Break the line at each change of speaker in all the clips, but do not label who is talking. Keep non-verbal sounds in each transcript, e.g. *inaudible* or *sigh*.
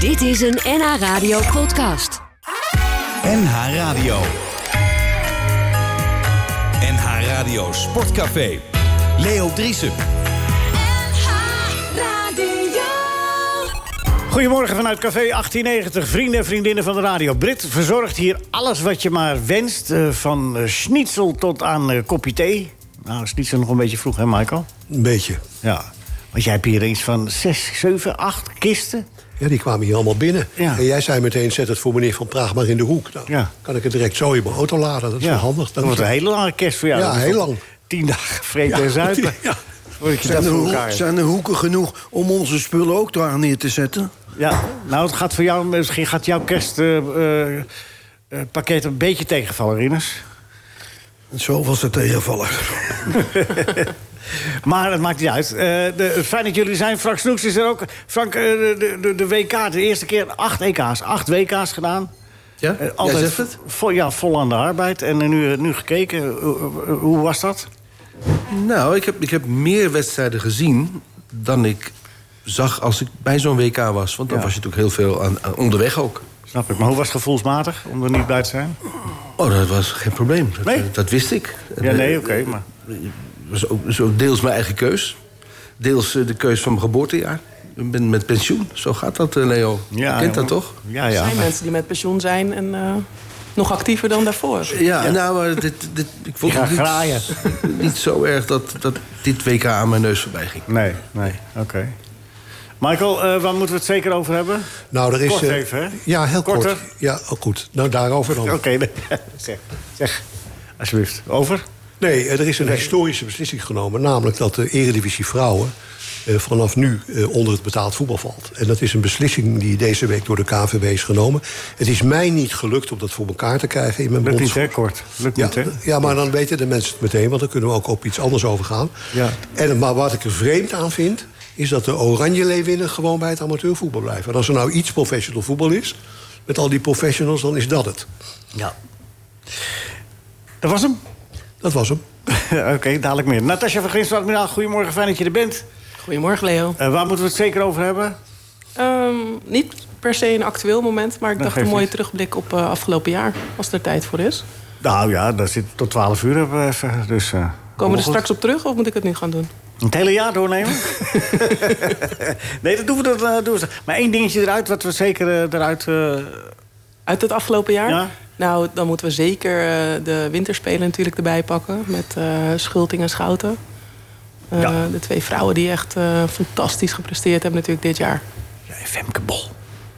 Dit is een NH Radio podcast.
NH Radio. NH Radio Sportcafé. Leo Driesen.
Goedemorgen vanuit Café 1890. Vrienden en vriendinnen van de radio. Brit verzorgt hier alles wat je maar wenst. eh, van eh, schnitzel tot aan eh, kopje thee. Nou, schnitzel nog een beetje vroeg, hè, Michael?
Een beetje.
Ja. Want jij hebt hier eens van 6, 7, 8 kisten.
Ja, die kwamen hier allemaal binnen.
Ja.
En jij zei meteen, zet het voor meneer Van Praag maar in de hoek. Nou,
Ja.
kan ik het direct zo in mijn auto laden. Dat is wel handig.
Dat wordt een hele lange kerst voor jou.
Ja,
Dat is
heel
toch
lang.
Tien dagen vreten
Ja,
en zuipen.
*laughs* ja.
Voordat je
Zijn
dat
er,
voor
hoek-
elkaar hebt.
zijn er hoeken genoeg om onze spullen ook daar neer te zetten?
Ja, nou, het gaat voor jou, misschien gaat jouw eh, kerstpakket eh, een beetje tegenvallen, Rinus.
Zo was het tegenvaller.
Maar het maakt niet uit. Eh, de, fijn dat jullie zijn. Frank Snoeks is er ook. Frank, eh, de, de, de WK, de eerste keer acht EK's, acht WK's gedaan.
Ja?
Eh,
Jij zegt het?
Vol, ja, vol aan de arbeid. En eh, nu, nu gekeken, Eh, eh, eh, hoe was dat?
Nou, ik heb, ik heb meer wedstrijden gezien dan ik zag als ik bij zo'n WK was. Want dan
Ja.
was je natuurlijk heel veel aan, aan- onderweg ook.
Snap ik. Maar hoe was het gevoelsmatig om er niet bij te zijn?
Oh, dat was geen probleem. Dat,
Nee?
dat wist ik.
Ja,
Eh,
nee, oké. maar...
was ook, was ook deels mijn eigen keus. Deels eh, de keus van mijn geboortejaar. Ik ben met pensioen. Zo gaat dat, eh, Leo.
Ja,
je kent dat
jongen.
toch?
Ja,
Er
ja.
zijn mensen die met pensioen zijn en eh, nog actiever dan daarvoor.
Ja, nou, eh, dit, dit, ik vond
Je gaat
het niet,
graaien.
*laughs* niet zo erg dat, dat dit WK aan mijn neus voorbij ging.
Nee, nee, oké. Michael, eh, waar moeten we het zeker over hebben?
Nou, er is,
Kort
eh,
even, hè?
Ja, heel
Korter.
kort. Ja, oh, goed. Nou, daarover dan.
Oh.
Oké, *laughs* nee. zeg, zeg. Alsjeblieft. Over?
Nee, eh, er is een historische beslissing genomen. Namelijk dat de Eredivisie Vrouwen eh, vanaf nu eh, onder het betaald voetbal valt. En dat is een beslissing die deze week door de KVB is genomen. Het is mij niet gelukt om dat voor elkaar te krijgen in mijn
Lukt niet,
bondsgroep.
hè? Kort. Lukt
Ja,
niet, hè?
ja, maar dan weten de mensen het meteen, want dan kunnen we ook op iets anders overgaan.
Ja.
En, maar wat ik er vreemd aan vind, is dat de Oranje-Leeuwinnen gewoon bij het amateurvoetbal blijven. En als er nou iets professional voetbal is, met al die professionals, dan is dat het.
Ja. Dat was hem. *laughs*
Dat was hem.
Oké, dadelijk meer. Natasja van Grinswaldmiddag, goedemorgen, fijn dat je er bent.
Goedemorgen, Leo.
Eh, waar moeten we het zeker over hebben?
Ehm, niet per se een actueel moment, maar ik
Dat
dacht een
geeft
mooie
niet.
terugblik op eh, afgelopen jaar. Als er tijd voor is.
Nou ja, dat zit tot 12 uur hebben we even. Dus, eh,
Komen
allemaal
we er
goed.
straks op terug of moet ik het nu gaan doen?
Het hele jaar doornemen? *laughs* nee, dat doen we. Dat, eh, doen we. straks. Maar één dingetje eruit, wat we zeker eh, eruit. eh,
Uit het afgelopen jaar?
Ja.
Nou, dan moeten we zeker eh, de winterspelen natuurlijk erbij pakken. Met eh Schulting en Schouten. Eh,
Ja.
De twee vrouwen die echt eh, fantastisch gepresteerd hebben natuurlijk dit jaar.
Femke Bol.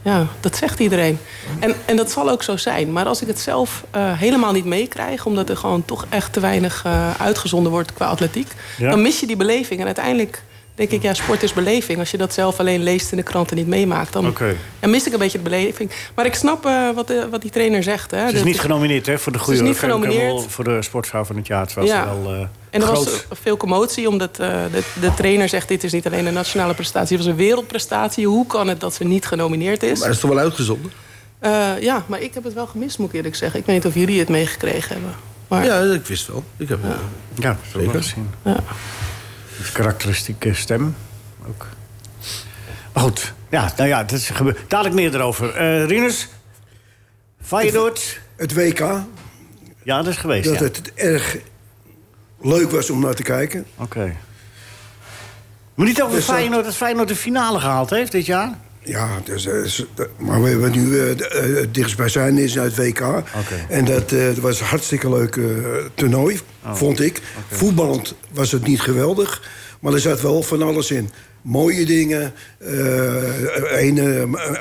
Ja, dat zegt iedereen. En, en dat zal ook zo zijn. Maar als ik het zelf eh, helemaal niet meekrijg... omdat er gewoon toch echt te weinig eh, uitgezonden wordt qua atletiek...
Ja.
dan mis je die beleving. En uiteindelijk denk ik, ja, sport is beleving. Als je dat zelf alleen leest in de krant en niet meemaakt... dan,
Oké.
dan mis ik een beetje de beleving. Maar ik snap eh, wat, de, wat die trainer zegt. Hè.
Ze is
Dat
niet genomineerd hè, voor de goede
is niet
Femke Bol,
genomineerd.
Voor de sportvrouw van het jaar. Terwijl
Ja.
ze wel eh,
En er
groot...
was veel commotie, omdat eh, de, de trainer zegt... dit is niet alleen een nationale prestatie, het was een wereldprestatie. Hoe kan het dat ze niet genomineerd is?
Maar dat is toch wel uitgezonden?
Eh, ja, maar ik heb het wel gemist, moet ik eerlijk zeggen. Ik weet niet of jullie het meegekregen hebben. Maar,
Ja, ik wist wel. Ik heb, eh,
Ja, dat hebben we gezien.
Ja.
Een karakteristieke stem ook. Maar goed, ja, nou ja, dat is gebeurd. Dadelijk meer erover. Eh Rinus, Feyenoord.
Het WK, dat
Ja, dat is geweest, ja.
het erg leuk was om naar te kijken.
Oké. Maar niet over
Dus dat-
Feyenoord, dat Feyenoord de finale gehaald heeft dit jaar.
Ja, dus, eh, is- eh, maar we hebben nu eh, de- eh, het dichtstbijzijn is uit WK. En dat eh, dat was een hartstikke leuk eh, toernooi,
Oh,
vond ik. Voetballend was het niet geweldig, maar er zat wel van alles in. Mooie dingen.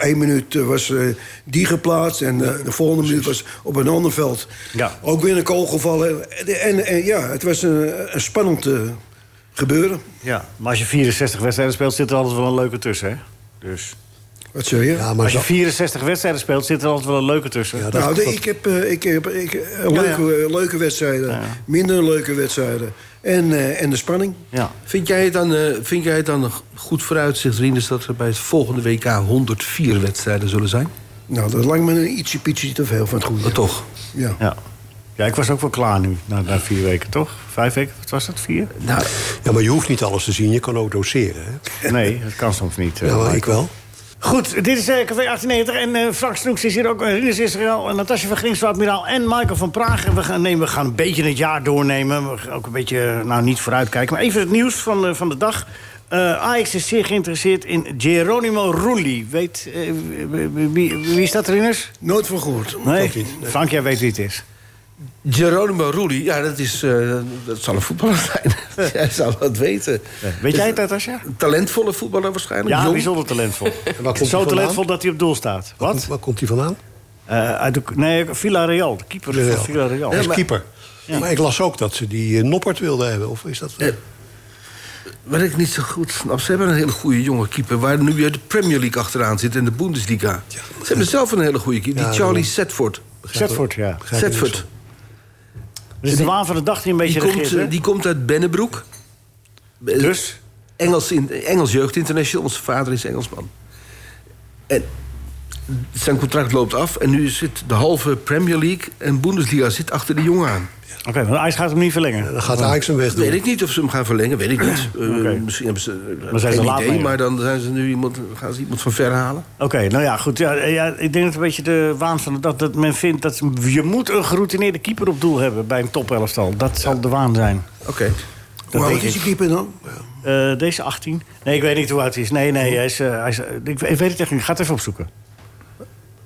Eén minuut eh, was eh, die geplaatst en eh, de volgende minuut was op een ander veld.
Ja.
Ook weer een kool gevallen. En, en ja, het was een, een spannend eh, gebeuren.
Ja. Maar als je 64 wedstrijden speelt, zit er altijd wel een leuke tussen, hè? Dus.
Wat zeg je?
Ja, maar
Als je
zo,
64 wedstrijden speelt, zit er altijd wel een leuke tussen.
Ja, dat-
Nou, de- ik heb, eh, ik heb ik, eh, leuke, eh, leuke wedstrijden, minder leuke wedstrijden. En, eh, en de spanning.
ja.
Vind jij het dan, eh, vind jij het dan een g- goed vooruitzicht, Rinus, dat er bij het volgende WK 104 wedstrijden zullen zijn?
Nou, dat lijkt me een ietsje pietje te veel van het goede.
Maar toch?
Ja.
Ja. Ja, ik was ook wel klaar nu, na, na vier weken, toch? Vijf weken, wat was dat? Vier?
Nou,
ja, maar je hoeft niet alles te zien, je kan ook doseren. Hè?
Nee, dat kan soms niet. eh,
Ja, maar ik
Michael.
wel.
Goed, dit is eh, Café 1890 en eh, Frank Snoeks is hier ook. en Rinus Israël, en Natasja van Grinsel, admiraal en Michael van Praag. En We gaan, nee, we gaan een beetje het jaar doornemen. We gaan ook een beetje, nou niet vooruitkijken. Maar even het nieuws van, eh, van de dag. Eh Ajax is zeer geïnteresseerd in Geronimo Rulli. Weet, eh, wie, wie- wie is dat, Rinus?
Nooit van gehoord.
Nee, Frank, jij weet wie het is.
Geronimo Rulli, ja, dat, is, eh, dat zal een voetballer *laughs* zijn. Jij zal dat weten.
Weet
Is
jij
een
het, Natasja?
Talentvolle voetballer waarschijnlijk.
Ja,
jong.
bijzonder talentvol.
komt hij
Zo
vandaan?
talentvol dat hij op doel staat. Wat?
Waar komt hij vandaan?
Eh, uit de, nee, Villarreal. De keeper van Villarreal.
Hij is
maar-
keeper. Maar ik las ook dat ze die eh, Noppert wilden hebben. Of is dat...
Eh, Wat ik niet zo goed snap, ze hebben een hele goede jonge keeper... waar nu de Premier League achteraan zit en de Bundesliga. Ze hebben zelf een hele goede keeper,
Ja,
die Charlie
daarom.
Setford.
Zetford, ja.
Begrijp ik niks
Setford.
Dat is de waan van de dag die een beetje
Die
regeert,
komt,
hè?
eh, die komt uit Bennebroek.
Dus?
Engels, in, Engels Jeugd International, onze vader is Engelsman. En zijn contract loopt af en nu zit de halve Premier League en Bundesliga zit achter de jongen aan.
Oké, want IJs gaat hem niet verlengen.
Eh,
Oh.
Dan gaat Ajax hem weg doen.
Weet ik niet of ze hem gaan verlengen, weet ik
*clears throat*
niet. Eh,
Oké.
Misschien hebben ze eh,
Maar zijn ze
geen
laat
idee,
mee.
maar dan zijn ze nu iemand, gaan ze iemand van ver halen.
Oké, nou ja, goed. Ja, ja, ik denk dat het een beetje de waan van de dag... dat men vindt dat je moet een geroutineerde keeper op doel hebben... bij een topelftal. Dat zal de waan zijn.
Oké.
Hoe oud is die keeper dan?
Eh, deze 18? Nee, ik weet niet hoe oud hij is. Nee, nee, hij is... eh, hij is eh, ik, ik weet het echt niet. Ik ga het even opzoeken.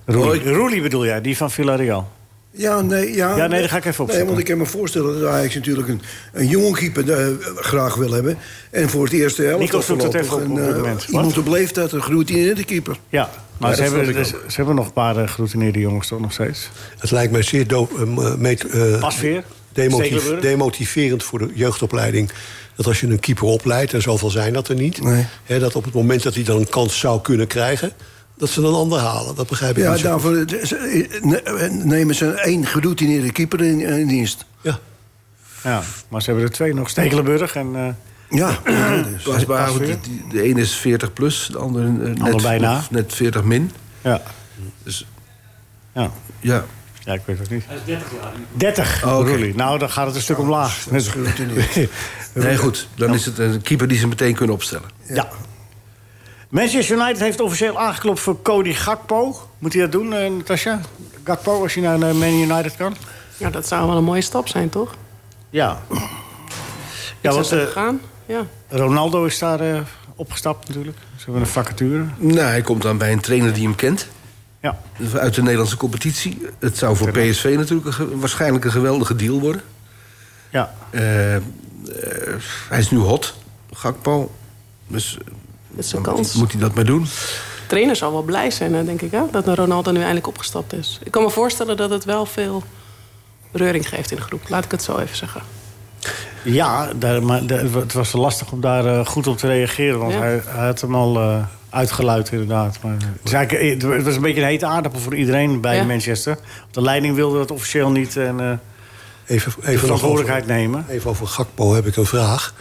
Roelie, Roelie bedoel jij, die van Villarreal.
Ja, Ah, nee, ja.
Ja, nee, dat ga ik even opzoeken.
Nee, want ik kan me voorstellen dat Ajax natuurlijk een, een jonge keeper eh, graag wil hebben. En voor het eerste helft...
Nico zoekt dat
voorlopig
even op, op dit
eh,
moment. Wat?
Iemand op leeftijd, een groeiende keeper.
Ja, maar
Ja,
ze,
dat
hebben,
snap ik
ze, ze hebben nog een paar eh, geroutineerde jongens toch nog steeds.
Het lijkt mij zeer do- eh, meet- eh,
Pasveer,
demotiv-
Stekelenburg.
demotiverend voor de jeugdopleiding. Dat als je een keeper opleidt, en zoveel zijn dat er niet.
Nee.
Hè, dat op het moment dat hij dan een kans zou kunnen krijgen. dat ze een ander halen. Dat begrijp ik
Ja,
niet. zo goed.
daarvoor eh, ze- eh, ne- eh, nemen ze één geroutineerde keeper in, eh, in dienst.
ja.
Ja, maar ze hebben er twee nog. Stekelenburg en... eh,
*clears throat*
Ja,
Klaas Bauer, die- die- de, ene is 40 plus, de andere eh, net,
Ander bijna.
net 40 min.
ja.
Dus-
ja.
Ja.
Ja, ik weet het niet. 30
Oh, oké.
Roelie. Nou, dan gaat het een stuk omlaag. *laughs*
Nee, goed. Dan is het een keeper die ze meteen kunnen opstellen.
Ja. Manchester United heeft officieel aangeklopt voor Cody Gakpo. Moet hij dat doen, eh, Natasja? Gakpo, als je naar eh, Man United kan?
Ja, dat zou wel een mooie stap zijn, toch?
Ja.
Ik
Ja,
zou
want eh,
zeggen, gaan. Ja.
Ronaldo is daar eh, opgestapt natuurlijk. Ze hebben een vacature.
Nou, hij komt dan bij een trainer die hem kent.
Ja.
Uit de Nederlandse competitie. Het zou voor PSV natuurlijk een ge- waarschijnlijk een geweldige deal worden.
Ja.
Eh, eh, hij is nu hot, Gakpo. Dus eh,
Dat is een
dan
kans.
moet hij dat maar doen.
Dus
De trainer zal wel blij zijn, hè, denk ik, hè, dat Ronaldo nu eindelijk opgestapt is. Ik kan me voorstellen dat het wel veel reuring geeft in de groep. Laat ik het zo even zeggen.
Ja, daar, maar daar- het was lastig om daar eh, goed op te reageren. Want
Ja.
hij, hij had hem al eh, uitgeluid, inderdaad. Maar, eh, het, is eigenlijk- het was een beetje een hete aardappel voor iedereen bij
Ja.
Manchester. De leiding wilde dat officieel niet en eh, de
Even, even nog over,
verantwoordelijkheid nemen.
even over Gakpo heb ik een vraag.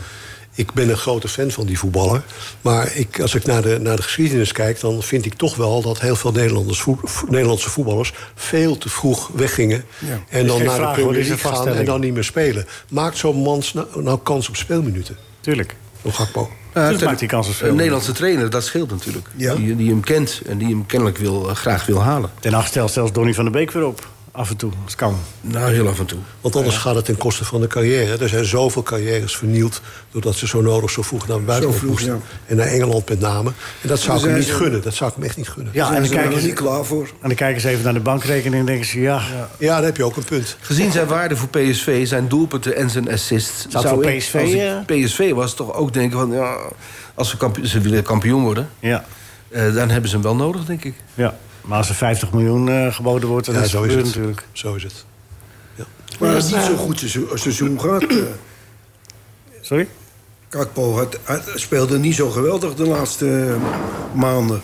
Ik ben een grote fan van die voetballer. Maar ik, als ik naar de, naar de geschiedenis kijk, dan vind ik toch wel dat heel veel Nederlanders voet- vo- Nederlandse voetballers veel te vroeg weggingen. En dan
geen
naar
vraag,
de
hoor, dit
Premier
is een
League gaan en
vaststelling.
dan niet meer spelen. Maakt zo'n man sna- nou kans op speelminuten?
Tuurlijk.
Zo'n Gakpo.
Ja,
Dus
Eh, ten-
maakt hij kans op veel.
Een Nederlandse trainer, dat scheelt natuurlijk.
Ja.
Die, die hem kent en die hem kennelijk wil, eh, graag wil halen.
Ten acht stelt zelfs Donny van der Beek weer op. Af en toe, als het kan.
Nou, heel af en toe.
Want anders gaat het ten koste van de carrière. Er zijn zoveel carrières vernield doordat ze zo nodig zo vroeg naar het buitenland
vroeg,
moesten.
ja.
En naar Engeland met name. En dat zou ik hem
zijn
niet
ze-
gunnen. Dat zou ik hem echt niet gunnen.
Ja, en
daar
dan,
zijn we
kijken
nog
ze,
niet klaar voor.
en dan kijken ze even naar de bankrekening en denken ze... ja,
ja daar heb je ook een punt.
Gezien zijn waarde voor PSV, zijn doelpunten en zijn assists...
Zou voor
ik,
PSV,
als
eh,
ik PSV was, toch ook denken van... Ja, als ze, kampioen, ze willen kampioen worden,
ja,
eh, dan hebben ze hem wel nodig, denk ik.
ja. Maar als er 50 miljoen eh, geboden wordt, dan
Ja,
is het
zo is Nou,
gebeurd
het.
natuurlijk.
Zo is het.
Maar als het niet zo'n goed seizoen, seizoen gaat... eh,
Sorry?
Kakpo had, had- Ah, speelde niet zo geweldig de laatste eh, maanden.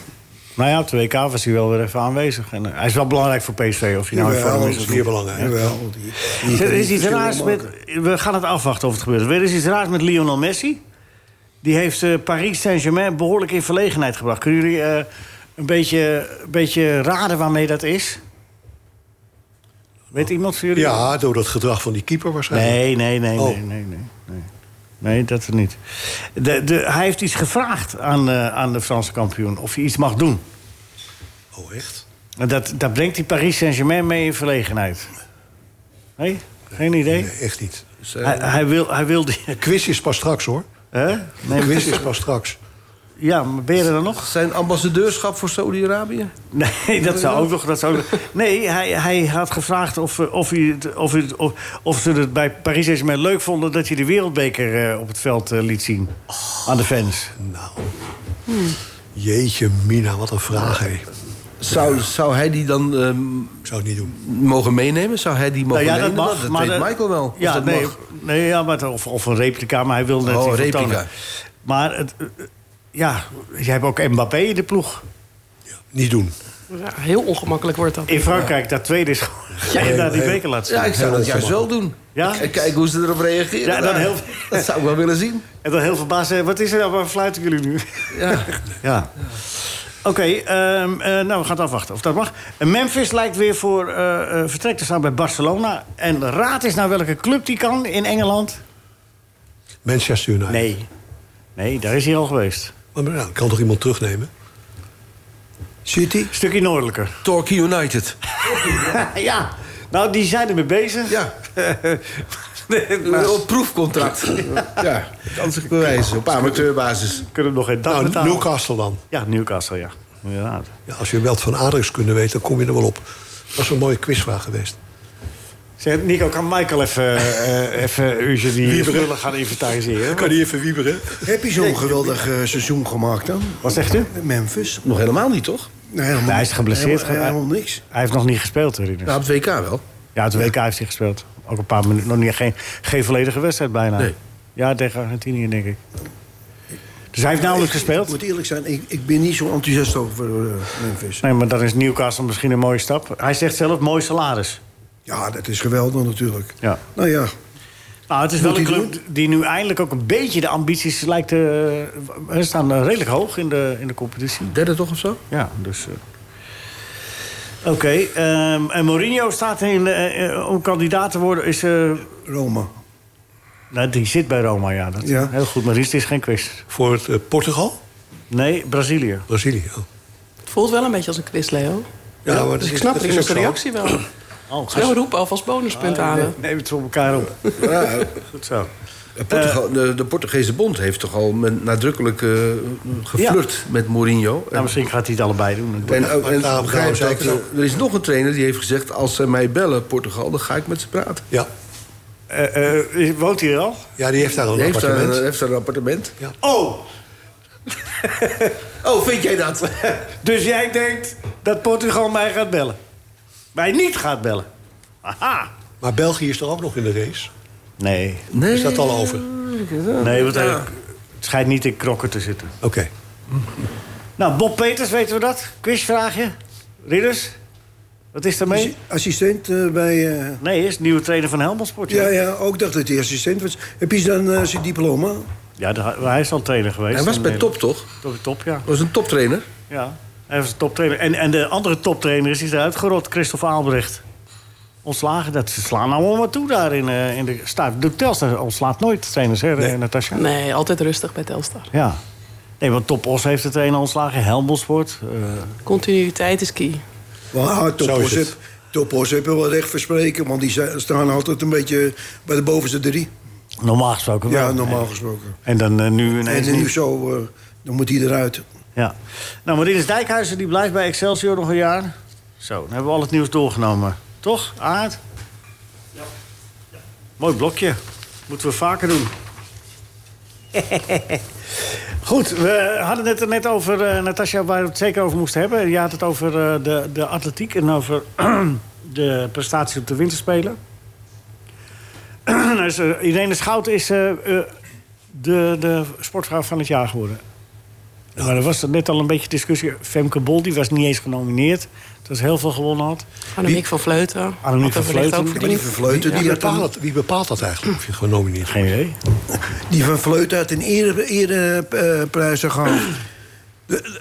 Nou ja, op de WK was hij wel weer even aanwezig. En, eh, hij is wel belangrijk voor PSV, of hij nou in
Jawel,
vorm
dat
is.
is
of
weer
niet.
belangrijk.
Jawel, die- die kan
Er is
niet
iets
verschil
raars met...
maken.
We gaan het afwachten of het gebeurt. Er is iets raars met Lionel Messi. Die heeft eh, Paris Saint-Germain behoorlijk in verlegenheid gebracht. Kunnen jullie eh, een, beetje, een beetje raden waarmee dat is? Weet iemand van jullie?
Ja, door dat gedrag van die keeper waarschijnlijk.
Nee, nee, nee,
Oh.
nee, nee, nee. nee. Nee, dat niet. De, de, hij heeft iets gevraagd aan, eh, aan de Franse kampioen. Of hij iets mag doen.
Oh, echt?
Dat, dat brengt die Paris Saint-Germain mee in verlegenheid. Nee? Geen idee?
Nee, echt niet.
Dus, eh,
Hij, hij wil, hij wil die...
Quiz is pas straks, hoor.
Hè? Nee,
Quiz is pas straks.
ja, maar ben je er dan nog? *laughs*
Zijn ambassadeurschap voor Saudi-Arabië?
Nee, dat zou ook nog. Dat zou ook nog- Nee, hij, hij had gevraagd of, eh, of, hij, het- of, hij het- of, of ze het bij Paris Saint-Germain leuk vonden dat hij de wereldbeker eh, op het veld eh, liet zien aan de fans.
Jeetje, Mina, wat een vraag, hé.
Zou, zou hij die dan ehm,
Ik zou het niet doen.
mogen meenemen? Zou hij die mogen
Nou ja, dat
meenemen?
mag. maar
weet
dat-
Michael wel. Of
Ja,
dat
nee,
mag.
nee ja, maar het- of, of een replica, maar hij wilde het
Oh,
niet
replica.
vertonen. Maar het, eh, eh, ja, je hebt ook Mbappé in de ploeg.
Niet doen.
Ja, heel ongemakkelijk wordt dat.
In Frankrijk, dat tweede is gewoon. Ja, *laughs* daar die beker laat zien.
Ja, ik zou dat juist wel doen.
Ja?
En kijken hoe ze erop reageren.
Ja, dan
daar.
heel-
*laughs* Dat zou ik wel willen zien.
En dan heel verbaasd zijn, wat is er nou, waar fluiten jullie nu?
Ja.
Ja. Oké, ehm, eh, nou, we gaan het afwachten of dat mag. En Memphis lijkt weer voor eh, eh, vertrek te staan bij Barcelona. En raad eens naar welke club die kan in Engeland.
Manchester United.
Nee. Nee, daar is hij al geweest.
Maar nou, kan toch iemand terugnemen?
City?
Stukje noordelijker.
Torquay United.
*laughs* ja, nou, die zijn ermee bezig. *laughs*
*laughs* Ja. Op proefcontract. Ja, kan zich bewijzen. Op amateurbasis.
Kunnen we nog geen dag
Nou,
betalen.
Newcastle dan.
Ja, Newcastle, ja. Inderdaad.
Ja, als je wel van Adrix kunnen weten, dan kom je er wel op. Dat is een mooie quizvraag geweest.
Zeg, Nico, kan Michael even, eh, even een uurtje die spullen gaan inventariseren?
Kan die even wieberen?
Heb je zo'n geweldig eh, seizoen gemaakt dan?
Wat zegt u?
Memphis?
Nog helemaal niet, toch?
Nee, helemaal,
Hij is geblesseerd
Helemaal,
geraakt.
helemaal niks.
Hij heeft nog niet gespeeld, herinner
Ja, Nou, op het WK wel.
Ja, het WK heeft hij gespeeld. Ook een paar minuten. Nog niet, geen, geen volledige wedstrijd bijna.
Nee.
Ja, tegen Argentinië, denk ik. Dus hij heeft nauwelijks
Ik
gespeeld.
moet eerlijk zijn, ik, ik ben niet zo enthousiast over eh, Memphis.
Nee, maar dan is Newcastle misschien een mooie stap. Hij zegt zelf, mooi salaris.
Ja, dat is geweldig natuurlijk.
Ja.
Nou ja,
Nou, het is
Moet
wel een
hij
club die nu eindelijk ook een beetje de ambities lijkt te... Ze staan eh, redelijk hoog in de, in de competitie.
Derde toch of zo?
Ja, dus... eh. Oké, ehm, en Mourinho staat in, eh, eh, om kandidaat te worden. Is, eh,
Roma.
nou, die zit bij Roma, ja. Dat,
Ja.
Heel goed, maar dit is geen quiz.
Voor het, eh, Portugal?
Nee, Brazilië.
Brazilië. oh.
Het voelt wel een beetje als een quiz, Leo.
Ja, maar dat
Dus ik
is-
snap
dat
de
is ook zo.
reactie wel.
Oh,
Dus Leo roep alvast bonuspunt
Ah,
halen.
Neem het voor elkaar op.
Ja,
Goed zo.
de, Portugal- Eh, de, de Portugese bond heeft toch al met nadrukkelijk eh, geflirt met Mourinho.
Nou, misschien gaat hij het allebei doen.
En, ook- en
daarom
begrijp
zou ik
ik ook- er is nog een trainer die heeft gezegd... als zij mij bellen, Portugal, dan ga ik met ze praten.
Ja.
Eh, eh, woont hij er al?
ja, die heeft daar een
Die heeft daar, eh,
appartement.
een- heeft daar een appartement.
Oh,
Oh, vind jij dat?
dus jij denkt dat Portugal mij gaat bellen? Mij niet gaat bellen? Aha.
Maar België is er ook nog in de race.
Nee,
Nee.
Is dat al over?
nee want hij het schijnt niet in krokken te zitten.
Oké.
Nou, Bob Peters, weten we dat? Quizvraagje? Ridders? Wat is daarmee?
Assistent eh, bij... eh,
Nee, is nieuwe trainer van Helmond Sport.
ja, ja, ook dacht dat hij assistent was. Heb je dan eh, zijn diploma?
Ja, de- hij is al trainer geweest.
Hij was
En,
bij
eh,
top, toch?
Top, top, ja.
was een toptrainer.
Ja, hij was een toptrainer. En, en de andere toptrainer is is eruit gerot, Christophe Aalbrecht. Ontslagen, dat ze slaan nou allemaal wat toe daar in, eh, in de staat. De Telstar ontslaat nooit trainers, hè, eh, Natasja?
Nee, altijd rustig bij Telstar.
Ja. Nee, want Top Os heeft de trainer ontslagen, Helmond Sport. eh,
Continuïteit is key.
Maar
Zo is
Topos
het.
heb, Topos heb wel recht verspreken, want die zijn- staan altijd een beetje bij de bovenste drie.
normaal gesproken wel.
Ja, normaal gesproken.
En dan eh, nu ineens
En nu
niet.
zo, eh, dan moet hij eruit.
Ja. Nou, Marinus Dijkhuizen die blijft bij Excelsior nog een jaar. Zo, dan hebben we al het nieuws doorgenomen. Toch, Aard? Ja. Mooi blokje. Moeten we vaker doen. Goed, we hadden het er net over, eh, Natasja, waar we het zeker over moesten hebben. Je had het over eh, de, de atletiek en over *clears throat* de prestaties op de winterspelen. *clears throat* Nou, is, eh, Irene Schout is eh, eh, de, de sportvrouw van het jaar geworden. Maar er was net al een beetje discussie. Femke Bol die was niet eens genomineerd. Dat ze heel veel gewonnen had.
Annemiek van Vleuten.
Annemiek
Had
van
er wellicht
Vleuten.
Maar
ook
die
verdiend.
Van Vleuten,
Wie
die, had
bepaalt,
een,
dat- wie bepaalt dat eigenlijk? Of je genomineerd
Geen idee.
die Van Vleuten had een ere, ere, eh, prijzen gehad.
*clears throat*
De- de-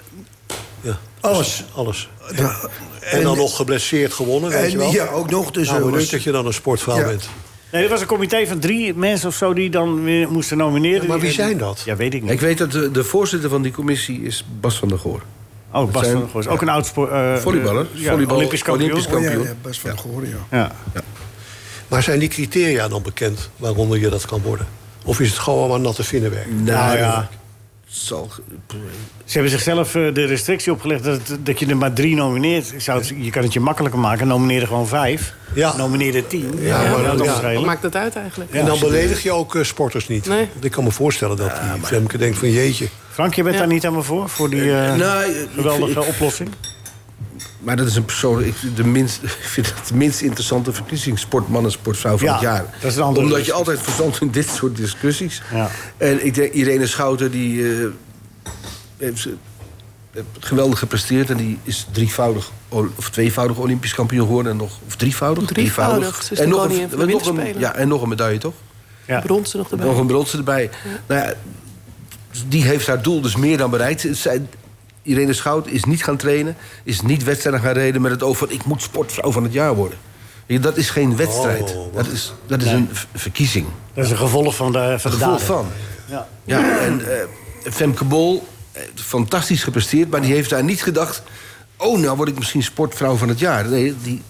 Ja.
Alles.
Alles.
Ja,
En dan nog geblesseerd gewonnen, weet je
En,
wel?
ja, ook nog. Dus
nou,
eh,
leuk
was-
dat je dan een sportvrouw
Ja.
bent.
Nee, er was een comité van drie mensen of zo die dan weer moesten nomineren.
Ja, maar wie
Die-
zijn dat?
Ja, weet ik niet.
Ik weet dat de, de voorzitter van die commissie is Bas van der Goor.
Oké. Oh, Bas
zijn-
van der Goor is ook een oud spo- eh,
Volleyballer.
eh, ja,
Volleybal-
Olympisch kampioen.
Olympisch
Oh, ja,
Kampioen.
ja, best wel gehoord, ja.
Ja.
Maar zijn die criteria dan bekend waaronder je dat kan worden? Of is het gewoon maar natte vinnenwerk?
Nou ja,
zal...
ze hebben zichzelf eh, de restrictie opgelegd dat, het- dat je er maar drie nomineert. Ik Zou het- je kan het je makkelijker maken. Nomineer er gewoon vijf.
Ja.
Nomineer er tien.
Ja, maar
dat
ja.
is
Wat
schelen.
maakt dat uit eigenlijk?
En dan beledig je ook eh, sporters niet.
Nee.
Ik kan me voorstellen dat die Femke denkt van jeetje.
Frank, je bent
Ja.
daar niet helemaal voor? Voor die eh,
nou, ik- ik-
geweldige
ik-
oplossing?
Maar dat is een persoon... Ik, de minst, *laughs* ik vind dat de minst interessante verkiezing... sportman en sportvrouw van
Ja,
het jaar.
dat is een andere
Omdat je
discussie.
altijd verstand in dit soort discussies.
Ja.
En ik denk, Irene Schouten, die... eh, heeft, ze- heeft geweldig gepresteerd. En die is drievoudig... ol- of tweevoudig Olympisch kampioen geworden. En nog, of drievoudig?
Drievoudig. Ze is de
nog
koningin van de
nog een,
winterspelen.
ja, en nog een medaille, toch?
Ja.
Bronzen nog erbij.
Nog een bronzen erbij. Nou ja, die heeft haar doel dus meer dan bereikt. Zij, Irene Schout is niet gaan trainen, is niet wedstrijden gaan reden met het oog van ik moet sportvrouw van het jaar worden. Weet je, Dat is geen wedstrijd.
Oh,
dat is, dat is een v- verkiezing.
Dat is een gevolg van de, van de
Gevoel
daden.
van.
Ja.
Ja, en eh, Femke Bol, eh, fantastisch gepresteerd, maar die heeft daar niet gedacht. Oh, nou word ik misschien sportvrouw van het jaar. Nee, die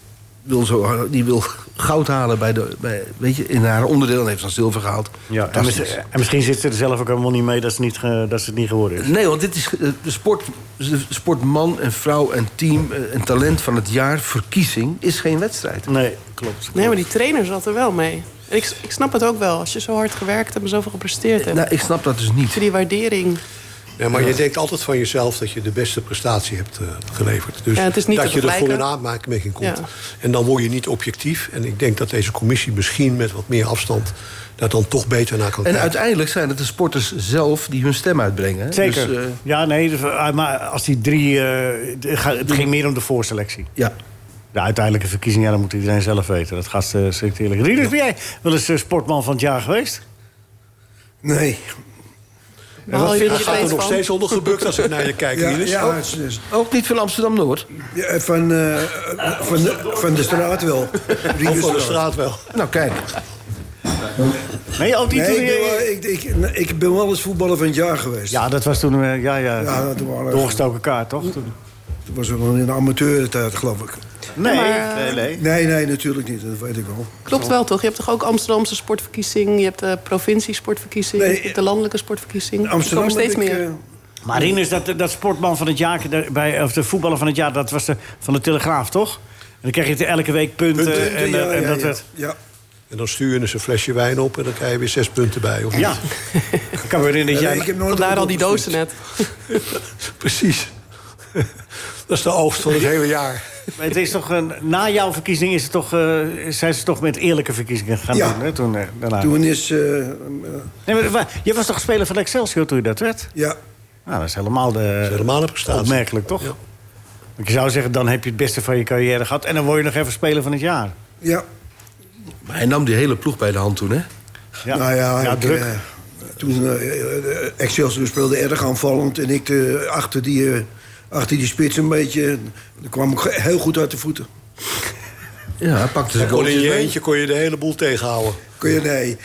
wil, zo, die wil goud halen bij de, bij, weet je, in haar onderdeel en heeft dan zilver gehaald.
Ja, en,
Fantastisch.
mis- en misschien zit ze er zelf ook helemaal niet mee dat ze, niet ge- dat ze het niet geworden is.
Nee, want dit is eh, de sport, de sportman en vrouw en team eh, en talent van het jaar. Verkiezing is geen wedstrijd.
Nee, klopt.
Nee, maar die trainer zat er wel mee. En ik, ik snap het ook wel. Als je zo hard gewerkt hebt en zoveel gepresteerd hebt.
Nou, ik snap dat dus niet.
Voor die waardering.
Ja, maar je denkt altijd van jezelf dat je de beste prestatie hebt eh, geleverd. Dus
Ja, het is niet
dat
te
je er voor
vergelijken.
een aanmerking komt.
Ja.
En dan word je niet objectief. En ik denk dat deze commissie misschien met wat meer afstand... daar dan toch beter naar kan
En
kijken.
uiteindelijk zijn het de sporters zelf die hun stem uitbrengen. hè?
Zeker.
Dus, eh,
ja, nee, dus, eh, maar als die drie... eh, de- ga- het ging meer om de voorselectie.
ja.
De uiteindelijke verkiezing, ja, dat moet iedereen zelf weten. Dat gaat ze selecteren. Rieders, ben jij wel eens eh, sportman van het jaar geweest?
Nee.
Waar haal je
Hij
er
gaat er
steeds
nog
van?
steeds onder gebukt als ik naar je kijk,
Ja,
Rinus. Oh,
ja, het is-
Ook niet van Amsterdam-Noord.
ja, van, eh, van, de- van de straat wel.
*laughs* Of van de straat wel.
Nou, kijk.
Nee, ook niet
Nee,
toen
ik ben,
je-
wel, ik, ik, ik ben wel eens voetballer van het jaar geweest.
Ja, dat was toen... eh, ja, ja,
Ja, toen waren we-
doorgestoken kaart, toch? Toen-
Dat was nog in de amateurentijd, geloof ik.
Nee,
maar-
nee, nee.
Nee, nee, natuurlijk niet. Dat weet ik wel.
Klopt wel toch? Je hebt toch ook Amsterdamse sportverkiezing, je hebt de provinciesportverkiezing,
Nee,
je hebt de landelijke sportverkiezing.
Amsterdam
er komen steeds
heb ik,
meer.
eh,
Maar Rinus, dat, dat sportman van het jaar, de- bij, of de voetballer van het jaar... dat was de, van de Telegraaf, toch? En dan kreeg je te- elke week punten.
punten,
en, eh,
ja,
en
ja,
dat
ja.
werd-
Ja.
En dan stuur je eens een flesje wijn op en dan krijg je weer zes punten bij. Of
Ja,
niet?
ik kan me herinneren dat
Nee,
jij...
ik heb nooit
Vandaar
een
al die
doel
dozen
gescoord.
net.
Precies. *laughs* dat is de oogst van het hele jaar.
Maar Het is toch een, na jouw verkiezing is het toch, eh, zijn ze toch met eerlijke verkiezingen gaan
Ja.
doen. Hè, toen, eh, daarna.
Toen is... eh, eh,
Nee, maar, wa- je was toch speler van Excelsior toen je dat werd?
ja,
Nou, dat is helemaal, de,
helemaal een prestatie.
opmerkelijk, toch? Want je zou zeggen, dan heb je het beste van je carrière gehad... en dan word je nog even speler van het jaar.
ja.
Maar hij nam die hele ploeg bij de hand toen, hè?
Ja,
Nou ja, ik,
druk.
eh, toen eh, eh, Excelsior speelde erg aanvallend en ik eh, achter, die, eh, achter die spits een beetje... eh, kwam ik ge- heel goed uit de voeten.
Ja, hij pakte zijn
Kon in
goaltjes
je
mee.
eentje kon je de hele boel tegenhouden.
Kun je, nee.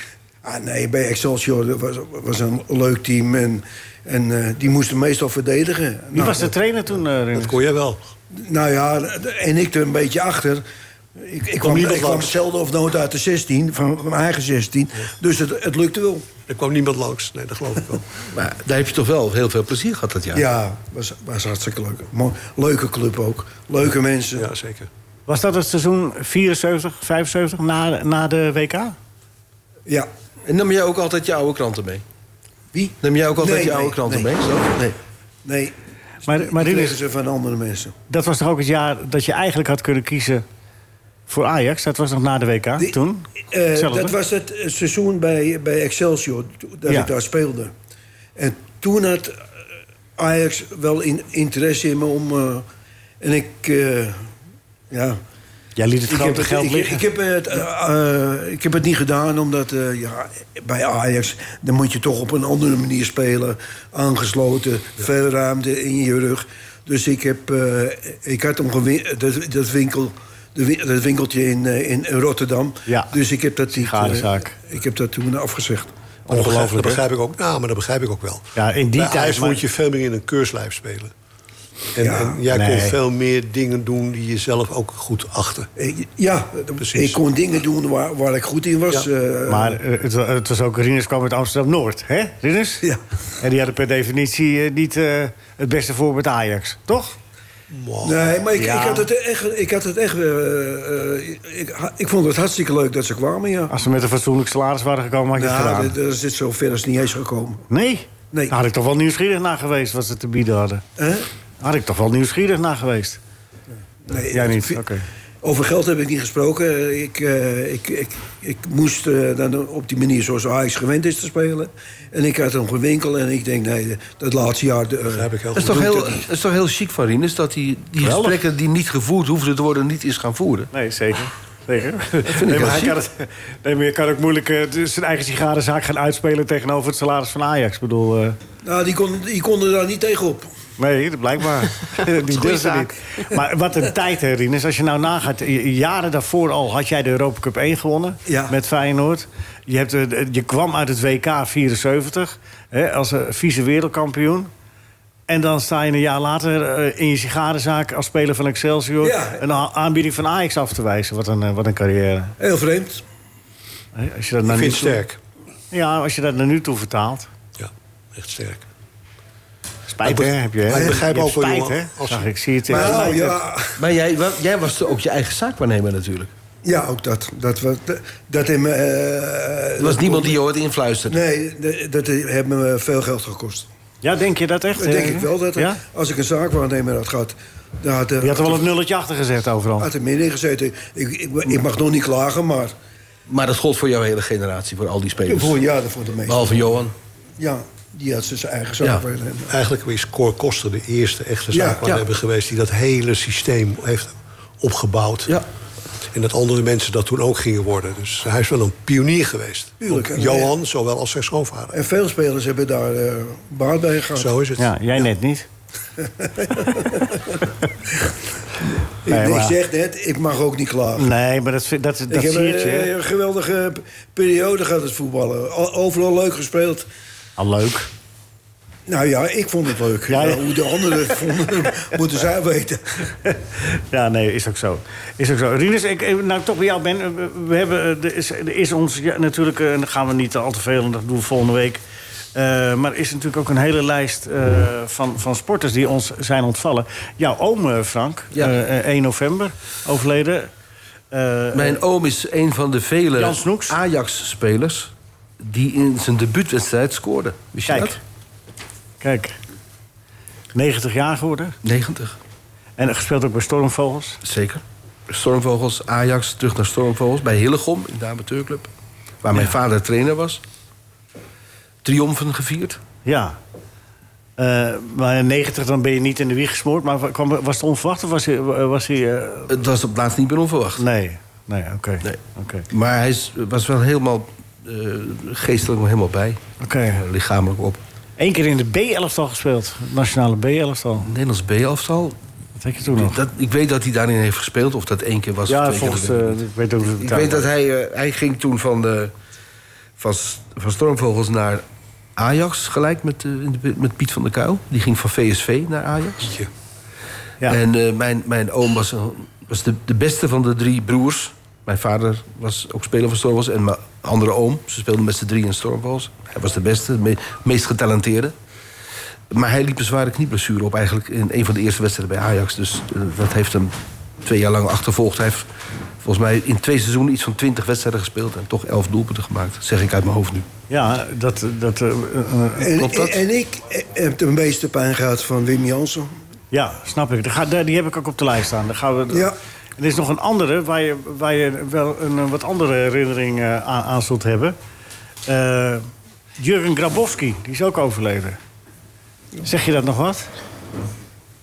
Ah, nee, bij Excelsior dat was, was een leuk team en, en eh, die moesten meestal verdedigen.
Wie was de trainer toen, eh, Rinus?
Dat kon jij wel.
Nou ja, en ik er een beetje achter. Ik, ik kwam,
niemand
ik kwam
langs.
zelden of nooit uit de 16, van, van mijn eigen 16. Dus het, het lukte wel.
Er kwam niemand langs. Nee, dat geloof ik wel.
Maar daar heb je toch wel heel veel plezier gehad dat jaar.
Ja, was, was hartstikke leuk. Mo- leuke club ook. Leuke mensen.
Ja, zeker.
Was dat het seizoen 74, 75, na, na de WK?
Ja.
En nam jij ook altijd je oude kranten mee?
Wie?
Neem jij ook altijd
Nee,
je oude
nee,
kranten
nee.
mee? Zo? Nee.
Nee.
Maar, maar
Die kregen
Rinus,
ze van andere mensen.
dat was toch ook het jaar dat je eigenlijk had kunnen kiezen... voor Ajax? Dat was nog na de WK,
Die-
Ah, toen?
Eh,
Hetzelfde.
dat was het eh, seizoen bij, bij Excelsior, to- dat
Ja.
ik daar speelde. En toen had eh, Ajax wel in, interesse in me om... eh, en ik... eh, ja,
Jij liet het
ik heb
grote
het,
geld
ik-
liggen.
Ik, heb het, eh, eh, ik heb het niet gedaan, omdat eh, ja, bij Ajax... dan moet je toch op een andere manier spelen. Aangesloten, veel ruimte in je rug. Dus ik, heb, eh, ik had hem gewin- dat, dat, winkel, de win- dat winkeltje in, eh, in Rotterdam.
Ja.
Dus ik heb dat, niet,
Sigarenzaak.
eh, ik heb dat toen afgezegd.
Maar dat begrijp- Dat
Ongelooflijk, hè?
begrijp ik ook. Nou, maar dat begrijp ik ook wel.
Ja, in die
Bij
tijd,
Ajax
maar-
moet je veel meer in een keurslijf spelen. En,
Ja,
en jij
nee.
kon veel meer dingen doen die je zelf ook goed achtte.
Ik- ja,
Precies.
ik kon dingen doen waar, waar ik goed in was.
Ja.
eh,
Maar eh, het, wa- het was ook, Rinus kwam uit Amsterdam-Noord, hè, Rinus?
Ja.
En die hadden per definitie eh, niet eh, het beste voor met Ajax, toch?
Nee, maar ik,
Ja.
ik had het echt... Ik, had het echt eh, eh, ik, ha- ik vond het hartstikke leuk dat ze kwamen, ja.
Als ze met een fatsoenlijk salaris waren gekomen, had je het Ah, gedaan.
Nou, daar zit zo ver als niet eens gekomen.
Nee?
Nee.
Daar had ik toch wel nieuwsgierig naar geweest wat ze te bieden hadden.
Hè?
Had ik toch wel nieuwsgierig naar geweest.
Nee,
Jij niet?
vi-
Oké.
Over geld heb ik niet gesproken. Ik, eh, ik, ik, ik moest eh, dan op die manier zoals Ajax gewend is te spelen. En ik had hem gewinkel en ik denk, nee, dat laatste jaar... eh,
Begrijp ik heel
Dat is,
goed.
toch
doet
heel,
het niet.
dat is toch heel chic van Rinus dat hij die
Geweldig.
gesprekken die niet gevoerd hoefden te worden, niet is gaan voeren.
Nee, zeker. Zeker. Nee, maar, hij
ziek.
kan het, nee, maar je kan ook moeilijk eh, dus zijn eigen sigarenzaak gaan uitspelen tegenover het salaris van Ajax. Ik bedoel, eh,
Nou, die kon, die kon er daar niet tegenop.
nee, dat blijkbaar. Die durfde
zaak.
niet. Maar wat een tijd, hè, Rinus. Als je nou nagaat, eh, jaren daarvoor al had jij de Europa Cup 1 gewonnen
Ja.
met Feyenoord. Je, hebt, eh, je kwam uit het WK 74 hè, als eh, vice wereldkampioen. En dan sta je een jaar later eh, in je sigarenzaak als speler van Excelsior...
Ja.
een a- aanbieding van Ajax af te wijzen. Wat een, eh, wat een carrière.
Heel vreemd.
Hè, Als je dat naar
Ik
nu
vind het
toe-
sterk.
Ja, als je dat naar nu toe vertaalt.
Ja, echt sterk.
Spijt,
Ik
hè?
be-
Heb je, hè?
maar ik begrijp
Je hebt
ook wel,
spijt,
jongen,
hè?
als je-
Zag, ik zie het. in
Maar
je
nou,
lijf.
ja,
Maar jij, wa- jij was ook je eigen zaakwaarnemer natuurlijk.
ja, ook dat. Dat, was- dat, dat hem, eh,
Er was niemand die jou had influisterd.
Nee, de- dat heeft me veel geld gekost.
Ja, denk je dat echt?
Dat
hè?
denk ik wel. Dat
Ja?
Als ik een zaakwaarnemer had gehad... Dan had, er-
Je had er wel het nulletje achter gezet overal.
had er meer in gezeten. Ik, ik, ik mag nog niet klagen, maar...
Maar dat gold voor jouw hele generatie, voor al die
Dus-
spelers.
Voor, ja, dat voor de meeste.
Behalve Johan.
Ja, die had zijn eigen
Ja.
zaakwaarnemer.
Eigenlijk is Cor Koster de eerste echte
Ja,
zaakwaarnemer
ja.
geweest... die dat hele systeem heeft opgebouwd.
Ja.
En dat andere mensen dat toen ook gingen worden. Dus hij is wel een pionier geweest.
Tuurlijk, en-
Johan, zowel als zijn schoonvader.
En veel spelers hebben daar eh, baat bij gehad.
Zo is het.
Ja, jij net
*laughs*
niet.
ik,
Nee,
ik
maar-
zeg net, ik mag ook niet klagen.
Nee, maar dat, vind- dat, dat
ik heb
zie je.
een,
hè?
eh, geweldige periode gehad het voetballen. O- Overal leuk gespeeld.
Al Ah, leuk.
Nou ja, ik vond het leuk.
Ja, ja.
Nou, hoe de anderen
*laughs*
het vonden, moeten zij weten.
ja, nee, is ook zo. Is ook zo. Rinus, ik, eh, nou ik toch bij jou ben. eh, We hebben, eh, er is, er is ons ja, natuurlijk, eh, en daar gaan we niet al te veel, en dat doen we volgende week. Eh, maar er is natuurlijk ook een hele lijst eh, van, van sporters die ons zijn ontvallen. Jouw oom, eh, Frank,
Ja.
eh, eh, 1 november overleden. Eh,
Mijn oom is een van de vele
Jan Snoeks.
Ajax-spelers... die in zijn debuutwedstrijd scoorde. Wist je
Kijk.
dat?
Kijk, 90 jaar geworden.
90.
En gespeeld ook bij Stormvogels.
Zeker. Stormvogels, Ajax, terug naar Stormvogels. Bij Hillegom, in de amateurclub. Waar mijn vader trainer was. Triomfen gevierd.
Ja. Eh, maar in 90 dan ben je niet in de wieg gesmoord. Maar wa- kwam, was het onverwacht of was hij... Was hij eh,
Het was op het laatst niet meer onverwacht.
nee, nee, oké.
Nee.
Oké.
Maar hij is- was wel helemaal eh, geestelijk nog helemaal bij.
Oké.
Eh, Lichamelijk op.
Eén keer in de B-elftal gespeeld. Het Nationale B-elftal.
Nederlands B-aftal.
Wat had je toen nog?
Dat, ik weet dat hij daarin heeft gespeeld. Of dat één keer was. of
ja,
twee keer,
volgens...
dat weet ik
eh,
niet.
ik weet ook
Ik weet dat hij, eh, hij ging toen van, de, van, S- van Stormvogels naar Ajax gelijk met, eh, in de- met Piet van der Kuil. Die ging van VSV naar Ajax.
Ja.
En eh, mijn, mijn oom was, een- was de, de beste van de drie broers. Mijn vader was ook speler van Stormvogels. En mijn andere oom, ze speelden met z'n drie in Stormvogels. Hij was de beste, de me- meest getalenteerde. Maar hij liep een zware knieblessure op eigenlijk in een van de eerste wedstrijden bij Ajax. Dus eh, dat heeft hem twee jaar lang achtervolgd. Hij heeft volgens mij in twee seizoenen iets van twintig wedstrijden gespeeld... en toch elf doelpunten gemaakt, Dat zeg ik uit mijn hoofd nu.
Ja, dat... dat eh, eh, eh,
En,
Klopt dat?
en ik eh, heb de meeste pijn gehad van Wim Jansen.
ja, snap ik. Daar ga- daar- die heb ik ook op de lijst staan. Daar gaan we...
Ja.
Er is nog een andere waar je, waar je wel een eh, wat andere herinnering eh, aan, aan zult hebben. Eh Jurgen Grabowski, die is ook overleden. Zeg je dat nog wat?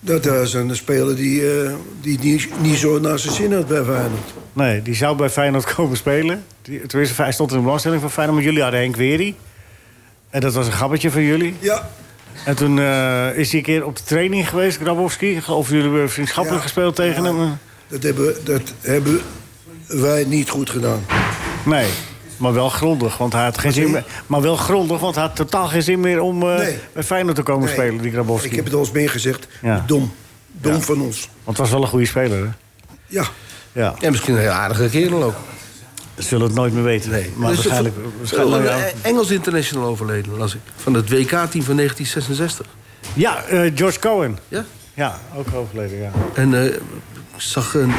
Dat was een speler die, eh, die niet, niet zo naar zijn zin had bij Feyenoord.
Nee, die zou bij Feyenoord *laughs* komen spelen. Die, tenminste, hij stond in de belangstelling van Feyenoord. Maar jullie hadden Henk Wery. En dat was een grappetje van jullie.
Ja,
En toen eh, is hij een keer op de training geweest, Grabowski. Of jullie hebben vriendschappelijk
Ja.
gespeeld tegen
Ja.
hem.
dat hebben, dat hebben wij niet goed gedaan.
Nee, maar wel grondig. Want hij had geen zin
Nee.
meer, maar wel grondig, want hij had totaal geen zin meer om eh,
Nee.
bij Feyenoord te komen
Nee,
spelen, die Grabowski.
Ik heb het al eens meer gezegd.
Ja.
Dom.
Dom van ons.
Want het was wel een goede speler, hè?
Ja.
Ja,
En misschien een heel aardige kerel ook.
ze zullen het nooit meer weten. Nee. Maar
Dus
waarschijnlijk...
van-
waarschijnlijk
een
ja,
Engels international overleden, las ik. Van het WK-team van 1966.
ja eh, George Cohen.
Ja?
Ja, ook overleden, ja.
En eh, ik zag een,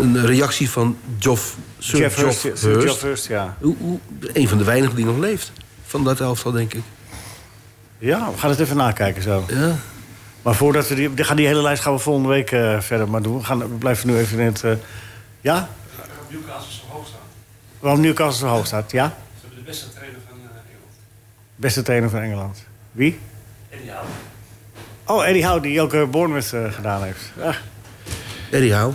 een reactie van Joff, Sir
Jeff Hurst.
Joff
Sir
Hurst.
Jeff Hurst, ja.
Hoe- hoe- een van de weinigen die nog leeft. Van dat elftal, denk ik.
Ja, we gaan het even nakijken zo.
Ja.
Maar voordat we die, die, gaan die hele lijst gaan we volgende week eh, verder maar doen. We, gaan, we blijven nu even in het... eh, ja? Waarom Newcastle zo hoog staat? Ja?
de beste trainer van eh, Engeland.
Beste trainer van Engeland. Wie? Oh, Eddie Howe, die ook eh, Bournemouth eh, gedaan heeft. Ah.
Eddie Howe.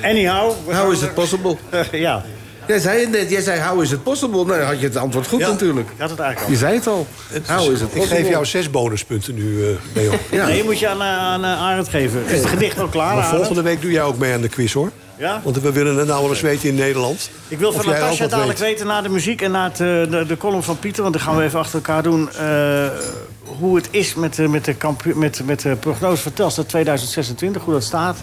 Eddie Howe. we gaan-
How is it possible?
*laughs* ja.
Jij zei het net, jij zei how is it possible? Nou, dan had je het antwoord goed natuurlijk.
Ik had het eigenlijk
Je
al.
zei het al. How is it
Ik
possible?
geef jou zes bonuspunten nu, eh Leon.
Ja.
Nee, moet je aan, eh, aan eh, Arend geven. Is het gedicht al klaar,
Maar
Arend?
volgende week doe jij ook mee aan de quiz, hoor.
Ja?
Want we willen het nou wel eens weten in Nederland.
Ik wil
Of
van
jij ook
Natasja
wat
dadelijk
weet.
weten na de muziek en na het, eh, de, de column van Pieter... want dan gaan we even achter elkaar doen eh, hoe het is met, de- met, de kampio- met, met de prognose van Telstar 2026, hoe dat staat.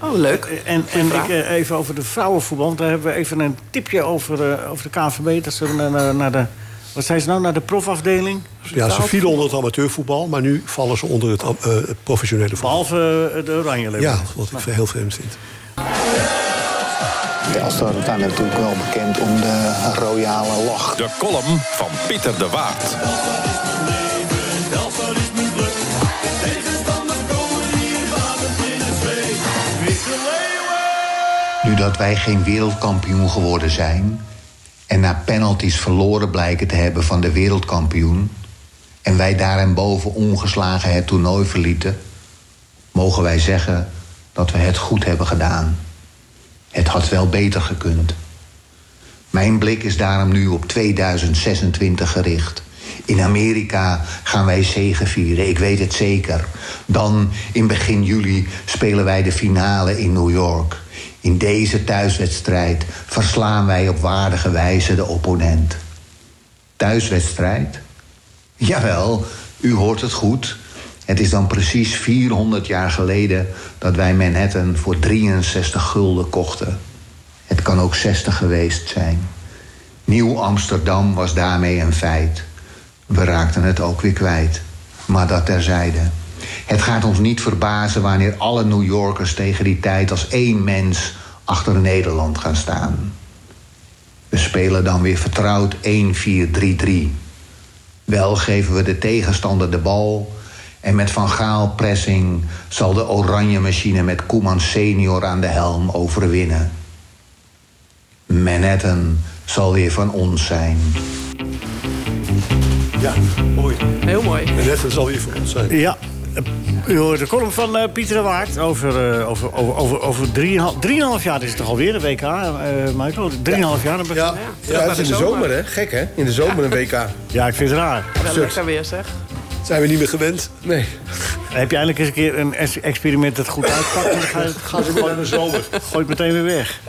Oh, leuk.
En, en ik, eh, even over de vrouwenvoetbal, want daar hebben we even een tipje over, eh, over de KVB. Dat ze naar, naar- naar de, wat zijn ze nou, naar de profafdeling?
Ja, ze vielen onder het amateurvoetbal, maar nu vallen ze onder het am- eh, het professionele voetbal.
Behalve eh, de oranje
Ja, wat ik heel vreemd vind.
Telstar staat natuurlijk wel bekend om de royale lach.
De column van Pieter de Waard.
Nu dat wij geen wereldkampioen geworden zijn... en na penalties verloren blijken te hebben van de wereldkampioen... en wij daarenboven ongeslagen het toernooi verlieten... mogen wij zeggen dat we het goed hebben gedaan. Het had wel beter gekund. Mijn blik is daarom nu op 2026 gericht. In Amerika gaan wij zegen vieren, ik weet het zeker. Dan, in begin juli, spelen wij de finale in New York. In deze thuiswedstrijd verslaan wij op waardige wijze de opponent. Thuiswedstrijd? Jawel, u hoort het goed. Het is dan precies 400 jaar geleden dat wij Manhattan voor 63 gulden kochten. Het kan ook 60 geweest zijn. Nieuw Amsterdam was daarmee een feit. We raakten het ook weer kwijt. Maar dat terzijde. Het gaat ons niet verbazen wanneer alle New Yorkers tegen die tijd als één mens achter Nederland gaan staan. We spelen dan weer vertrouwd 1-4-3-3. Wel geven we de tegenstander de bal. En met Van Gaal pressing zal de oranje machine met Koeman senior aan de helm overwinnen. Manhattan zal weer van ons zijn.
Ja, mooi.
Heel mooi.
En net, dat zal weer voor ons zijn.
Ja. eh, U hoort de column van eh, Pieter de Waard over, eh over, over, over, over drieënhal- drieënhalf jaar is het toch alweer, de WK, eh, Michael? Drieënhalf jaar. dan ben-
Ja,
Ja, het is in de zomer, hè? Gek, hè? In de zomer een WK.
ja, ik vind het raar.
Wel lekker weer, zeg.
zijn we niet meer gewend.
Nee.
Heb je eindelijk eens een keer een es- experiment dat goed uitpakt... en dan *laughs* ga je het gaat het gewoon de zomer. Gooi het meteen weer weg.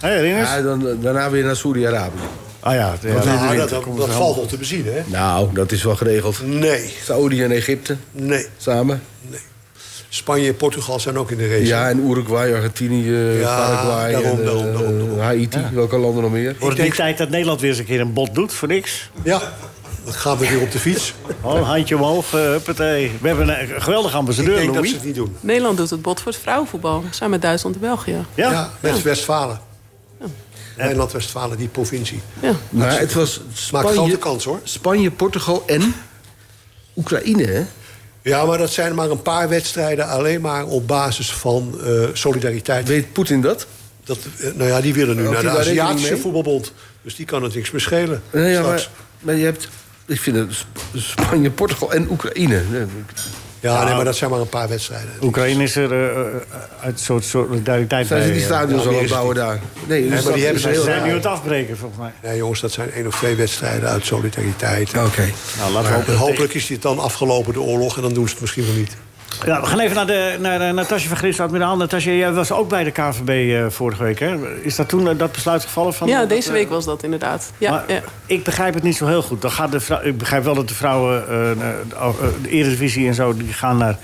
Hé, Rinus?
Ja, dan, eh, daarna weer naar Saudi-Arabië.
Ah ja, het- ja,
Nou,
dat-
dat, dat valt nog te bezien, hè?
Nou, dat is wel geregeld.
Nee,
Saudi en Egypte
nee.
samen.
Spanje en Portugal zijn ook in de race.
Ja, en Uruguay, Argentinië,
Ja,
Paraguay,
daarom,
en,
daarom,
eh,
daarom, daarom.
Haiti, welke landen nog meer?
Wordt het niet tijd dat Nederland weer eens een keer een bot doet, voor niks?
Ja, dan gaan we weer op de fiets.
Oh, een handje omhoog, eh, huppatee. We hebben een eh, geweldige
Ik
ambassadeur,
denk dat ze
Louis.
het niet doen.
Nederland doet het bot voor het vrouwenvoetbal. Samen met Duitsland en België.
Ja,
Ja, met Westfalen. Nederland-Westfalen, die provincie.
Ja.
Maar het was
Maakt
Spanje,
grote kans, hoor.
Spanje, Portugal en Oekraïne, hè?
Ja, maar dat zijn maar een paar wedstrijden alleen maar op basis van eh, solidariteit.
Weet Poetin dat?
Dat, eh, nou ja, die willen nu
Houdt
naar de
hij daar rekening
Aziatische
mee?
voetbalbond. Dus die kan het niks meer schelen.
Nee, ja,
straks.
maar, maar je hebt... Ik vind het Sp- Spanje, Portugal en Oekraïne. Nee,
Ja, nee, maar dat zijn maar een paar wedstrijden.
Oekraïne is er eh, eh, uit een soort solidariteit
Zijn ze
bij,
die
eh,
stadions
ja,
al
meer
aan het
is het
bouwen daar? Nee, dus
maar
dat
die hebben
is
Ze
ze
heel
zijn
raar.
nu aan het afbreken, volgens mij.
Nee, jongens, dat zijn één of twee wedstrijden uit solidariteit.
Oké.
Nou, laten we
En
hopen. dat
hopelijk is dit dan afgelopen, de oorlog, en dan doen ze het misschien wel niet.
tegen- Ja, we gaan even naar, de, naar de Natasja van Grinsen, admiraal. Natasja, jij was ook bij de KVB eh, vorige week, hè? Is dat toen eh, dat besluit gevallen? Van,
ja,
dat,
deze
eh,
week was dat inderdaad. Ja,
maar
ja.
ik begrijp het niet zo heel goed. Dan gaat de vrou- ik begrijp wel dat de vrouwen, eh, eh, de, eh, de Eredivisie en zo, die gaan naar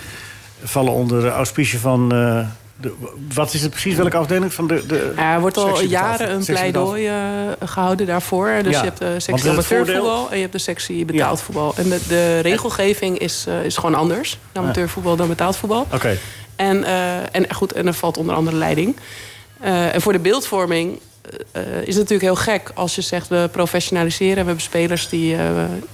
vallen onder de auspicie van... eh, de, wat is het precies? Welke afdeling? Van de, de
Ja, er wordt al
sectie
jaren
Eh, betaald-
een
sectie betaald-
pleidooi eh, gehouden daarvoor. Dus
Ja,
je hebt de
want het
sectie
voordeel-
amateurvoetbal en je hebt de sectie betaald voetbal. En de, de regelgeving is, eh, is gewoon anders. in Amateurvoetbal dan betaald voetbal.
Oké.
En, eh, en goed, en er valt onder andere leiding. Eh, en voor de beeldvorming eh, eh, is het natuurlijk heel gek als je zegt we professionaliseren. We hebben spelers die eh,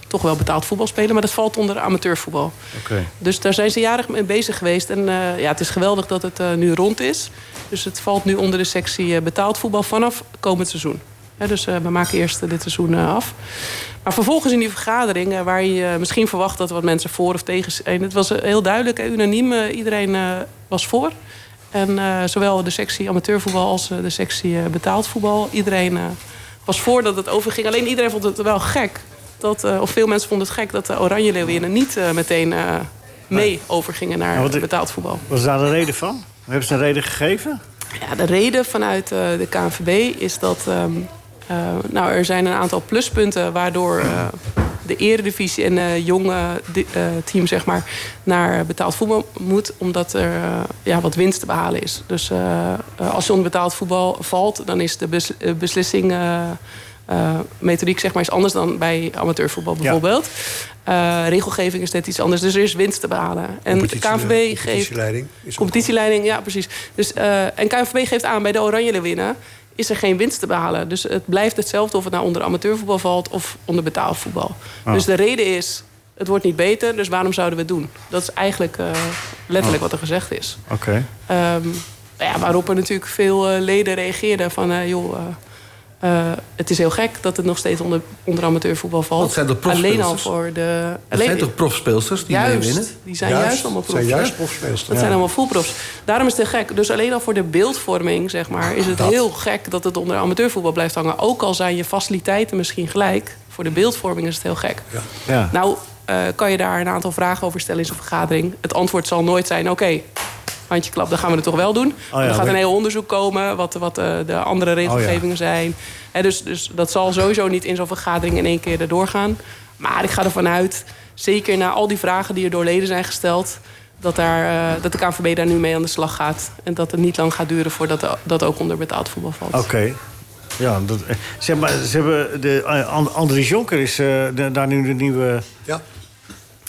toch wel betaald voetbal spelen, maar dat valt onder amateurvoetbal.
Oké.
Dus daar zijn ze jarig mee bezig geweest. En eh, ja, het is geweldig dat het eh, nu rond is. Dus het valt nu onder de sectie eh, betaald voetbal vanaf komend seizoen. Hè, dus eh, we maken eerst eh, dit seizoen eh, af. Maar vervolgens in die vergadering, eh, waar je eh, misschien verwacht dat er wat mensen voor of tegen zijn. Het was eh, heel duidelijk en unaniem. eh, iedereen eh, was voor. En eh, zowel de sectie amateurvoetbal als eh, de sectie eh, betaald voetbal. Iedereen eh, was voor dat het overging. Alleen iedereen vond het wel gek. Dat, eh, of veel mensen vonden het gek dat de Oranje Leeuwinnen niet eh, meteen eh, mee overgingen naar
Ja, want
eh,
ik-
betaald voetbal.
Wat is daar de reden van? Hebben ze een reden gegeven?
Ja, de reden vanuit eh, de KNVB is dat ehm, eh, nou, er zijn een aantal pluspunten waardoor eh, de eredivisie en eh jonge di- eh, team zeg maar, naar betaald voetbal moet, omdat er eh, ja, wat winst te behalen is. Dus eh, eh, als je onder betaald voetbal valt, dan is de bes- eh, beslissing. eh, eh, methodiek zeg maar, is anders dan bij amateurvoetbal bijvoorbeeld. Eh, regelgeving is net iets anders. Dus er is winst te behalen. En de
Competitie-
KNVB
eh,
geeft
competitieleiding is ook-
Competitieleiding, ja, precies. Dus, eh, en KNVB geeft aan, bij de Oranje winnen is er geen winst te behalen. Dus het blijft hetzelfde of het nou onder amateurvoetbal valt of onder betaalvoetbal.
Ah.
Dus de reden is, het wordt niet beter, dus waarom zouden we het doen? Dat is eigenlijk eh,
Ah.
letterlijk wat er gezegd is.
Oké.
Ehm, nou ja, waarop er natuurlijk veel eh, leden reageerden van... eh, joh, eh, eh, het is heel gek dat het nog steeds onder, onder amateurvoetbal valt.
Dat zijn de profspelers?
Alleen al voor de...
Het
alleen-
zijn toch profspeelsters die mee winnen?
Juist, die zijn juist, allemaal
zijn
profs.
juist profspeelsters.
Dat zijn allemaal fullprofs. Daarom is het gek. Dus alleen al voor de beeldvorming, zeg maar, is het heel gek dat het onder amateurvoetbal blijft hangen. Ook al zijn je faciliteiten misschien gelijk, voor de beeldvorming is het heel gek.
Ja.
Nou, eh, kan je daar een aantal vragen over stellen in zo'n vergadering? Het antwoord zal nooit zijn: oké, handje klap, dan gaan we het toch wel doen. Want er gaat een heel onderzoek komen, wat, wat eh, de andere regelgevingen zijn. Hè, dus, dus dat zal sowieso niet in zo'n vergadering in één keer erdoor gaan. Maar ik ga ervan uit, zeker na al die vragen die er door leden zijn gesteld. Dat, daar, eh, dat de KNVB daar nu mee aan de slag gaat. En dat het niet lang gaat duren voordat de- dat ook onder betaald voetbal valt.
Oké. Ja, dat, eh, zeg maar, ze hebben de, eh, And- Andries Jonker is eh, de- daar nu de nieuwe...
Ja.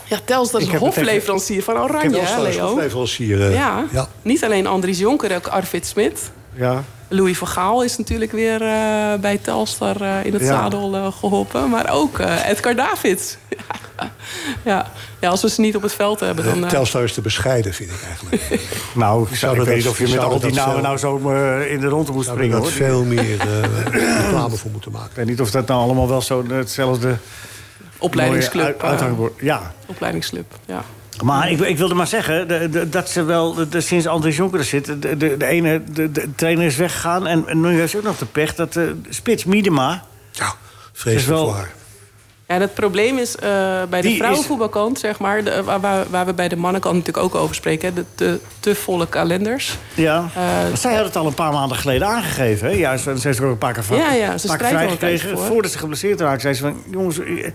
Ja, Tels, dat is
Ik heb het
hofleverancier van
Ik heb
Oranje,
wel
hè,
zelfs
Leo?
hofleverancier. eh,
Ja.
ja.
niet alleen Andries Jonker, ook Arvid Smit.
Ja,
Louis van Gaal is natuurlijk weer eh, bij Telstar eh, in het
Ja.
zadel eh, geholpen. Maar ook eh, Edgar Davids. *laughs* ja. Ja. ja, als we ze niet op het veld hebben, dan... eh,
Telstar is te bescheiden, vind ik eigenlijk.
nou, ik, zou,
Zouden
ik weet
dat-
niet of je met
zouden
al die
dat
namen
zelf-
nou zo eh, in de ronde moet
Daar
springen,
had
hoor.
veel meer eh, reclame voor moeten maken.
Ik weet niet of dat nou allemaal wel zo hetzelfde...
opleidingsclub.
mooie uit-
eh,
uithangbord- ja,
opleidingsclub, ja.
Maar ik, ik wilde maar zeggen de- de- dat ze wel, de- de- sinds Andries Jonker er zit... de, de, de ene de, de trainer is weggegaan en, en nu heeft ze ook nog de pech... dat eh, Spits Miedema,
Ja, vreselijk
wel-
waar.
Ja, dat probleem is eh, bij de
Die is-
vrouwenvoetbalkant, zeg maar... de- waar, waar, waar we bij de mannenkant natuurlijk ook over spreken... hè, de te, te volle kalenders.
ja,
Eh,
zij had het al een paar maanden geleden aangegeven. Hè? Ja, ze, ze heeft er ook een paar keer van,
Ja, ja, ze
een paar keer
strijdt er altijd
vrijgekregen.
voor.
Voordat ze geblesseerd raakte, zei ze van... jongens, eh,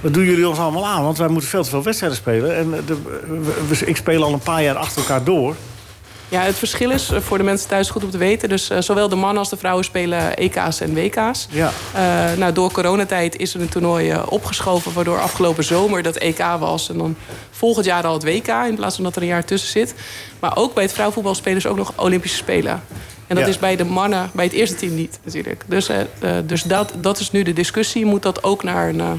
wat doen jullie ons allemaal aan? Want wij moeten veel te veel wedstrijden spelen. En eh, de, we- we- ik speel al een paar jaar achter elkaar door.
Ja, het verschil is eh, voor de mensen thuis goed om te weten. Dus eh, zowel de mannen als de vrouwen spelen E EK's en WK's.
Ja.
Eh, nou, door coronatijd is er een toernooi eh, opgeschoven... waardoor afgelopen zomer dat EK was. En dan volgend jaar al het WK, in plaats van dat er een jaar tussen zit. Maar ook bij het vrouwenvoetbal spelen ze ook nog Olympische Spelen. En dat
Ja.
is bij de mannen, bij het eerste team niet natuurlijk. Dus, eh, eh, dus dat, dat is nu de discussie. Moet dat ook naar een eh,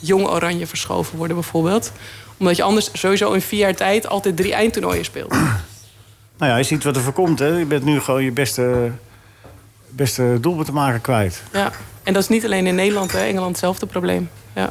jong oranje verschoven worden bijvoorbeeld? Omdat je anders sowieso in vier jaar tijd altijd drie eindtoernooien speelt.
Nou ja, je ziet wat er voor komt. Hè? Je bent nu gewoon je beste, beste doelpunt te maken kwijt.
Ja, en dat is niet alleen in Nederland, hè. Engeland hetzelfde probleem. Ja.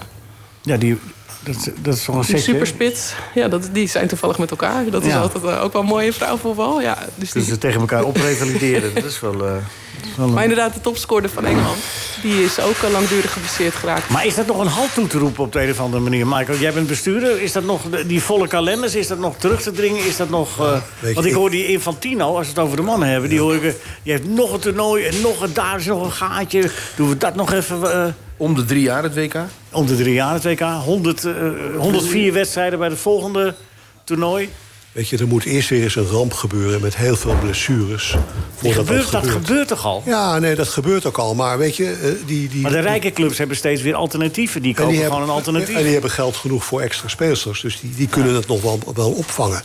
Ja, die, dat, dat is toch een
Die
setje. hè?
superspits, ja, dat, die zijn toevallig met elkaar. Dat is
Ja.
altijd eh, ook wel mooi in vrouwenvoetbal. Ja, dus
Dus
die,
ze tegen elkaar oprevalideren. dat is wel... eh, dat is wel een-
maar inderdaad, de topscorer van Engeland, die is ook eh, langdurig geblesseerd geraakt.
Maar is dat nog een halt toe te roepen op de een of andere manier, Michael? Jij bent bestuurder. Is dat nog de- die volle kalenders? Is dat nog terug te dringen? Is dat nog? eh,
weet je,
want ik
ik-
hoor die Infantino, als we het over de mannen hebben, die hoor ik. eh, Die heeft nog een toernooi en nog een daar is nog een gaatje. Doen we dat nog even? eh,
Om de drie jaar het WK.
om eh, de drie jaar het WK. 100, eh, 104 wedstrijden bij het volgende toernooi.
Weet je, er moet eerst weer eens een ramp gebeuren met heel veel blessures. Voordat
Gebeurt, dat gebeurt toch al?
Ja, nee, dat gebeurt ook al. Maar weet je, eh, die, die,
Maar de rijke clubs hebben steeds weer alternatieven. Die kopen
hebben-
gewoon een alternatief.
En die hebben geld genoeg voor extra speelsters. Dus die, die kunnen het nog wel, wel opvangen.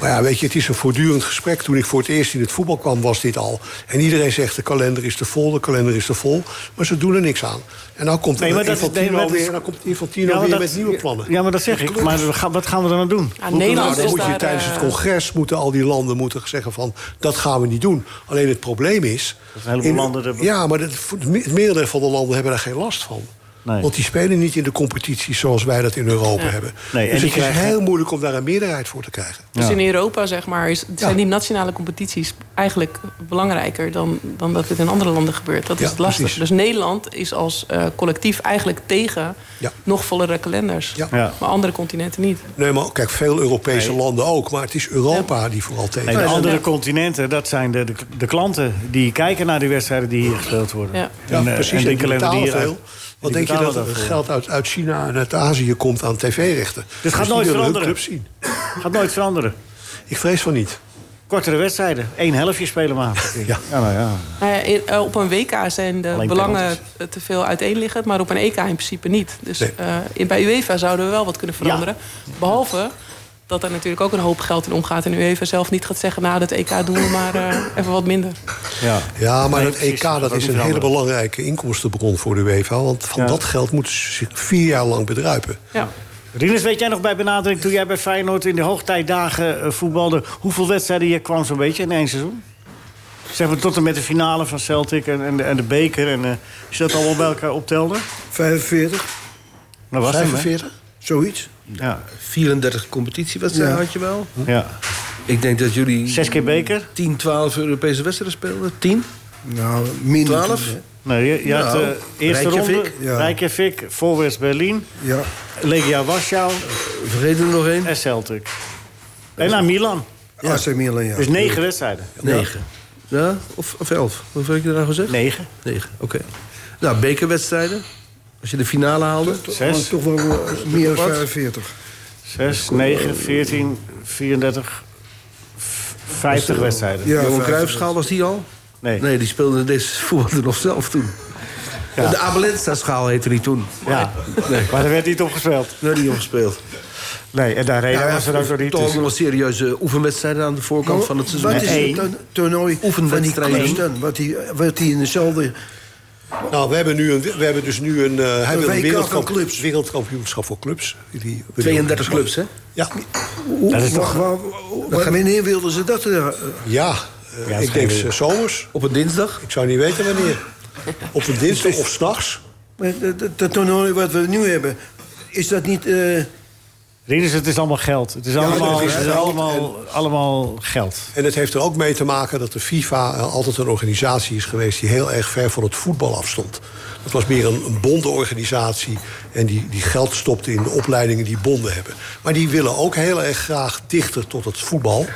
Maar ja, weet je, het is een voortdurend gesprek. Toen ik voor het eerst in het voetbal kwam, was dit al. En iedereen zegt, de kalender is te vol, de kalender is te vol. Maar ze doen er niks aan. En dan komt
Nee,
er
maar dat is-
Infantino
nee, maar dat is-
weer, en dan komt Infantino
Ja, maar
weer
dat-
met nieuwe plannen.
Ja, maar dat zeg ik. Maar we gaan- wat gaan we dan aan doen?
Ja,
Hoe-
Nederland
Nou, dan
is
moet je
daar,
tijdens het
eh,
congres moeten al die landen moeten zeggen van dat gaan we niet doen. Alleen het probleem is.
Dat een heleboel landen er-
Ja, maar het, het me- het merendeel van de landen hebben daar geen last van.
Nee.
Want die spelen niet in de competities zoals wij dat in Europa hebben.
Nee, en
dus
die
het is
krijgen-
heel moeilijk om daar een meerderheid voor te krijgen.
Dus in Europa, zeg maar, is, zijn
Ja.
die nationale competities eigenlijk belangrijker dan, dan dat dit in andere landen gebeurt. Dat is
Ja,
het lastig.
precies.
Dus Nederland is als eh, collectief eigenlijk tegen
Ja.
nog vollere kalenders.
Ja.
Ja.
Maar andere continenten niet.
Nee, maar kijk, veel Europese landen ook. Maar het is Europa die vooral tegen.
Nee, de
is.
andere continenten, dat zijn de, de, de klanten die kijken naar de wedstrijden die hier gespeeld worden.
Ja.
Ja,
eh,
precies. En
die
die
kalender
betalen
die hier-
veel.
die
Wat denk je
betalen
dat er
daarvoor.
geld uit, uit China en uit Azië komt aan tv-rechten?
Dit gaat
die
nooit
willen hun
veranderen.
club zien.
Gaat nooit veranderen.
Ik vrees van niet.
Kortere wedstrijden. Eén helftje spelen maar.
*laughs* Ja.
nou ja.
Nou ja, in- eh, op een WK zijn de
Alleen
belangen eh,
penalties.
te veel uiteenliggend, maar op een EK in principe niet. Dus
Nee.
eh, in, bij UEFA zouden we wel wat kunnen veranderen. Behalve dat er natuurlijk ook een hoop geld in omgaat. En UEFA zelf niet gaat zeggen, nou dat EK doen we maar eh, even wat minder.
ja.
Ja, maar
Nee,
dat
precies.
EK dat
Dat
is
moet
een hele
veranderen.
belangrijke inkomstenbron voor de UEFA. Want van
Ja.
dat geld moeten ze zich vier jaar lang bedruipen.
Ja.
Rinus, weet jij nog bij benadering toen jij bij Feyenoord in de hoogtijdagen eh, voetbalde... hoeveel wedstrijden je kwam zo'n beetje in één seizoen? Zeg maar tot en met de finale van Celtic en, en, de, en de beker. En, eh, als je dat allemaal bij elkaar optelde,
45,
dan was het hem, hè?
45?
zoiets.
Ja,
34 competitiewedstrijden
Ja.
had je wel.
ja.
Ik denk dat jullie
Zes keer beker?
10, 12 Europese wedstrijden speelden. 10?
Nou, minder.
12?
toen, hè.
Nee, je, je had
Nou,
de eerste
Reykjavik.
ronde,
Ja.
Reykjavik, Voorwest Berlin,
Ja,
Legia Warschau
Vergeet er nog één?
en Celtic. En naar Milan.
ja. AC Milan, ja.
Dus negen wedstrijden.
9. Ja, of, of 11. Hoeveel heb je er nou gezegd?
Negen.
9, oké. Nou, bekerwedstrijden. Als je de finale haalde.
Zes,
toch wel eh, meer dan
Wat?
45.
zes, negen, veertien, 34, v- 50 wedstrijden.
Ja,
Johan
50.
Cruijffschaal was die al?
Nee.
Nee, die speelde deze *laughs* voetballer nog zelf toen.
Ja.
De Abelensta-schaal heette die toen.
Ja, maar er werd niet opgespeeld.
Nou, die opgespeeld.
Nee, en daar reden
Ja,
was er ook nog niet.
Toch ook
Dus. Oh,
nog wel serieuze oefenwedstrijden aan de voorkant van het seizoen.
Wat is
Nee.
het dan- toernooi van die
Oefenwedstrijden.
clubs dan? Wat die, wat die in dezelfde...
Nou, we hebben, nu een, we hebben dus nu een, eh, hij wil een
WK
wereldkamp,
van clubs.
wereldkampioenschap voor clubs. Die-
32 clubs, hè?
Ja,
Hoe,
Dat is
wa-
toch-
wa- wa- wanneer wilden ze dat? eh, eh,
ja, eh,
Ja,
ik
schijnbaar.
denk ze zomers.
Op een dinsdag.
Ik zou niet weten wanneer. Op een *laughs* dinsdag of s'nachts.
maar dat- dat- Dat toernooi wat we nu hebben, is dat niet... eh,
Rinus, het is allemaal geld. Het is allemaal,
het is
het is
geld
allemaal, allemaal geld.
En het heeft er ook mee te maken dat de FIFA eh, altijd een organisatie is geweest... die heel erg ver van het voetbal afstond. Dat was meer een, een bondenorganisatie en die, die geld stopte in de opleidingen die bonden hebben. Maar die willen ook heel erg graag dichter tot het voetbal...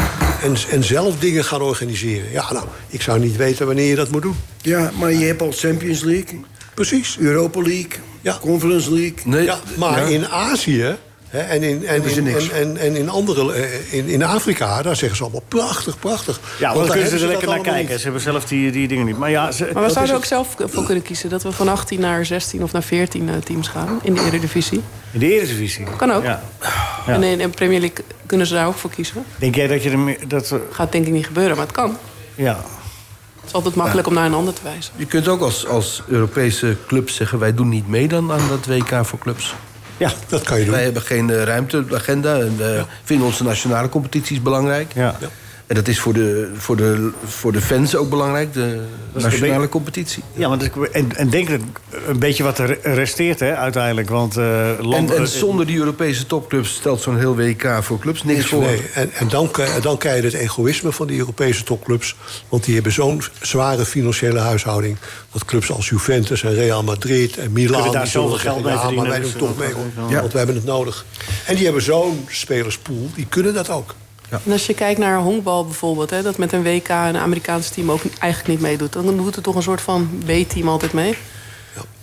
en, en zelf dingen gaan organiseren. Ja, nou, ik zou niet weten wanneer je dat moet doen.
Ja, maar je hebt al Champions League,
Precies.
Europa League,
Ja.
Conference League.
Nee,
Ja, maar in Azië... hè, en in, en,
Doen ze
in,
niks.
en, en, en in andere eh, in, in Afrika, daar zeggen ze allemaal prachtig, prachtig.
Ja, want dan
daar
kunnen
hebben
ze er
dat
lekker naar
allemaal
kijken.
niet.
Ze hebben zelf die, die dingen niet. Maar ja, ze,
Maar we
dat is
zouden
het.
ook zelf voor kunnen kiezen dat we van 18 naar 16 of naar 14 eh, teams gaan in de Eredivisie.
In de Eredivisie.
Kan ook.
Ja.
En in de Premier League kunnen ze daar ook voor kiezen.
Denk jij dat je er... meer- Dat, eh,
Gaat denk ik niet gebeuren, maar het kan.
ja.
Het is altijd makkelijk om naar een ander te wijzen.
Je kunt ook als, als Europese club zeggen... wij doen niet mee dan aan dat WK voor clubs.
Ja.
Dat kan je doen.
Wij hebben geen eh, ruimte op de agenda en eh, vinden onze nationale competities belangrijk.
Ja.
En dat is voor de, voor, de, voor de fans ook belangrijk, de
is
nationale
de-
competitie.
Ja, want ik- en, en denk dat een beetje wat er resteert hè, uiteindelijk. Want eh
En,
landen...
en zonder die Europese topclubs stelt zo'n heel WK voor clubs niks voor.
Dus Nee, en, en dan, k- dan krijg je het egoïsme van die Europese topclubs. Want die hebben zo'n zware financiële huishouding. Dat clubs als Juventus en Real Madrid en Milaan...
Kunnen daar
die zullen
zoveel geld
zeggen,
mee
Ja, maar
verdienen,
wij doen
dus
toch
dat
mee,
is
hoor.
wel-
Want we hebben het nodig. En die hebben zo'n spelerspool, die kunnen dat ook.
En als je kijkt naar honkbal bijvoorbeeld, hè, dat met een WK een Amerikaans team ook eigenlijk niet meedoet, dan doet er toch een soort van B-team altijd mee.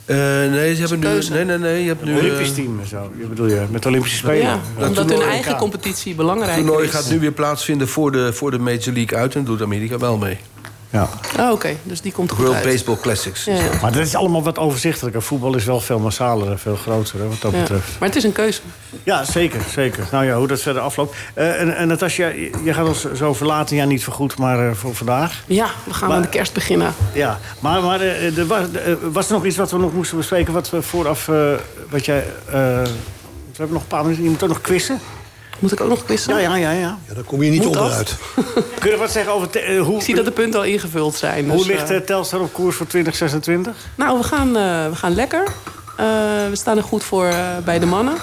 Eh, nee, ze hebben nu,
Keuze.
nee, nee, nee, je hebt nu... eh,
Olympisch team en zo. Je bedoel je, met Olympische Spelen.
Ja,
Ja.
omdat hun
toernooi
eigen
WK.
competitie
Het
belangrijk
toernooi
is.
gaat nu weer plaatsvinden voor de, voor de Major League uit... en doet Amerika wel mee.
Ja.
Oh, Oké, dus die komt goed
World
uit.
Baseball Classics.
Ja, ja.
Maar dat is allemaal wat overzichtelijker. Voetbal is wel veel massaler en veel groter, hè, wat dat
Ja.
betreft.
Maar het is een keuze.
Ja, zeker, zeker. Nou ja, hoe dat verder afloopt. Eh, en, en Natasja, je je gaat ons zo verlaten. Ja, niet voorgoed, maar eh, voor vandaag.
Ja, we gaan
Maar-
aan de kerst beginnen.
Ja, maar, maar eh, er was, eh, was er nog iets wat we nog moesten bespreken... wat we vooraf, eh, wat jij... eh, we hebben nog een paar minuten. Je moet ook nog quizzen.
Moet ik ook nog quizzen?
Ja, ja, ja. ja.
Ja, daar kom je niet
Moet dat?
onderuit.
Kun je wat zeggen over... te- eh, hoe,
Ik zie dat de punten al ingevuld zijn.
hoe
dus,
ligt
eh,
eh, Telstar op koers voor 2026?
Nou, we gaan, eh, we gaan lekker. Eh, we staan er goed voor eh, bij de mannen.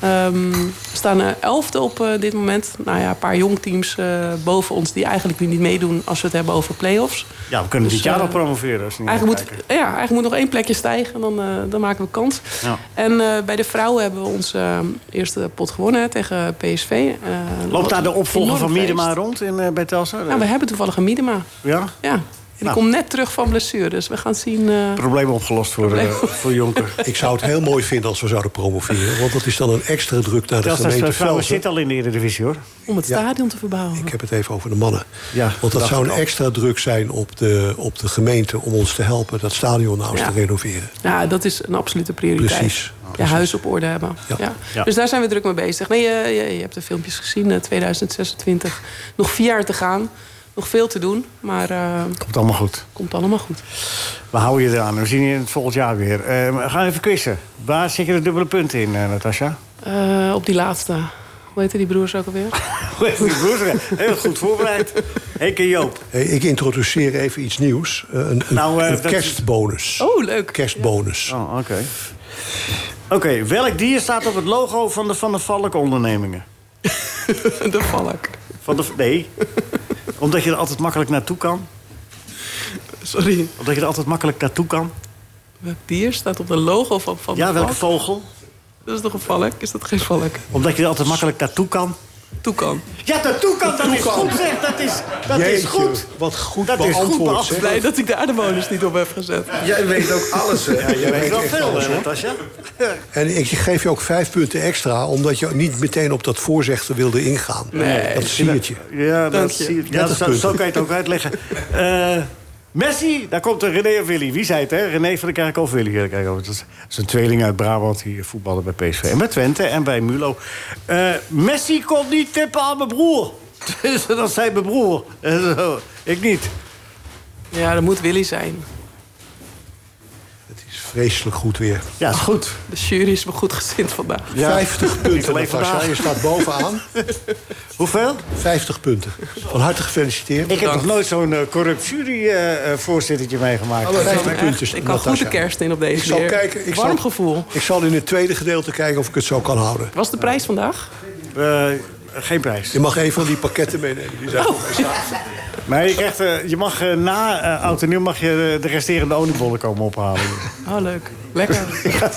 Ehm, we staan eh, elfde op eh, dit moment. Nou ja, een paar jong teams eh, boven ons die eigenlijk nu niet meedoen als we het hebben over play-offs.
Ja, we kunnen
Dus,
dit jaar
eh,
al promoveren. Als je niet
Eigenlijk moet,
uitkijkt.
ja, eigenlijk moet nog één plekje stijgen, dan, eh, dan maken we kans.
Ja.
En eh, bij de vrouwen hebben we onze eh, eerste pot gewonnen hè, tegen PSV. Eh,
Loopt daar de opvolger
enorm
van Miedema
feest.
rond in, eh, bij Telstar?
Nou, we hebben toevallig een Miedema.
Ja?
Ja. En die
Nou.
komt net terug van blessure, dus we gaan zien. eh,
Probleem opgelost voor, eh, voor *laughs* Jonker.
Ik zou het heel mooi vinden als we zouden promoveren. Want dat is dan een extra druk naar de
Telstar
gemeente
vrouwen
Velsen.
zit al in de Eredivisie, hoor.
om het
Ja.
stadion te verbouwen.
Ik heb het even over de mannen.
Ja,
Want dat
dacht
zou
ik
een
al.
extra druk zijn op de, op de gemeente om ons te helpen dat stadion nou eens
Ja.
te renoveren.
Ja, dat is een absolute prioriteit.
Precies,
Je huis op orde hebben.
Ja.
Ja.
Ja.
Dus daar zijn we druk mee bezig. Nee, je, je, je hebt de filmpjes gezien, eh, 2026. Nog vier jaar te gaan. Nog veel te doen, maar eh,
Komt allemaal goed.
komt allemaal goed.
We houden je eraan. We zien je in het volgend jaar weer. Eh, we gaan even quizzen. Waar zitten de dubbele punten in, eh, Natasja?
Eh, op die laatste. Hoe heette die broers ook alweer?
Hoe heeft die broers? Heel goed voorbereid. Henk en Joop.
Hey, ik introduceer even iets nieuws. Eh, Een, een,
Nou, eh,
een
dat is-
kerstbonus.
Oh, leuk.
Kerstbonus.
Oh, oké. Oké, welk dier staat op het logo van de Van der Valk ondernemingen?
*laughs* De valk.
Van de, nee. Omdat je er altijd makkelijk naartoe kan.
Sorry.
Omdat je er altijd makkelijk naartoe kan.
Welk dier staat op de logo van Van
Ja,
de
welke
Valk?
vogel?
Dat is toch een valk? Is dat geen valk?
Omdat je er altijd makkelijk naartoe kan.
Toekan.
Ja, naartoe kan, dat is goed zeg. Dat is, dat is
Jeetje,
goed.
Wat goed
Dat is goed
beantwoord.
beantwoord.
zeg.
Blij dat ik daar de bonus niet op heb gezet.
Jij weet ook alles, hè?
Je weet
weet
wel
echt
veel,
alles,
hè,
hoor.
Natasja?
En ik geef je ook vijf punten extra, omdat je niet meteen op dat voorzegde wilde ingaan. Dat zie het je.
Ja,
Dank
dat
je.
zie je. Ja,
30
zo,
punten.
zo kan je het ook
*laughs*
uitleggen. Eh, Messi, daar komt er René en Willy. Wie zei het, hè? René van de Kerk of Willy van de Kerkhof. Dat is- dat is een tweeling uit Brabant die voetballen bij PSV. En bij Twente en bij Mulo. Eh, Messi kon niet tippen aan mijn broer. *laughs* Dus dat zei mijn broer. En zo, ik niet.
Ja, dat moet Willy zijn.
Het is vreselijk goed weer.
Ja, is goed.
De jury is me goed gezind vandaag.
*laughs*
50 punten,
alleen
Natasja.
vandaag.
Je staat bovenaan.
*laughs* Hoeveel?
50 punten. Van harte gefeliciteerd. Nou,
Ik heb nog nooit zo'n eh, corrupt juryvoorzittertje meegemaakt.
Alle
Nou,
50
echt,
punten,
ik kan
Natasja.
goed de kerst in op deze
Ik zal
keer.
kijken. Ik
Warm
zal,
gevoel.
Ik zal in het tweede gedeelte kijken of ik het zo kan houden.
Was de prijs vandaag?
Eh, geen prijs.
Je mag een van die pakketten meenemen. Die zijn
Oh.
Maar je, krijgt, eh, je mag eh, na eh oud en nieuw mag je eh, de resterende oliebollen komen ophalen.
*laughs* Oh, leuk. Lekker.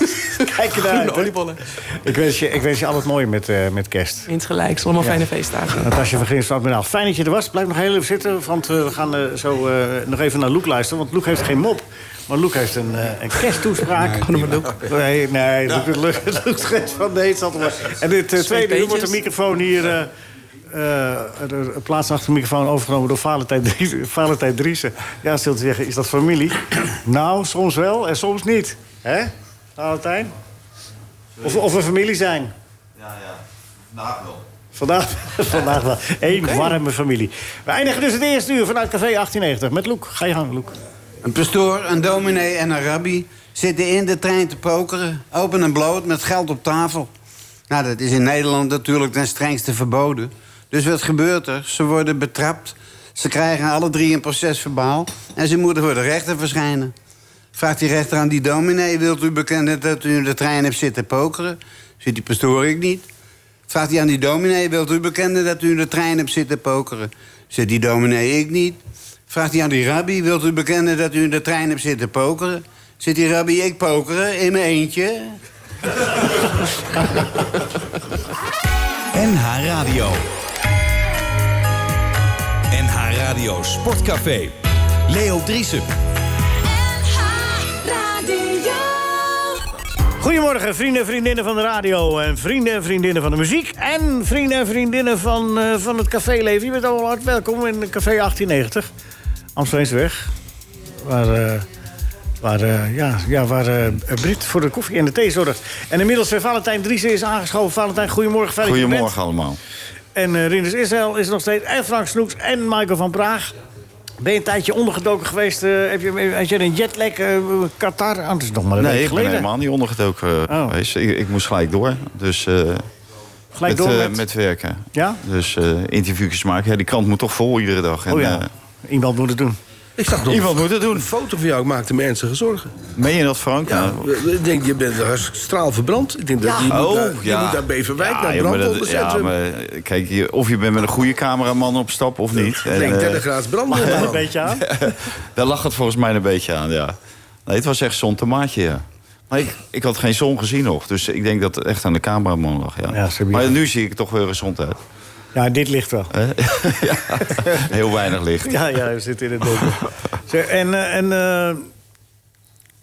*laughs*
Kijk je naar uit,
Groene
hè?
oliebollen.
Ik wens je, ik wens je al het mooie met, eh, met kerst.
Eens gelijk. Allemaal fijne feestdagen.
Natasja van Grinsland, fijn dat je er was. Blijf nog heel even zitten, want eh, we gaan eh, zo eh, nog even naar Loek luisteren. Want Loek heeft geen mop, maar Loek heeft een, eh een kersttoespraak. Nee, *laughs* nee, nee Loek- Loek- Loek schreef van nee, het zat er maar. En dit eh, tweede uur wordt de microfoon hier... eh, eh, de plaats achter de microfoon overgenomen door Valentijn, Dries, Valentijn Driessen. Ja, stil te zeggen, is dat familie? *clears throat* nou, soms wel en soms niet. Hè, Valentijn? Of, of we familie zijn. Vandaag, *laughs* vandaag wel. Eén warme familie. We eindigen dus het eerste uur vanuit Café 1890 met Loek. Ga je gang, Loek.
Een pastoor, een dominee en een rabbi zitten in de trein te pokeren. Open en bloot met geld op tafel. Nou, dat is in Nederland natuurlijk ten strengste verboden. Dus wat gebeurt er? Ze worden betrapt. Ze krijgen alle drie een procesverbaal. En ze moeten voor de rechter verschijnen. Vraagt die rechter aan die dominee... wilt u bekennen dat u in de trein hebt zitten pokeren? Zit die pastoor ik niet. Vraagt hij aan die dominee, wilt u bekennen dat u in de trein hebt zitten pokeren? Zegt die dominee, ik niet. Vraagt hij aan die rabbi, wilt u bekennen dat u in de trein hebt zitten pokeren? Zit die rabbi, ik pokeren, in mijn eentje?
NH Radio. NH Radio Sportcafé. Leo Driesen.
Radio.
Goedemorgen, vrienden en vriendinnen van de radio. En vrienden en vriendinnen van de muziek. En vrienden en vriendinnen van, eh, van het caféleven. Je bent allemaal hart welkom in Café 1890. Amsterdamsweg. Waar, eh, waar, eh, ja, ja, waar eh, Brit voor de koffie en de thee zorgt. En inmiddels eh, Valentijn Driessen is aangeschoven. Valentijn, goedemorgen. Fijn dat je er bent.
Goedemorgen allemaal.
En eh Rinus Israël is er nog steeds. En Frank Snoeks en Michael van Praag. Ben je een tijdje ondergedoken geweest? eh, heb je, had je een jetlag? eh, Qatar? Ah, dat is nog maar een
nee,
week
ik ben
geleden.
helemaal niet ondergedoken eh, geweest. Ik, ik moest gelijk door. Dus, eh,
Gelijk door
eh,
met-
met werken.
Ja?
Dus eh, interviewjes maken. Ja, die krant moet toch vol iedere dag. En,
Oh ja.
eh,
Iemand moet het doen.
*laughs* Ik zag nog
Iemand
moet het doen. Een foto van jou maakte me ernstige zorgen.
Meen je dat, Frank? Nou,
Ja, ik denk, je bent hartstikke straalverbrand. Ik denk dat je, moet
Oh,
naar, je
ja.
moet naar Beverwijk,
Ja,
naar
joh, maar
brand
dat-
onderzetten.
Ja, maar eh, kijk, je- of je bent met een goede cameraman op stap of niet. En,
denk
eh,
30 graden brand
Mag
normaal.
een beetje aan?
*laughs* Daar lag het volgens mij een beetje aan, ja. Nee, het was echt zo'n tomaatje, ja. Maar ik, ik had geen zon gezien nog. Dus ik denk dat het echt aan de cameraman lag, ja. maar nu zie ik er toch weer gezond uit. Eh?
Ja, dit ligt wel.
*laughs* ja, heel weinig licht.
Ja, ja, we zitten in het donker. Zeg, en eh, en eh,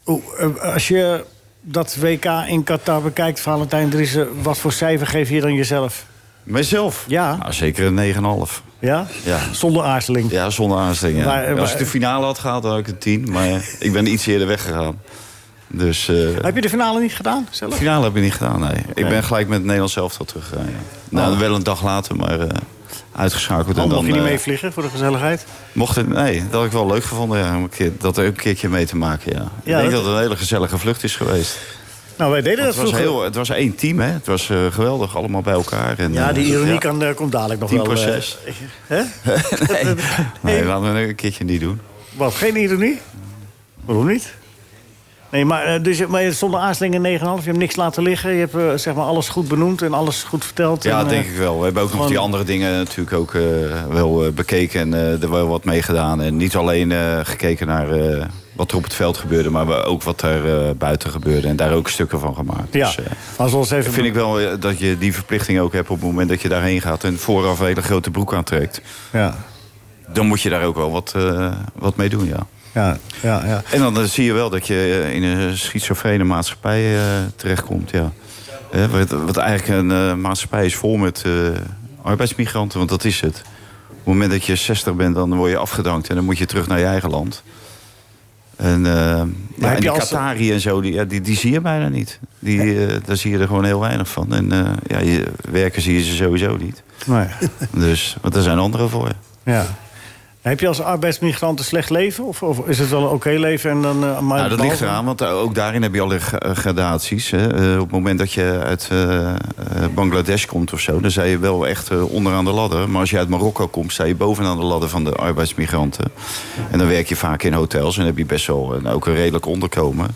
oeh, eh, als je dat WK in Qatar bekijkt, Valentijn Driessen... wat voor cijfer geef je dan jezelf?
Mezelf?
Ja.
Nou, zeker een 9,5.
Ja?
Ja.
Zonder aarzeling?
Ja, zonder aanstelling, ja.
Maar- maar-
Als ik de finale had gehaald, dan had ik een 10. Maar eh, ik ben iets eerder weggegaan. Dus... eh,
Heb je de finale niet gedaan zelf?
Finale heb ik niet gedaan, nee. Ik ben gelijk met het Nederlands elftal teruggegaan. Ja. Nou, wel een dag later, maar eh, uitgeschakeld.
Dan
en dan,
mocht je niet
eh,
mee vliegen voor de gezelligheid?
mocht het, nee, dat had ik wel leuk gevonden ja, om een keer, dat er ook een keertje mee te maken. Ja.
Ja,
ik denk
dat-
dat het een hele gezellige vlucht is geweest.
Nou, wij deden
Want
dat
Het was,
vroeger.
heel, het was één team, hè. Het was eh, geweldig, allemaal bij elkaar. En,
Ja,
eh,
die ironie
ja.
Kan, eh, komt dadelijk nog wel. eh,
10%.
hè?
nee, laten we een keertje niet doen.
Wat, geen ironie? Waarom niet? Nee, maar, eh, dus, je- maar je- zonder aarzeling een 9,5. Je hebt niks laten liggen. Je hebt eh, zeg maar alles goed benoemd en alles goed verteld.
Ja,
en, eh,
denk ik wel. We hebben ook nog die andere dingen natuurlijk ook eh, wel eh, bekeken en eh, er wel wat mee gedaan. En niet alleen eh, gekeken naar eh, wat er op het veld gebeurde, maar we- ook wat er eh, buiten gebeurde. En daar ook stukken van gemaakt.
Ja,
Dus, eh,
als we ons even...
vind ik wel eh, dat je die verplichting ook hebt op het moment dat je daarheen gaat en vooraf een hele grote broek aantrekt.
Ja.
Dan moet je daar ook wel wat, eh, wat mee doen, ja.
Ja, ja, ja.
En dan eh, zie je wel dat je eh, in een schizofrene maatschappij eh, terechtkomt. Ja. Eh, wat, wat eigenlijk een eh, maatschappij is vol met eh, arbeidsmigranten, want dat is het. Op het moment dat je 60 bent, dan word je afgedankt en dan moet je terug naar je eigen land. En, eh ja,
heb
en
je
die
als-
Qatari en zo, die, ja, die, die zie je bijna niet. Die, eh, daar zie je er gewoon heel weinig van. En eh, ja, je, werken zie je ze sowieso
*laughs*
niet.
Nee.
*laughs* Dus, want er zijn anderen voor.
Ja. Heb je als arbeidsmigrant een slecht leven? Of, of is het wel een oké leven? En dan, eh, maar
Nou, dat ligt
behalve-
eraan, want ook daarin heb je alle g- eh, gradaties. Hè. Eh, op het moment dat je uit eh, eh, Bangladesh komt of zo, dan sta je wel echt eh, onderaan de ladder. Maar als je uit Marokko komt, sta je bovenaan de ladder van de arbeidsmigranten. En dan werk je vaak in hotels en heb je best wel een, ook een redelijk onderkomen.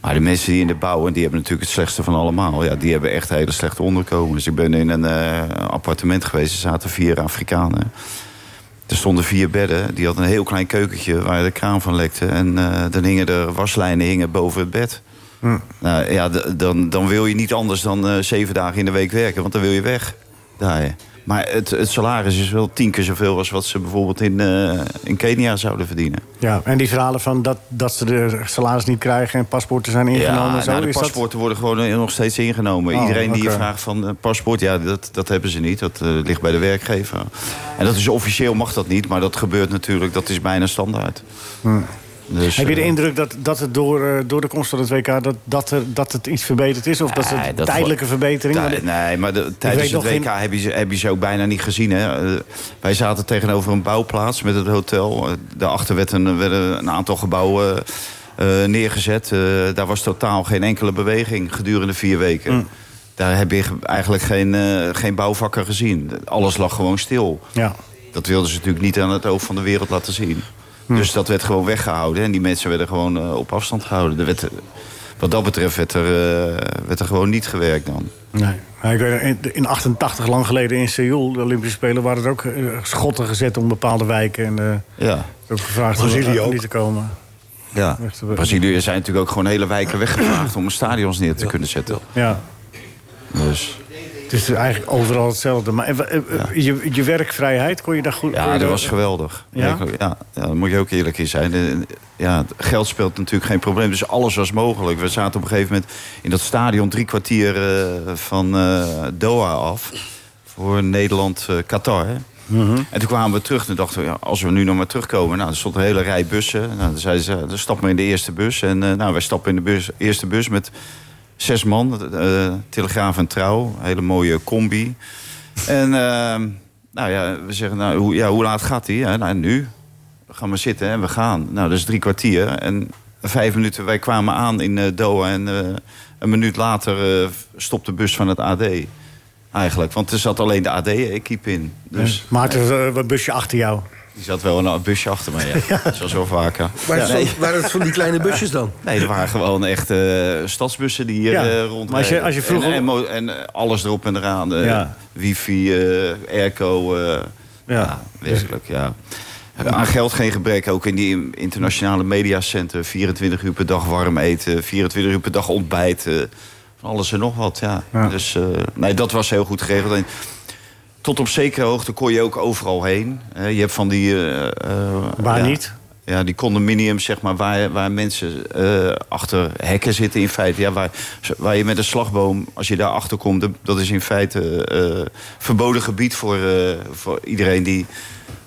Maar de mensen die in de bouw, en die hebben natuurlijk het slechtste van allemaal. Ja, die hebben echt hele slechte onderkomens. Ik ben in een eh, appartement geweest, er zaten vier Afrikanen. Er stonden vier bedden. Die hadden een heel klein keukentje waar de kraan van lekte. En eh, dan hingen er waslijnen hingen boven het bed. Nou ja, d- dan, dan wil je niet anders dan eh, zeven dagen in de week werken. Want dan wil je weg. Daar. Maar het, het salaris is wel tien keer zoveel als wat ze bijvoorbeeld in, eh, in Kenia zouden verdienen.
Ja, en die verhalen van dat, dat ze de salaris niet krijgen... en paspoorten zijn ingenomen. en zo,
nou, de
is dat-
paspoorten worden gewoon eh, nog steeds ingenomen.
Oh,
Iedereen die je
oké.
vraagt van eh, paspoort, ja, dat, dat hebben ze niet. Dat eh, ligt bij de werkgever. En dat is officieel mag dat niet, maar dat gebeurt natuurlijk. Dat is bijna standaard.
Hm.
Dus,
Heb je de
eh,
indruk dat, dat het door, eh, door de komst van het WK... dat, dat, er, dat het iets verbeterd is? Of dat het
Nee, dat
tijdelijke
wordt-
verbetering...
Tij-
Want-
nee, maar de-
weet
tijdens het
nog
WK
geen-
heb, je ze, heb je ze ook bijna niet gezien. Hè? Eh, wij zaten tegenover een bouwplaats met het hotel. Eh, daarachter werd een, werden een aantal gebouwen eh, neergezet. Eh, daar was totaal geen enkele beweging gedurende vier weken.
Mm.
Daar heb je ge- eigenlijk geen, eh, geen bouwvakker gezien. Alles lag gewoon stil.
Ja.
Dat wilden ze natuurlijk niet aan het oog van de wereld laten zien.
Mm.
Dus dat werd gewoon weggehouden. En die mensen werden gewoon eh, op afstand gehouden. Er werd, eh, wat dat betreft werd er, eh, werd er gewoon niet gewerkt dan.
Nee. Maar ik weet, in, in 88, lang geleden in Seoul, de Olympische Spelen... waren er ook eh, schotten gezet om bepaalde wijken. En eh,
Ja.
is ook gevraagd om
Brazilië
er-
ook.
niet te komen.
Ja.
Echt, eh,
Brazilië zijn natuurlijk ook gewoon hele wijken weggevaagd om stadions neer te kunnen zetten.
Ja.
Dus.
Het is eigenlijk overal hetzelfde. Maar eh, eh, eh, je, je werkvrijheid, kon je daar goed... kon
Ja,
je
dat
daar-
was geweldig.
Ja?
Ja? Ja, daar moet je ook eerlijk in zijn. De- Ja, het geld speelt natuurlijk geen probleem. Dus alles was mogelijk. We zaten op een gegeven moment in dat stadion drie kwartier eh, van eh, Doha af. Voor Nederland-Qatar. En toen kwamen we terug en dachten we, ja, als we nu nog maar terugkomen... Nou, er stond een hele rij bussen. Nou, dan zeiden ze, dan stap maar in de eerste bus. En eh, nou, wij stappen in de bus, eerste bus met zes man. eh, Telegraaf en Trouw, een hele mooie combi. En eh, nou ja, we zeggen, nou, hoe, ja, hoe laat gaat die? Ja, nou, nu. Ga maar zitten en we gaan. Nou, dat is drie kwartier. En vijf minuten, wij kwamen aan in eh, Doha... en eh, een minuut later eh stopt de bus van het AD... Eigenlijk, want er zat alleen de AD-equipe in. Dus
Ja. Maarten, eh, wat busje achter jou.
die zat wel in een eh, busje achter me, ja. Dat was wel vaker.
Waar
Ja.
het van- waren het van die
*laughs*
kleine busjes dan?
Nee, er waren gewoon echt eh, stadsbussen die hier
Ja,
eh,
maar
rondrijden.
als je- als je vroeger-
En, en, mo- en, eh, alles erop en eraan. eh,
Ja.
Wifi, eh, airco. eh, ja. wezenlijk, ja. Aan geld geen gebrek, ook in die internationale mediacenter. 24 uur per dag warm eten, 24 uur per dag ontbijten. Van alles en nog wat, ja. Dus eh, nee, dat was heel goed geregeld. En tot op zekere hoogte kon je ook overal heen. Hè, je hebt van die... eh,
Waar
ja,
niet?
Ja, die condominiums, zeg maar, waar, waar mensen eh, achter hekken zitten in feite. Ja, waar, waar je met een slagboom, als je daar achter komt... dat- dat is in feite eh, verboden gebied voor, eh, voor iedereen die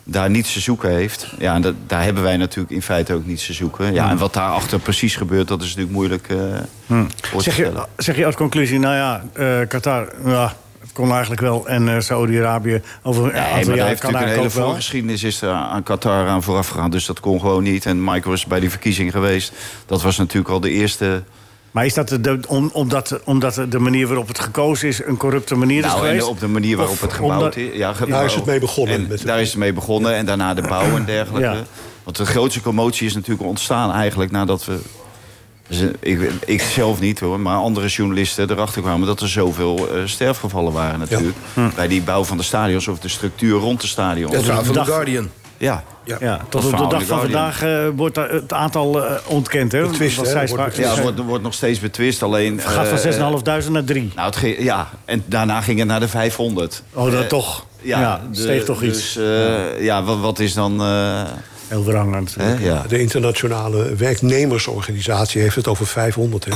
daar niets te zoeken heeft. Ja, en dat, daar hebben wij natuurlijk in feite ook niets te zoeken.
Hmm.
Ja, en wat daarachter precies gebeurt, dat is natuurlijk moeilijk eh voor te
Zeg je,
stellen.
zeg je als conclusie, nou ja, eh, Qatar, ja, het kon eigenlijk wel. En eh Saudi-Arabië over een
Nee,
aantal
maar daar
jaar
heeft
kan
natuurlijk een hele
eigenlijk ook wel.
voorgeschiedenis is er aan Qatar aan vooraf gegaan. Dus dat kon gewoon niet. En Michael was bij die verkiezing geweest. Dat was natuurlijk al de eerste...
Maar is dat de- de, om- omdat, omdat de manier waarop het gekozen is een corrupte manier is
nou,
geweest?
en op de manier waarop
Of
het gebouwd
omdat-
is. Ja, gebouwd.
Daar is het mee begonnen.
En daar is het mee begonnen. En daarna de bouw en dergelijke.
Ja.
Want de grootste commotie is natuurlijk ontstaan eigenlijk nadat we... ze- Ik, ik zelf niet hoor, maar andere journalisten erachter kwamen... dat er zoveel eh, sterfgevallen waren natuurlijk.
Hm.
Bij die bouw van de stadions of de structuur rond de stadions.
Dat verhaal van The Guardian.
Ja.
Ja.
Tot op de dag van vandaag eh, wordt daar het aantal eh, ontkend, hè? Wat zij sprak-
Ja, het wordt, wordt nog steeds betwist, alleen...
Het gaat van
eh,
6.500 naar 3.
Nou, het ging- ja, en daarna ging het naar de 500.
Oh, dat
Eh,
toch.
Ja,
Ja,
de-
steeg toch iets.
Dus, eh, ja, wat, wat is dan... eh,
Heel verhangend.
hè, ja.
De internationale werknemersorganisatie heeft het over 500. Hè.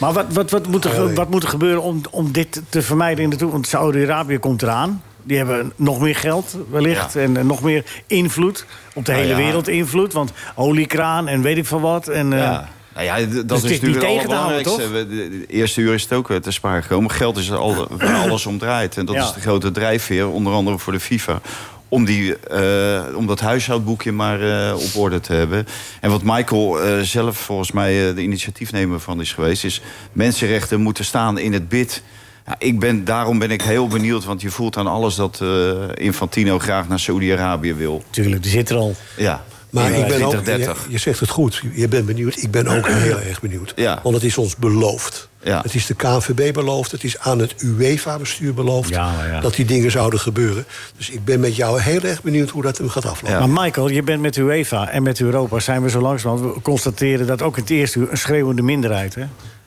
Maar wat, wat, wat, moet er, ge- wat moet er gebeuren om, om dit te vermijden in de toekomst? Want Saudi-Arabië komt eraan. Die hebben nog meer geld wellicht en eh, nog meer invloed. Op de
Nou
hele
ja.
wereld invloed. Want oliekraan en weet ik van wat. En, eh,
Ja. Nou ja, d- dat
Dus
is
het is niet
natuurlijk
tegen te houden,
allerbelangrijkste. We- de- de eerste uur is het ook eh, te spaar gekomen. Geld is er
*laughs*
al, waar alles om draait. En dat
Ja.
is de grote drijfveer, onder andere voor de FIFA. Om, die, eh, om dat huishoudboekje maar eh, op orde te hebben. En wat Michael eh, zelf volgens mij eh, de initiatiefnemer van is geweest... is mensenrechten moeten staan in het bid. Ja, ik ben, daarom ben ik heel benieuwd, want je voelt aan alles... dat eh, Infantino graag naar Saudi-Arabië wil.
Tuurlijk, die zit er al.
Ja,
Maar ik ben ook,
2030.
Je, je zegt het goed, je bent benieuwd. Ik ben ook heel erg benieuwd.
Ja.
Want het is ons beloofd.
Ja.
Het is de KNVB beloofd, het is aan het UEFA-bestuur beloofd...
Ja, maar ja.
dat die dingen zouden gebeuren. Dus ik ben met jou heel erg benieuwd hoe dat hem gaat aflopen.
Maar Michael, je bent met UEFA en met Europa... zijn we zo langzamerhand, we constateren dat ook in het eerste uur... een schreeuwende minderheid, hè?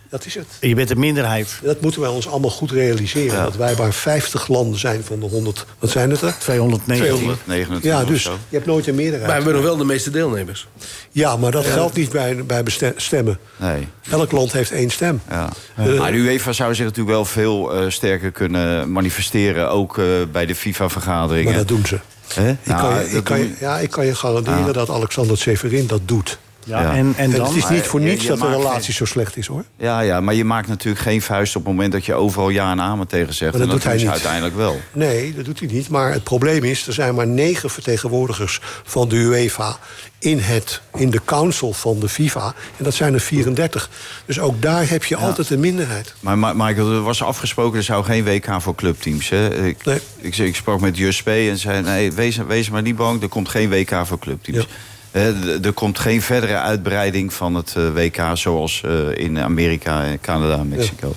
Dat is het.
Je bent een minderheid.
Dat moeten wij ons allemaal goed realiseren. Dat wij maar 50 landen zijn van de 100... Wat zijn het er?
219.
229
Ja,
of
dus
zo.
je hebt nooit een meerderheid.
Maar we hebben nog wel de meeste deelnemers.
Ja, maar dat geldt niet bij, bij beste- stemmen.
Nee.
Elk land heeft één stem.
Ja.
Eh,
maar de UEFA zou zich natuurlijk wel veel eh, sterker kunnen manifesteren. Ook eh, bij de FIFA-vergaderingen.
Maar dat doen ze.
Hè?
Ik
Nou,
kan je, ik
dat
kan je-
doen-
ja, ik kan je garanderen
Ja.
dat Alexander Severin dat doet.
Ja, En, en dan?
het is niet voor
Maar je-
niets
je
dat de
maakt
relatie
geen-
zo slecht is, hoor.
ja, ja, maar je maakt natuurlijk geen vuist op het moment dat je overal ja en amen tegen zegt.
Maar dat
en
doet hij
doen ze
niet.
uiteindelijk wel.
Nee, dat doet hij niet. Maar het probleem is, er zijn maar negen vertegenwoordigers van de UEFA... in, het, in de council van de FIFA. En dat zijn er 34. Dus ook daar heb je altijd een minderheid.
Maar Ma- Michael, er was afgesproken, er zou geen WK voor clubteams. Hè? Ik, ik, ik sprak met Just P en zei, nee, wees, wees maar niet bang, er komt geen WK voor clubteams. Hè, d- er komt geen verdere uitbreiding van het eh, WK zoals eh, in Amerika, eh, Canada en Mexico.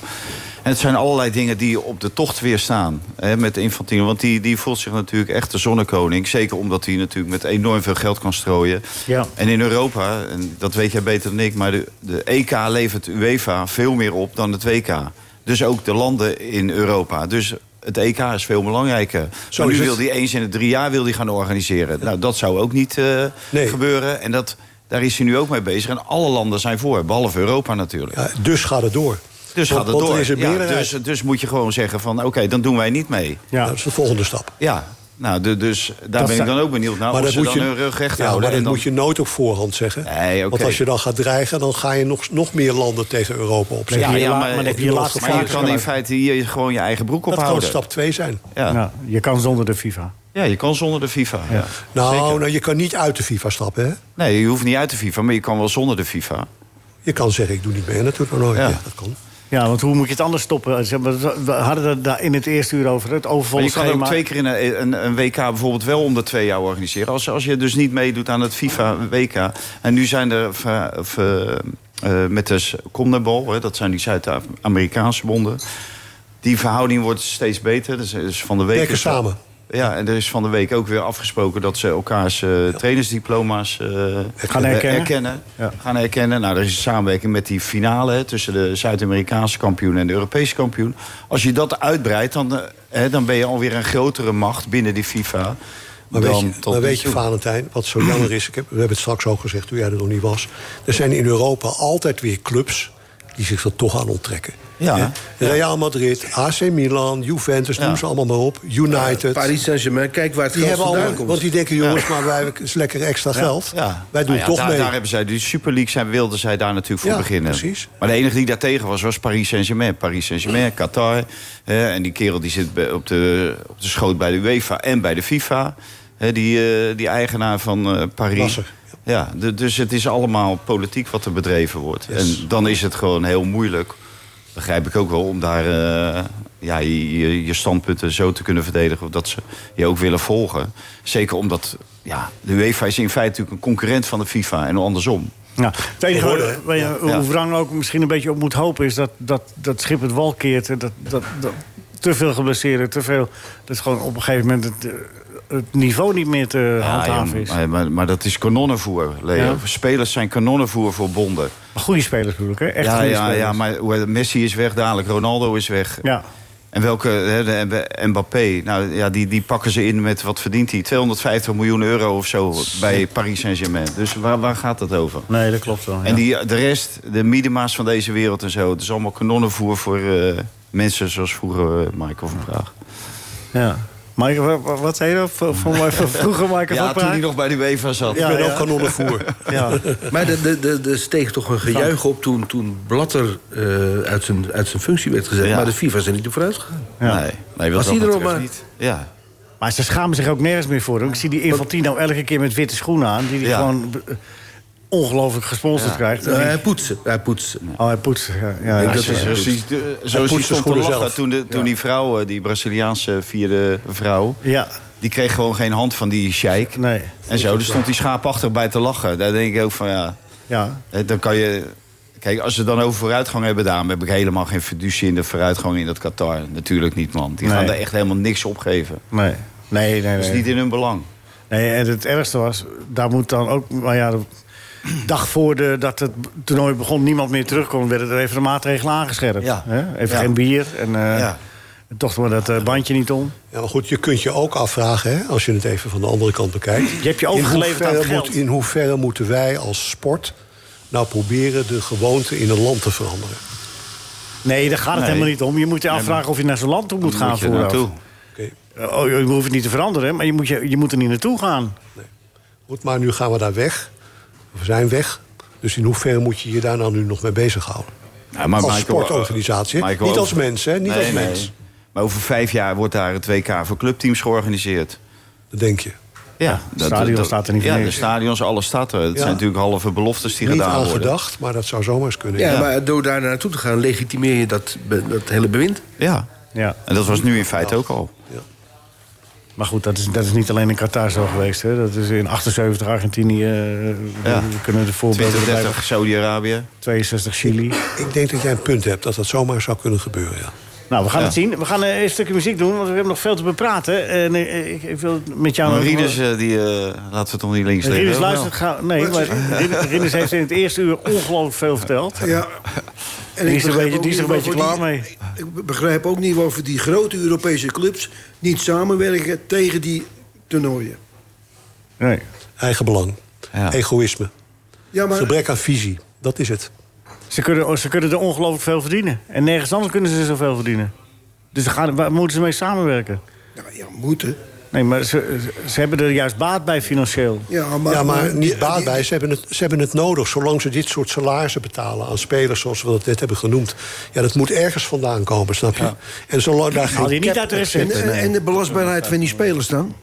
En het zijn allerlei dingen die op de tocht weer staan hè, met Infantino. Want die, die voelt zich natuurlijk echt de zonnekoning. Zeker omdat hij natuurlijk met enorm veel geld kan strooien.
Ja.
En in Europa, en dat weet jij beter dan ik... maar de, de E EK levert UEFA veel meer op dan het WK. Dus ook de landen in Europa. Dus het EK is veel belangrijker.
Zo
Maar nu
is het.
wil hij eens in de drie jaar wil hij gaan organiseren. Nou, dat zou ook niet eh, gebeuren. En dat, daar is hij nu ook mee bezig. En alle landen zijn voor, behalve Europa natuurlijk.
Ja, dus gaat het door.
dus
Want-
gaat het
want
door.
Er is een
Ja,
meerderheid.
dus, dus moet je gewoon zeggen van, oké, dan doen wij niet mee.
Ja. Dat is de volgende stap.
Ja, nou, du- dus daar ben ik
zijn-
dan ook benieuwd naar. of
dat
Nou, ze
moet
dan hun rug recht
ja,
houden.
Maar dat
en dan-
moet je nooit op voorhand zeggen. Want als je dan gaat dreigen, dan ga je nog, nog meer landen tegen Europa opzetten.
Ja, ja, maar, maar je kan in feite hier gewoon je eigen broek
Dat
ophouden.
kan stap 2 zijn.
Ja.
Nou, je kan zonder de FIFA.
Ja, je kan zonder de FIFA. Ja.
Nou, nou, je kan niet uit de FIFA stappen, hè?
Nee, je hoeft niet uit de FIFA, maar je kan wel zonder de FIFA.
Je kan zeggen, ik doe niet mee. En dat doet nog nooit.
Ja.
Ja, dat kan.
Ja, want hoe moet je het anders stoppen? Zeg maar, We hadden het daar in het eerste uur over het
Maar
overvolle
je kan ook
schema.
twee keer in een, een, een WK bijvoorbeeld wel om de twee jaar organiseren. Als, als je dus niet meedoet aan het FIFA-WK. En nu zijn er va- va- eh, met de Condebol, hè, dat zijn die Zuid-Amerikaanse bonden. Die verhouding wordt steeds beter. Dus, dus van de week
Werken
is-
samen.
Ja, en er is van de week ook weer afgesproken dat ze elkaars eh, trainersdiploma's eh,
Gaan herkennen.
Gaan herkennen. Nou, er is een samenwerking met die finale hè, tussen de Zuid-Amerikaanse kampioen en de Europese kampioen. Als je dat uitbreidt, dan, eh, hè, dan ben je alweer een grotere macht binnen die FIFA.
Maar
dan
weet, je,
tot
maar
nu
weet je,
toe.
Valentijn, wat zo jammer is... Ik heb, we hebben het straks ook gezegd toen jij er nog niet was... er zijn in Europa altijd weer clubs die zich er toch aan onttrekken.
Ja.
Hè? Real Madrid, AC Milan, Juventus, noem ze allemaal maar op. United.
Paris Saint-Germain, kijk waar het
die
geld
hebben
vandaan
allemaal,
komt.
Want die denken, jongens, maar wij hebben eens lekker extra geld. Wij doen
Nou ja,
toch
daar,
mee.
Daar hebben zij, die Super League zijn, wilden zij daar natuurlijk voor
Ja,
beginnen.
precies.
Maar de enige die daartegen was, was Paris Saint-Germain. Paris Saint-Germain, Qatar. hè, en die kerel die zit bij- op de, op de schoot bij de UEFA en bij de FIFA. hè, die, eh, die eigenaar van eh, Paris.
Nasser,
Ja, de- dus het is allemaal politiek wat er bedreven wordt. En dan is het gewoon heel moeilijk, begrijp ik ook wel, om daar eh, ja, je, je- je standpunten zo te kunnen verdedigen. of Dat ze je ook willen volgen. Zeker omdat ja, de UEFA is in feite natuurlijk een concurrent van de FIFA en andersom.
Ja, het enige
Hoorde,
waar,
hè?
waar je
Ja.
hoe
Ja.
Wrang ook misschien een beetje op moet hopen... is dat dat, dat schip het wal keert. en Dat, dat, dat, te veel geblesseerd, te veel... dat gewoon op een gegeven moment het, eh, het niveau niet meer te handhaven
joh,
is.
maar- Maar, maar dat is kanonnenvoer, Leo.
Ja.
Spelers zijn kanonnenvoer voor bonden.
Maar goede spelers bedoel ik, hè? Echt
ja,
goede
ja,
spelers.
ja, maar hoe- Messi is weg dadelijk, Ronaldo is weg.
Ja.
En welke, hè, de- de- Mbappé, nou, ja, die, die pakken ze in met, wat verdient hij? 250 miljoen euro of zo bij Paris Saint-Germain. Dus waar, waar gaat dat over?
Nee, dat klopt wel. ja.
En die, de rest, de Miedema's van deze wereld en zo... het is allemaal kanonnenvoer voor eh, mensen zoals vroeger eh, Michael van Praag.
Ja. Mike, wa- wa- wat zei je nou? Van, van, van vroeger Michael
Ja,
van
toen
Praag?
hij nog bij de UEFA zat.
Ja, Ik ben ja. ook *laughs*
kanonnenvoer.
Ja.
*laughs*
Maar er de, de, de steeg toch een gejuich op toen, toen Blatter eh, uit, zijn, uit zijn functie werd gezet.
Ja.
Maar de FIFA is er niet op vooruit gegaan.
Ja.
Nee, nee,
Was
wat dat
hij er ook
betreft
maar?
niet. Ja.
Maar ze schamen zich ook nergens meer voor. hoor. Ik zie die Infantino elke keer met witte schoenen aan... die die
Ja.
gewoon eh, ongelooflijk gesponsord
Ja.
krijgt.
Nou, hij poetsen. Hij poetsen.
Oh, hij poetst. Ja, ja,
Ja,
ja,
dat
ja,
is
ja.
precies, eh,
poetst
zoals hij
de
stond te
schoenen
lachen
zelf.
toen, de, toen die vrouw, eh, die Braziliaanse vierde vrouw...
Ja,
die kreeg gewoon geen hand van die sheik.
nee.
En zo, dus stond die schaapachtig bij te lachen. Daar denk ik ook van, ja,
Ja.
hè, dan kan je... Kijk, als ze dan over vooruitgang hebben gedaan... heb ik helemaal geen fiducie in de vooruitgang in dat Qatar. Natuurlijk niet, man. Die gaan
Nee.
daar echt helemaal niks op geven.
Nee, nee, nee.
Dat is
nee.
niet in hun belang.
nee en het ergste was, daar moet dan ook... Maar ja, de dag voor de, dat het toernooi begon, niemand meer terugkomt... werden er even de maatregelen aangescherpt.
Ja.
Hè? Even
Ja.
geen bier en eh,
Ja.
toch maar dat eh, bandje niet om.
Ja, maar goed, je kunt je ook afvragen, hè, als je het even van de andere kant bekijkt.
Je hebt je overgeleverd
in
aan het
hoeverre,
geld.
moet, in hoeverre moeten wij als sport nou proberen de gewoonte in een land te veranderen?
Nee, daar gaat het
Nee.
helemaal niet om. Je moet je afvragen of je naar zo'n land toe moet
Dan
gaan
moet je
vooraf.
naartoe.
Oké,
Eh, Oh, je hoeft het niet te veranderen, maar je moet, je, je moet er niet naartoe gaan.
Goed, maar nu gaan we daar weg. We zijn weg. Dus in hoeverre moet je je daar nou nu nog mee bezighouden?
Nou, maar
als
Michael-
sportorganisatie. hè?
Michael
niet als
over-
mens, hè? Niet
Nee,
als
nee.
mens.
Maar over vijf jaar wordt daar het WK voor clubteams georganiseerd.
Dat denk je.
Ja,
het stadion staat er niet voor
Ja, de
niks.
stadions, alles staat er. Het zijn natuurlijk halve beloftes die
Niet
gedaan
aan
worden.
gedacht, maar dat zou zomaar eens kunnen.
Ja, maar door daar naartoe te gaan legitimeer je dat, be- dat hele bewind.
Ja,
Ja.
en dat was nu in feite ook al.
Maar goed, dat is, dat is niet alleen in Qatar zo geweest. Hè. Dat is in 78 Argentinië. eh,
Ja.
We kunnen de voorbeelden erbij
2030 Saudi-Arabië.
62 Chili.
Ik denk dat jij een punt hebt dat dat zomaar zou kunnen gebeuren. Ja.
Nou, we gaan
Ja.
het zien. We gaan eh, een stukje muziek doen, want we hebben nog veel te bepraten. En eh, ik, ik wil met jou... nog-
Rieders, eh, die eh, laten we toch niet links
Eh,
liggen.
Rinus
wel?
luistert... Ga, nee, maar Rinus- Rinus heeft in het eerste uur ongelooflijk veel verteld.
Ja, En
Die
ik
is er een
begrijp
beetje-
ook
die is er
niet
een beetje
waarvoor
klaar
die- Ik begrijp ook niet waarvoor die grote Europese clubs niet samenwerken tegen die toernooien.
Nee.
Eigen belang. Egoïsme.
Ja, maar-
Gebrek aan visie. Dat is het.
Ze kunnen, oh, ze kunnen er ongelooflijk veel verdienen. En nergens anders kunnen ze zoveel verdienen. Dus daar gaan, waar moeten ze mee samenwerken?
Nou ja, moeten.
Nee, maar ze, ze hebben er juist baat bij financieel.
Ja,
maar, niet baat bij. Ze hebben, het, ze hebben het nodig. Zolang ze dit soort salarissen betalen aan spelers, zoals we dat net hebben genoemd. Ja, dat moet ergens vandaan komen, snap je? En zolang daar geen. cap op zit-
En, en- en de belastbaarheid van die spelers dan?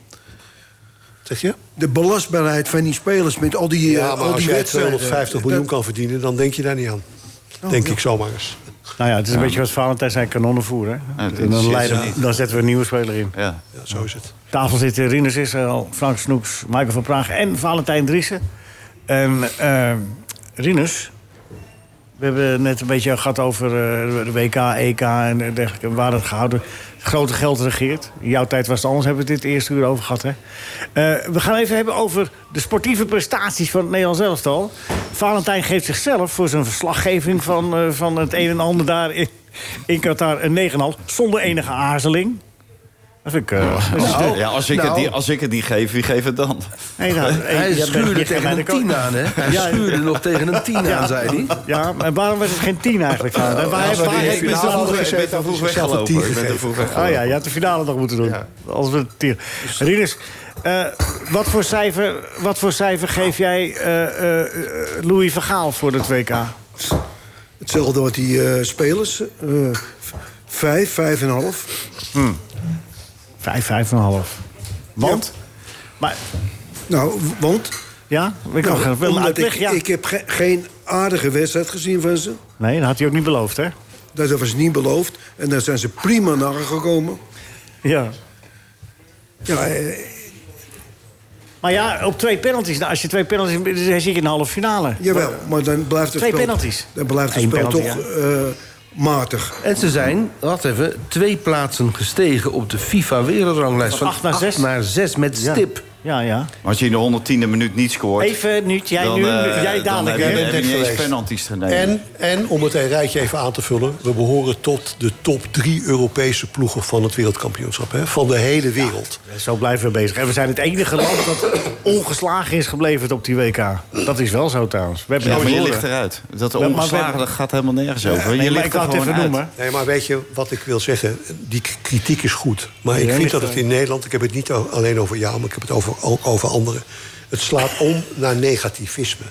Zeg je?
De belastbaarheid van die spelers met al die, eh,
oh,
ja, maar
al
als
die
jij
wedstrijden.
250 miljoen kan verdienen, dan denk je daar niet aan.
Oh,
denk ik zomaar eens.
Nou ja, het is een
Ja.
beetje wat Valentijn zijn kanonnen voeren. hè?
Ja, dit
En dan,
zit
leiden,
ze niet.
dan zetten we een nieuwe speler in.
Ja.
zo is het.
Tafel zitten Rinus Israël, Frank Snoeks, Michael van Praag en Valentijn Driessen. En eh, Rinus, we hebben net een beetje gehad over eh, de WK, EK en dergelijke. en Waar het gehouden. Het grote geld regeert. In jouw tijd was het anders, hebben we het dit eerste uur over gehad. Hè? Eh, we gaan even hebben over de sportieve prestaties van het Nederlands elftal. Valentijn geeft zichzelf voor zijn verslaggeving van, eh, van het een en ander daar in, in Qatar een 9,5. Zonder enige aarzeling. Dat vind ik... eh, dat is-
ja, als, ik het,
nou.
die- als ik het niet geef, wie geeft het dan?
Nee, nou, hey,
Hij
jij bent-
schuurde
jij
*laughs*
tegen
gaat
een
mij de
tien
ko-
aan, hè? Hij schuurde nog tegen een tien aan, zei hij.
Ja, maar waarom werd het geen tien eigenlijk? Waar, waar,
ja, sorry,
waar-
ik ben
waar-
te vroeg-
waar-
ik ben te vroeg weggelopen.
tien
Ik ben te
gegeven.
vroeg weggelopen.
Oh ja, je had de finale nog moeten doen. Als we tien. Rinus, eh, wat, voor cijfer, wat voor cijfer geef jij eh, eh, Louis Vergaal voor het WK?
Hetzelfde wat die eh, spelers. eh, v- vijf, vijf en een half.
Vijf, vijf en een half. Want? Maar...
Nou, w- want...
Ja, ik
Nou,
kan geen- wel
omdat
uitleg,
ik,
ja.
ik heb ge- geen aardige wedstrijd gezien van ze.
Nee, dat had hij ook niet beloofd, hè?
Dat was niet beloofd. En daar zijn ze prima naar gekomen.
Ja.
Ja, eh,
Maar ja, op twee penalties. Nou, als je twee penalties... dan zit je in de halve finale.
jawel, maar dan blijft het
Twee
spel,
penalties.
Dan blijft het
Eén
spel
penalty,
toch eh, matig.
En ze zijn, wacht even, twee plaatsen gestegen op de FIFA-wereldranglijst.
Van acht naar zes.
zes met stip.
Ja, ja.
Maar als je in de 110e minuut niet scoort...
Even nu, jij
dan,
nu,
eh,
jij
dan
dadelijk.
heb je-
hè?
heb je niet eens penalties te nemen.
En, en om het een rijtje even aan te vullen, we behoren tot de top drie Europese ploegen van het wereldkampioenschap. Hè? Van de hele wereld.
Zo blijven we bezig. En we zijn het enige land dat ongeslagen is gebleven op die WK. Dat is wel zo trouwens. We hebben
Ja,
nog
maar je
verloren.
ligt eruit. Dat
Ja, maar we
ongeslagen,
hebben-
dat gaat helemaal nergens over.
nee,
Je
maar
ligt
ik
er
wou het
gewoon
even
uit.
noemen.
Nee, maar weet je wat ik wil zeggen? Die k- kritiek is goed. Maar
Ja,
ik vind
ligt
dat het
eruit.
in Nederland, ik heb het niet o- alleen over jou, maar ik heb het over, ook over anderen. Het slaat om naar negativisme.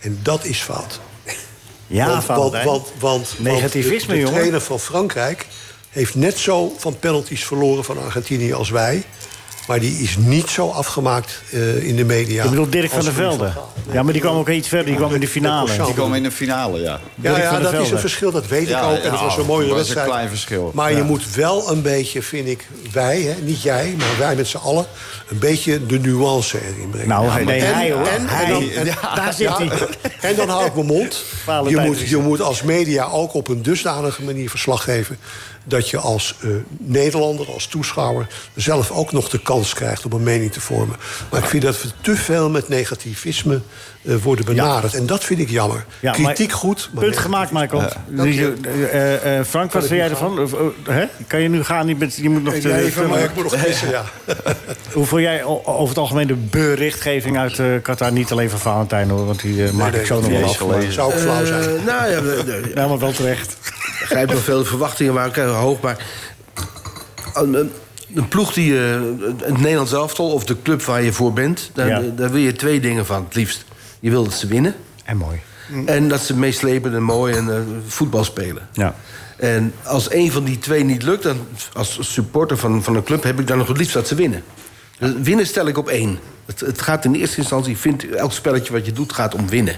En dat is fout.
Ja,
want, want,
Valentijn.
want, want, want
Negativisme,
de, de
jongen.
trainer van Frankrijk heeft net zo van penalties verloren van Argentinië als wij. Maar die is niet zo afgemaakt eh, in de media.
Ik bedoel Dirk van
als
der
Louis van
Velde.
Gaal.
Ja, maar die kwam ook iets verder. Die kwam in de finale.
Die komen in de finale, ja.
Ja,
Dirk
ja
van der
dat is
Velde.
een verschil, dat weet
Ja,
ik ook. En het
ja,
was een mooie
dat was een
wedstrijd.
klein verschil.
Maar je
Ja.
moet wel een beetje, vind ik, wij, hè, niet jij, maar wij met z'n allen... een beetje de nuance erin brengen.
Nou,
Ja,
hij-
maar-
nee,
en-
hij, hoor.
en-
Hij.
en dan- en-
Ja, daar zit hij.
En dan hou ik mijn mond. Je
Valentijn
moet,
is
je moet als media ook op een dusdanige manier verslag geven... dat je als eh, Nederlander, als toeschouwer... zelf ook nog de kans krijgt om een mening te vormen. Maar ik vind dat we te veel met negativisme eh, worden benaderd. En dat vind ik jammer.
Ja, maar-
Kritiek goed, maar
Punt gemaakt, Michael. Die- eh, eh, Frank, wat
ik
vind jij
nu
ervan? Of, eh, hè? Kan je nu gaan? Je, bent, je moet nog...
Ik
te-
ben even,
te-
maar ik moet nog gissen, ja.
Hoe voel jij o- over het algemeen de berichtgeving uit eh, Qatar? Niet alleen van Valentijn, hoor, want die eh, maak
nee,
ik zo
dat
nog wel
is
af.
gelezen. Zou ook
Oh,
flauw zijn.
Eh, nou ja, we- de-
Nou, maar wel terecht.
ik begrijp wel veel verwachtingen waren ook hoog, maar... Een, een- een ploeg die eh, het Nederlands elftal of de club waar je voor bent... Daar,
Ja.
daar wil je twee dingen van, het liefst. Je wil dat ze winnen.
En mooi.
En dat ze meeslepend en mooi en eh, voetbal spelen.
Mm. Ja.
En als een van die twee niet lukt, dan als supporter van, van een club heb ik dan nog het liefst dat ze winnen. Dus winnen stel ik op één. Het, het gaat in eerste instantie, vindt, elk spelletje wat je doet gaat om winnen.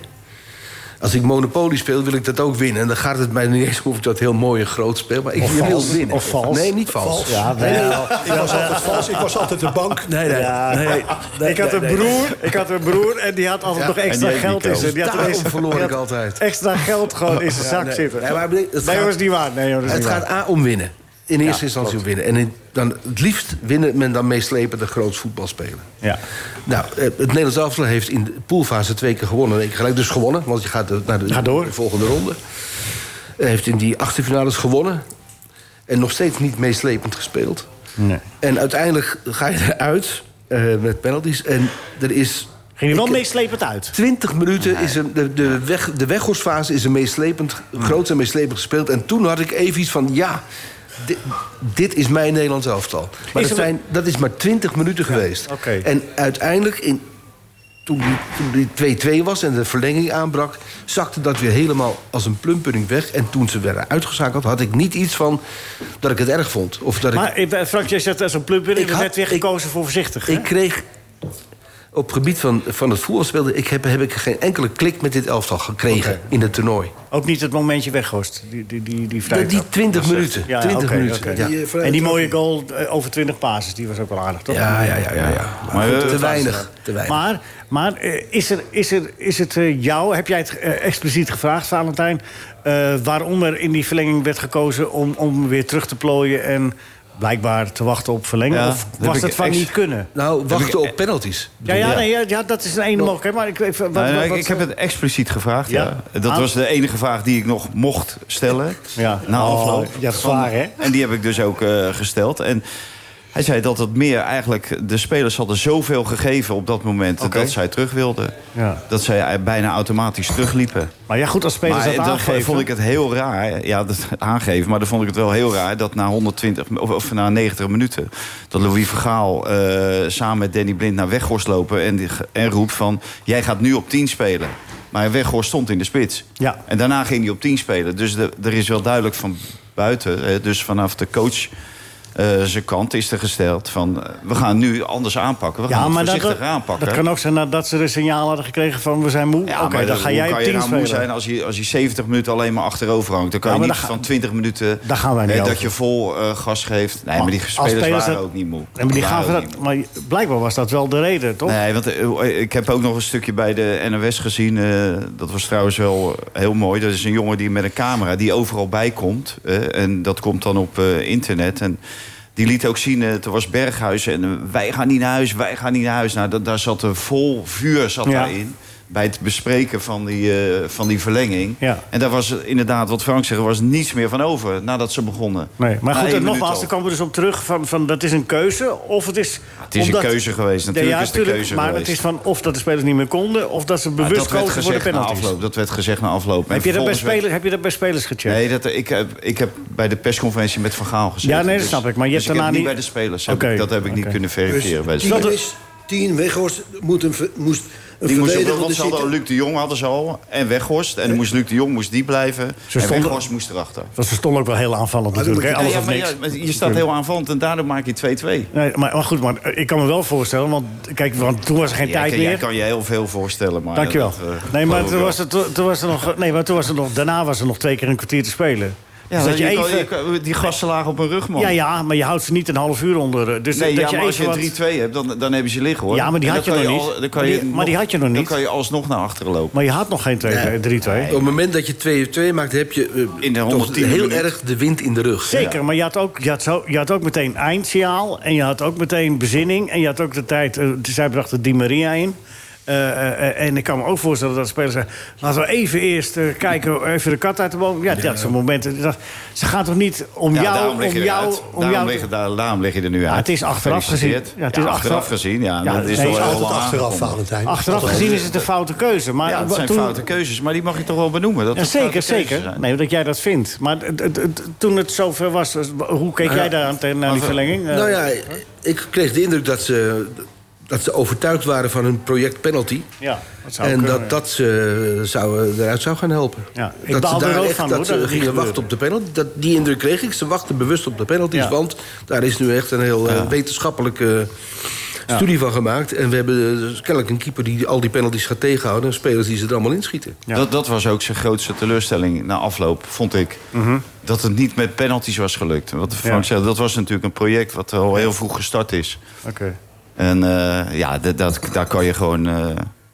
Als ik Monopoly speel, wil ik dat ook winnen. En dan gaat het mij niet eens om of ik dat heel mooi en groot speel. Maar ik
Of
wil
vals.
winnen.
Of vals.
Nee, niet vals.
Vals. Ja,
*laughs* nee,
wel.
Ik was altijd
*laughs*
vals, ik was altijd de bank.
nee, nee,
Ja,
nee, nee,
ik had
nee,
een
nee.
broer, ik had een broer en die had altijd
Ja,
nog
en die
extra
heeft
geld
niet
in zijn. Die had
Daarom
ineens-
verloor
die
ik
had
altijd.
Extra geld gewoon in zijn
*laughs* Ja,
zak
nee.
zitten.
Nee, maar ik bedoel, het
Nee,
gaat-
hoor, is niet waar. Nee, hoor, dat is
Het
niet
gaat
waar.
A om winnen. In eerste
Ja,
instantie
klopt.
om winnen. En in- dan, het liefst winnen men dan meeslepende groots voetbal spelen.
Ja.
Nou, eh, het Nederlands elftal heeft in de poolfase twee keer gewonnen. en één keer gelijk dus gewonnen, want je gaat eh, naar de,
Ga door.
de volgende ronde. Eh, Hij heeft in die achterfinales gewonnen. En nog steeds niet meeslepend gespeeld.
Nee.
En uiteindelijk ga je eruit eh, met penalties. En er is.
Ging hij wel meeslepend uit?
20 minuten is een, de, de, weg, de weggoorsfase is een meeslepend, groot en meeslepend gespeeld. En toen had ik even iets van: ja, dit, dit is mijn Nederlands elftal. Maar
Is
dat,
er-
zijn, dat is maar 20 minuten geweest. En uiteindelijk, in, toen die- toen die 2-2 was en de verlenging aanbrak, zakte dat weer helemaal als een plumpudding weg. En toen ze werden uitgeschakeld, had ik niet iets van dat ik het erg vond. Of dat ik
Maar eh, Frank, jij zegt als een plumper.
Ik
Ik
had-
werd weer gekozen voor voorzichtig. hè?
ik kreeg op het gebied van, van het voetbalspelen... Ik heb, heb ik geen enkele klik met dit elftal gekregen
Oké.
in het toernooi.
Ook niet het momentje weggoost. Die, die, die, die, vrije
Die
trap. Dat
20
is echt-
minuten, 20
oké,
minuten,
oké.
ja. Die, eh, vrije
En die
trap.
mooie goal eh, over 20 passes, die was ook wel aardig, toch?
Ja, ja, ja, ja, ja. Maar
Maar
goed,
eh,
te
het was-
weinig, te weinig.
Maar, maar eh, is, er, is, er, is het eh, jou, heb jij het eh, expliciet gevraagd, Valentijn... eh, waarom er in die verlenging werd gekozen om, om weer terug te plooien... en blijkbaar te wachten op verlenging?
Ja,
of
dat heb
was
ik
dat van
ex-
niet kunnen?
Nou, wachten
Heb ik-
op penalties.
Ja, ja, nee, ja, ja, dat is een ene mogelijkheid. Maar ik, even, wat,
Nou,
wat-
ik,
wat-
ik heb het expliciet gevraagd, ja.
Ja?
Dat
Aan-
was de enige vraag die ik nog mocht stellen.
Ja.
Na
Oh,
afloop.
ja, dat is waar, hè?
En die heb ik dus ook eh, gesteld. En hij zei dat het meer eigenlijk... De spelers hadden zoveel gegeven op dat moment dat zij terug wilden.
Ja.
Dat zij bijna automatisch terugliepen.
Maar ja, goed, als spelers
Maar
dat aangeven...
vond ik het heel raar. Ja, dat *laughs* aangeven. Maar dan vond ik het wel heel raar dat na 120 of, of na 90 minuten. dat Louis Vergaal eh, samen met Danny Blind naar Weghorst lopen. En, die- en roept van: Jij gaat nu op 10 spelen. Maar Weghorst stond in de spits.
Ja.
En daarna ging hij op 10 spelen. Dus de- er is wel duidelijk van buiten. eh, dus vanaf de coach. eh, zijn kant is er gesteld van eh, we gaan nu anders aanpakken. We gaan het voorzichtig aanpakken.
dat kan ook zijn nadat ze een signaal hadden gekregen van we zijn moe.
Ja,
Oké,
maar
dan
dat-
ga
hoe
jij op
kan je
10
nou moe
spelen.
zijn als je, als je 70 minuten alleen maar achterover hangt? Dan kan
Ja,
je
maar
niet
daar ga-
van 20 minuten
daar gaan wij niet
eh, dat
over.
je vol eh, gas geeft. Nee, maar die
Als
spelers waren
dat-
ook niet moe.
Nee, maar, die
Waren
gaven
ook
dat, maar blijkbaar was dat wel de reden, toch?
Nee, want eh, ik heb ook nog een stukje bij de NOS gezien. eh, dat was trouwens wel eh, heel mooi. Dat is een jongen die met een camera die overal bij komt. eh, en dat komt dan op eh, internet. En die liet ook zien, eh, er was Berghuis. En eh, wij gaan niet naar huis, wij gaan niet naar huis. Nou, dat, daar zat er vol vuur zat
Ja.
daarin. Bij het bespreken van die, eh, van die verlenging.
Ja.
En daar was eh, inderdaad, wat Frank zegt, er was niets meer van over nadat ze begonnen.
Nee, maar
Na
goed,
één
en
minuut
nogmaals,
al.
daar komen we dus op terug. Van, van, dat is een keuze, of het is...
het is een keuze geweest, natuurlijk is het een
tuurlijk,
keuze
Maar
geweest.
het is van of dat de spelers niet meer konden... of dat ze
Maar
bewust
Nou, dat werd
kozen voor de
gezegd na
penalties.
afloop. Dat werd gezegd na afloop. En
Heb je, dat bij
vervolgens werd-
spelers, heb je dat bij spelers gecheckt?
Nee, dat, ik, heb, ik heb bij de persconferentie met Van Gaal gezeten.
Ja, nee, dat
dus-
snap ik, maar je
dus
hebt daarna
heb niet
niet-
bij de spelers. heb
Oké,
ik- dat heb ik niet
oké.
kunnen
Dus
verifiëren bij de
tien
spelers.
is tien, Weghorst moet een, ver- moest een
Die moest,
verdediger
want ze hadden al Luc de Jong hadden ze al en Weghorst. En dan moest Luc de Jong moest die blijven. en
stonden-
Weghorst moest erachter.
Want ze stonden ook wel heel aanvallend
Ja,
natuurlijk. hè, Alles
ja,
of
maar
niks.
ja, maar je staat heel aanvallend en daardoor maak je 2-2.
Nee, maar, maar goed, maar eh, ik kan me wel voorstellen, want, kijk, want toen was er geen
Jij,
tijd
kan- jij
meer.
kan je heel veel voorstellen. Maar
Dankjewel.
dat, eh,
nee, maar
geloof ik
toen
wel.
was, er, toen, toen was er nog, nee, maar toen was er nog... Daarna was er nog twee keer een kwartier te spelen.
Ja,
dus dat je,
je kan-
even...
je kan- die gasten lagen op hun rug, man.
ja, ja, maar je houdt ze niet een half uur onder. eh, Dus
nee,
dat
ja,
je
maar als
even
je
wat...
3-2 hebt, dan, dan hebben ze liggen, hoor.
Ja, maar die
En
had
dan
je
kan
nog niet.
al- dan kan
Maar die- maar die had je nog
Dan
niet.
kan je alsnog naar achteren lopen.
Maar je had nog geen eh, 2-2, 3-2.
Op het moment dat je 2-2 maakt, heb je eh,
In de
toch
110
heel
minuut.
erg de wind in de rug.
Zeker,
Ja.
maar je had, ook, je, had zo, je had ook meteen eindsignaal. En je had ook meteen bezinning. En je had ook de tijd... eh, zij brachten Di Maria in. Eh, eh, eh, en ik kan me ook voorstellen dat de spelers zeggen... laten we even eerst eh, kijken, even de kat uit de boom. Ja, dat soort momenten. Dat, ze gaat toch niet om
Ja,
jou...
daarom lig
Om
je
jou,
eruit.
om
daarom,
jou
lig je, daar- daarom lig je er nu uit.
Ja, het is achteraf gezien. Ja, het
Gefeliciteerd.
is
Ja, achteraf,
achteraf-
gezien, ja.
Ja,
dat is
nee,
toch
het
wel
is
heel
altijd achteraf,
aangekomen.
Valentijn.
Achteraf
Altijd.
gezien is het een foute keuze. Maar
Ja, dat zijn
toen-
foute keuzes, maar die mag je toch wel benoemen. Dat
Ja,
het
zeker,
foute keuzes
zeker.
zijn.
Nee, dat jij dat vindt. Maar het- het- het- toen het zover was, hoe keek
Nou Ja.
jij daar aan tegen naar die verlenging? Eh,
Nou ja, ik kreeg de indruk dat ze, dat ze overtuigd waren van hun project penalty.
Eh, ja, dat zou
En
kunnen,
dat
ja.
dat ze zou, eh, eruit zou gaan helpen.
Ja, ik
dat
baal er ook van,
dat
hoor,
ze
dat het niet
gingen
gebeurde.
wachten op de penalty. Dat, die indruk kreeg ik. Ze wachten bewust op de penalties.
Ja.
Want daar is nu echt een heel eh, wetenschappelijke eh,
Ja.
studie van gemaakt. En we hebben eh, dus kennelijk een keeper die al die penalties gaat tegenhouden. En spelers die ze er allemaal inschieten.
Ja.
Dat, dat was ook zijn grootste teleurstelling na afloop, vond ik. Dat het niet met penalties was gelukt. Wat Frank
Mhm. Ja.
zei, dat was natuurlijk een project wat al heel vroeg gestart is.
Oké.
En eh, ja, dat, dat, daar kan je gewoon... eh,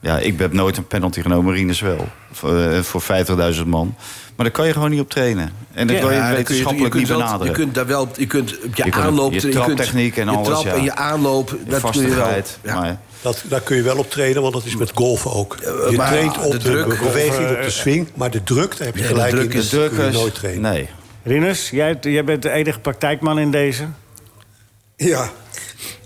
ja, ik heb nooit een penalty genomen, Rinus wel. Voor, eh, voor 50.000 man. Maar daar kan je gewoon niet op trainen. En dat
Ja,
kan je
dan kun
wetenschappelijk
je kunt
niet
wel-
benaderen.
Je kunt daar wel, je kunt op je,
Je kunt-
aanloop...
je traptechniek en
je
alles,
trap
ja.
en je aanloop,
Je
dat kun je wel.
vastigheid.
Ja.
Maar
Dat, daar kun je wel op trainen, want dat is met golven ook. Je
maar
traint op
de
de,
druk,
beweging,
golven,
op de swing. Maar de druk, daar heb je gelijk in. dat kun je nooit trainen.
Nee.
Rinus, jij, jij bent de enige praktijkman in deze.
Ja.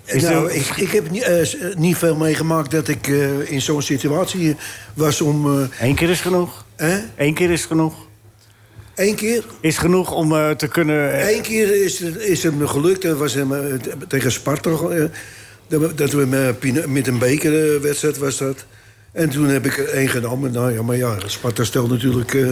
Is
nou,
er-
ik, ik heb ni- eh, s- eh, niet veel meegemaakt dat ik eh, in zo'n situatie was om...
Eén keer is genoeg. Eén keer is genoeg.
Eén keer?
Is genoeg om eh, te kunnen... eh,
Eén keer is, het- is het me gelukt. Dat was hem, eh, t- tegen Sparta. eh, dat we- dat we met, Pino- met een bekerwedstrijd was dat. En toen heb ik er één genomen. Nou ja, maar ja, Sparta stelt natuurlijk... eh,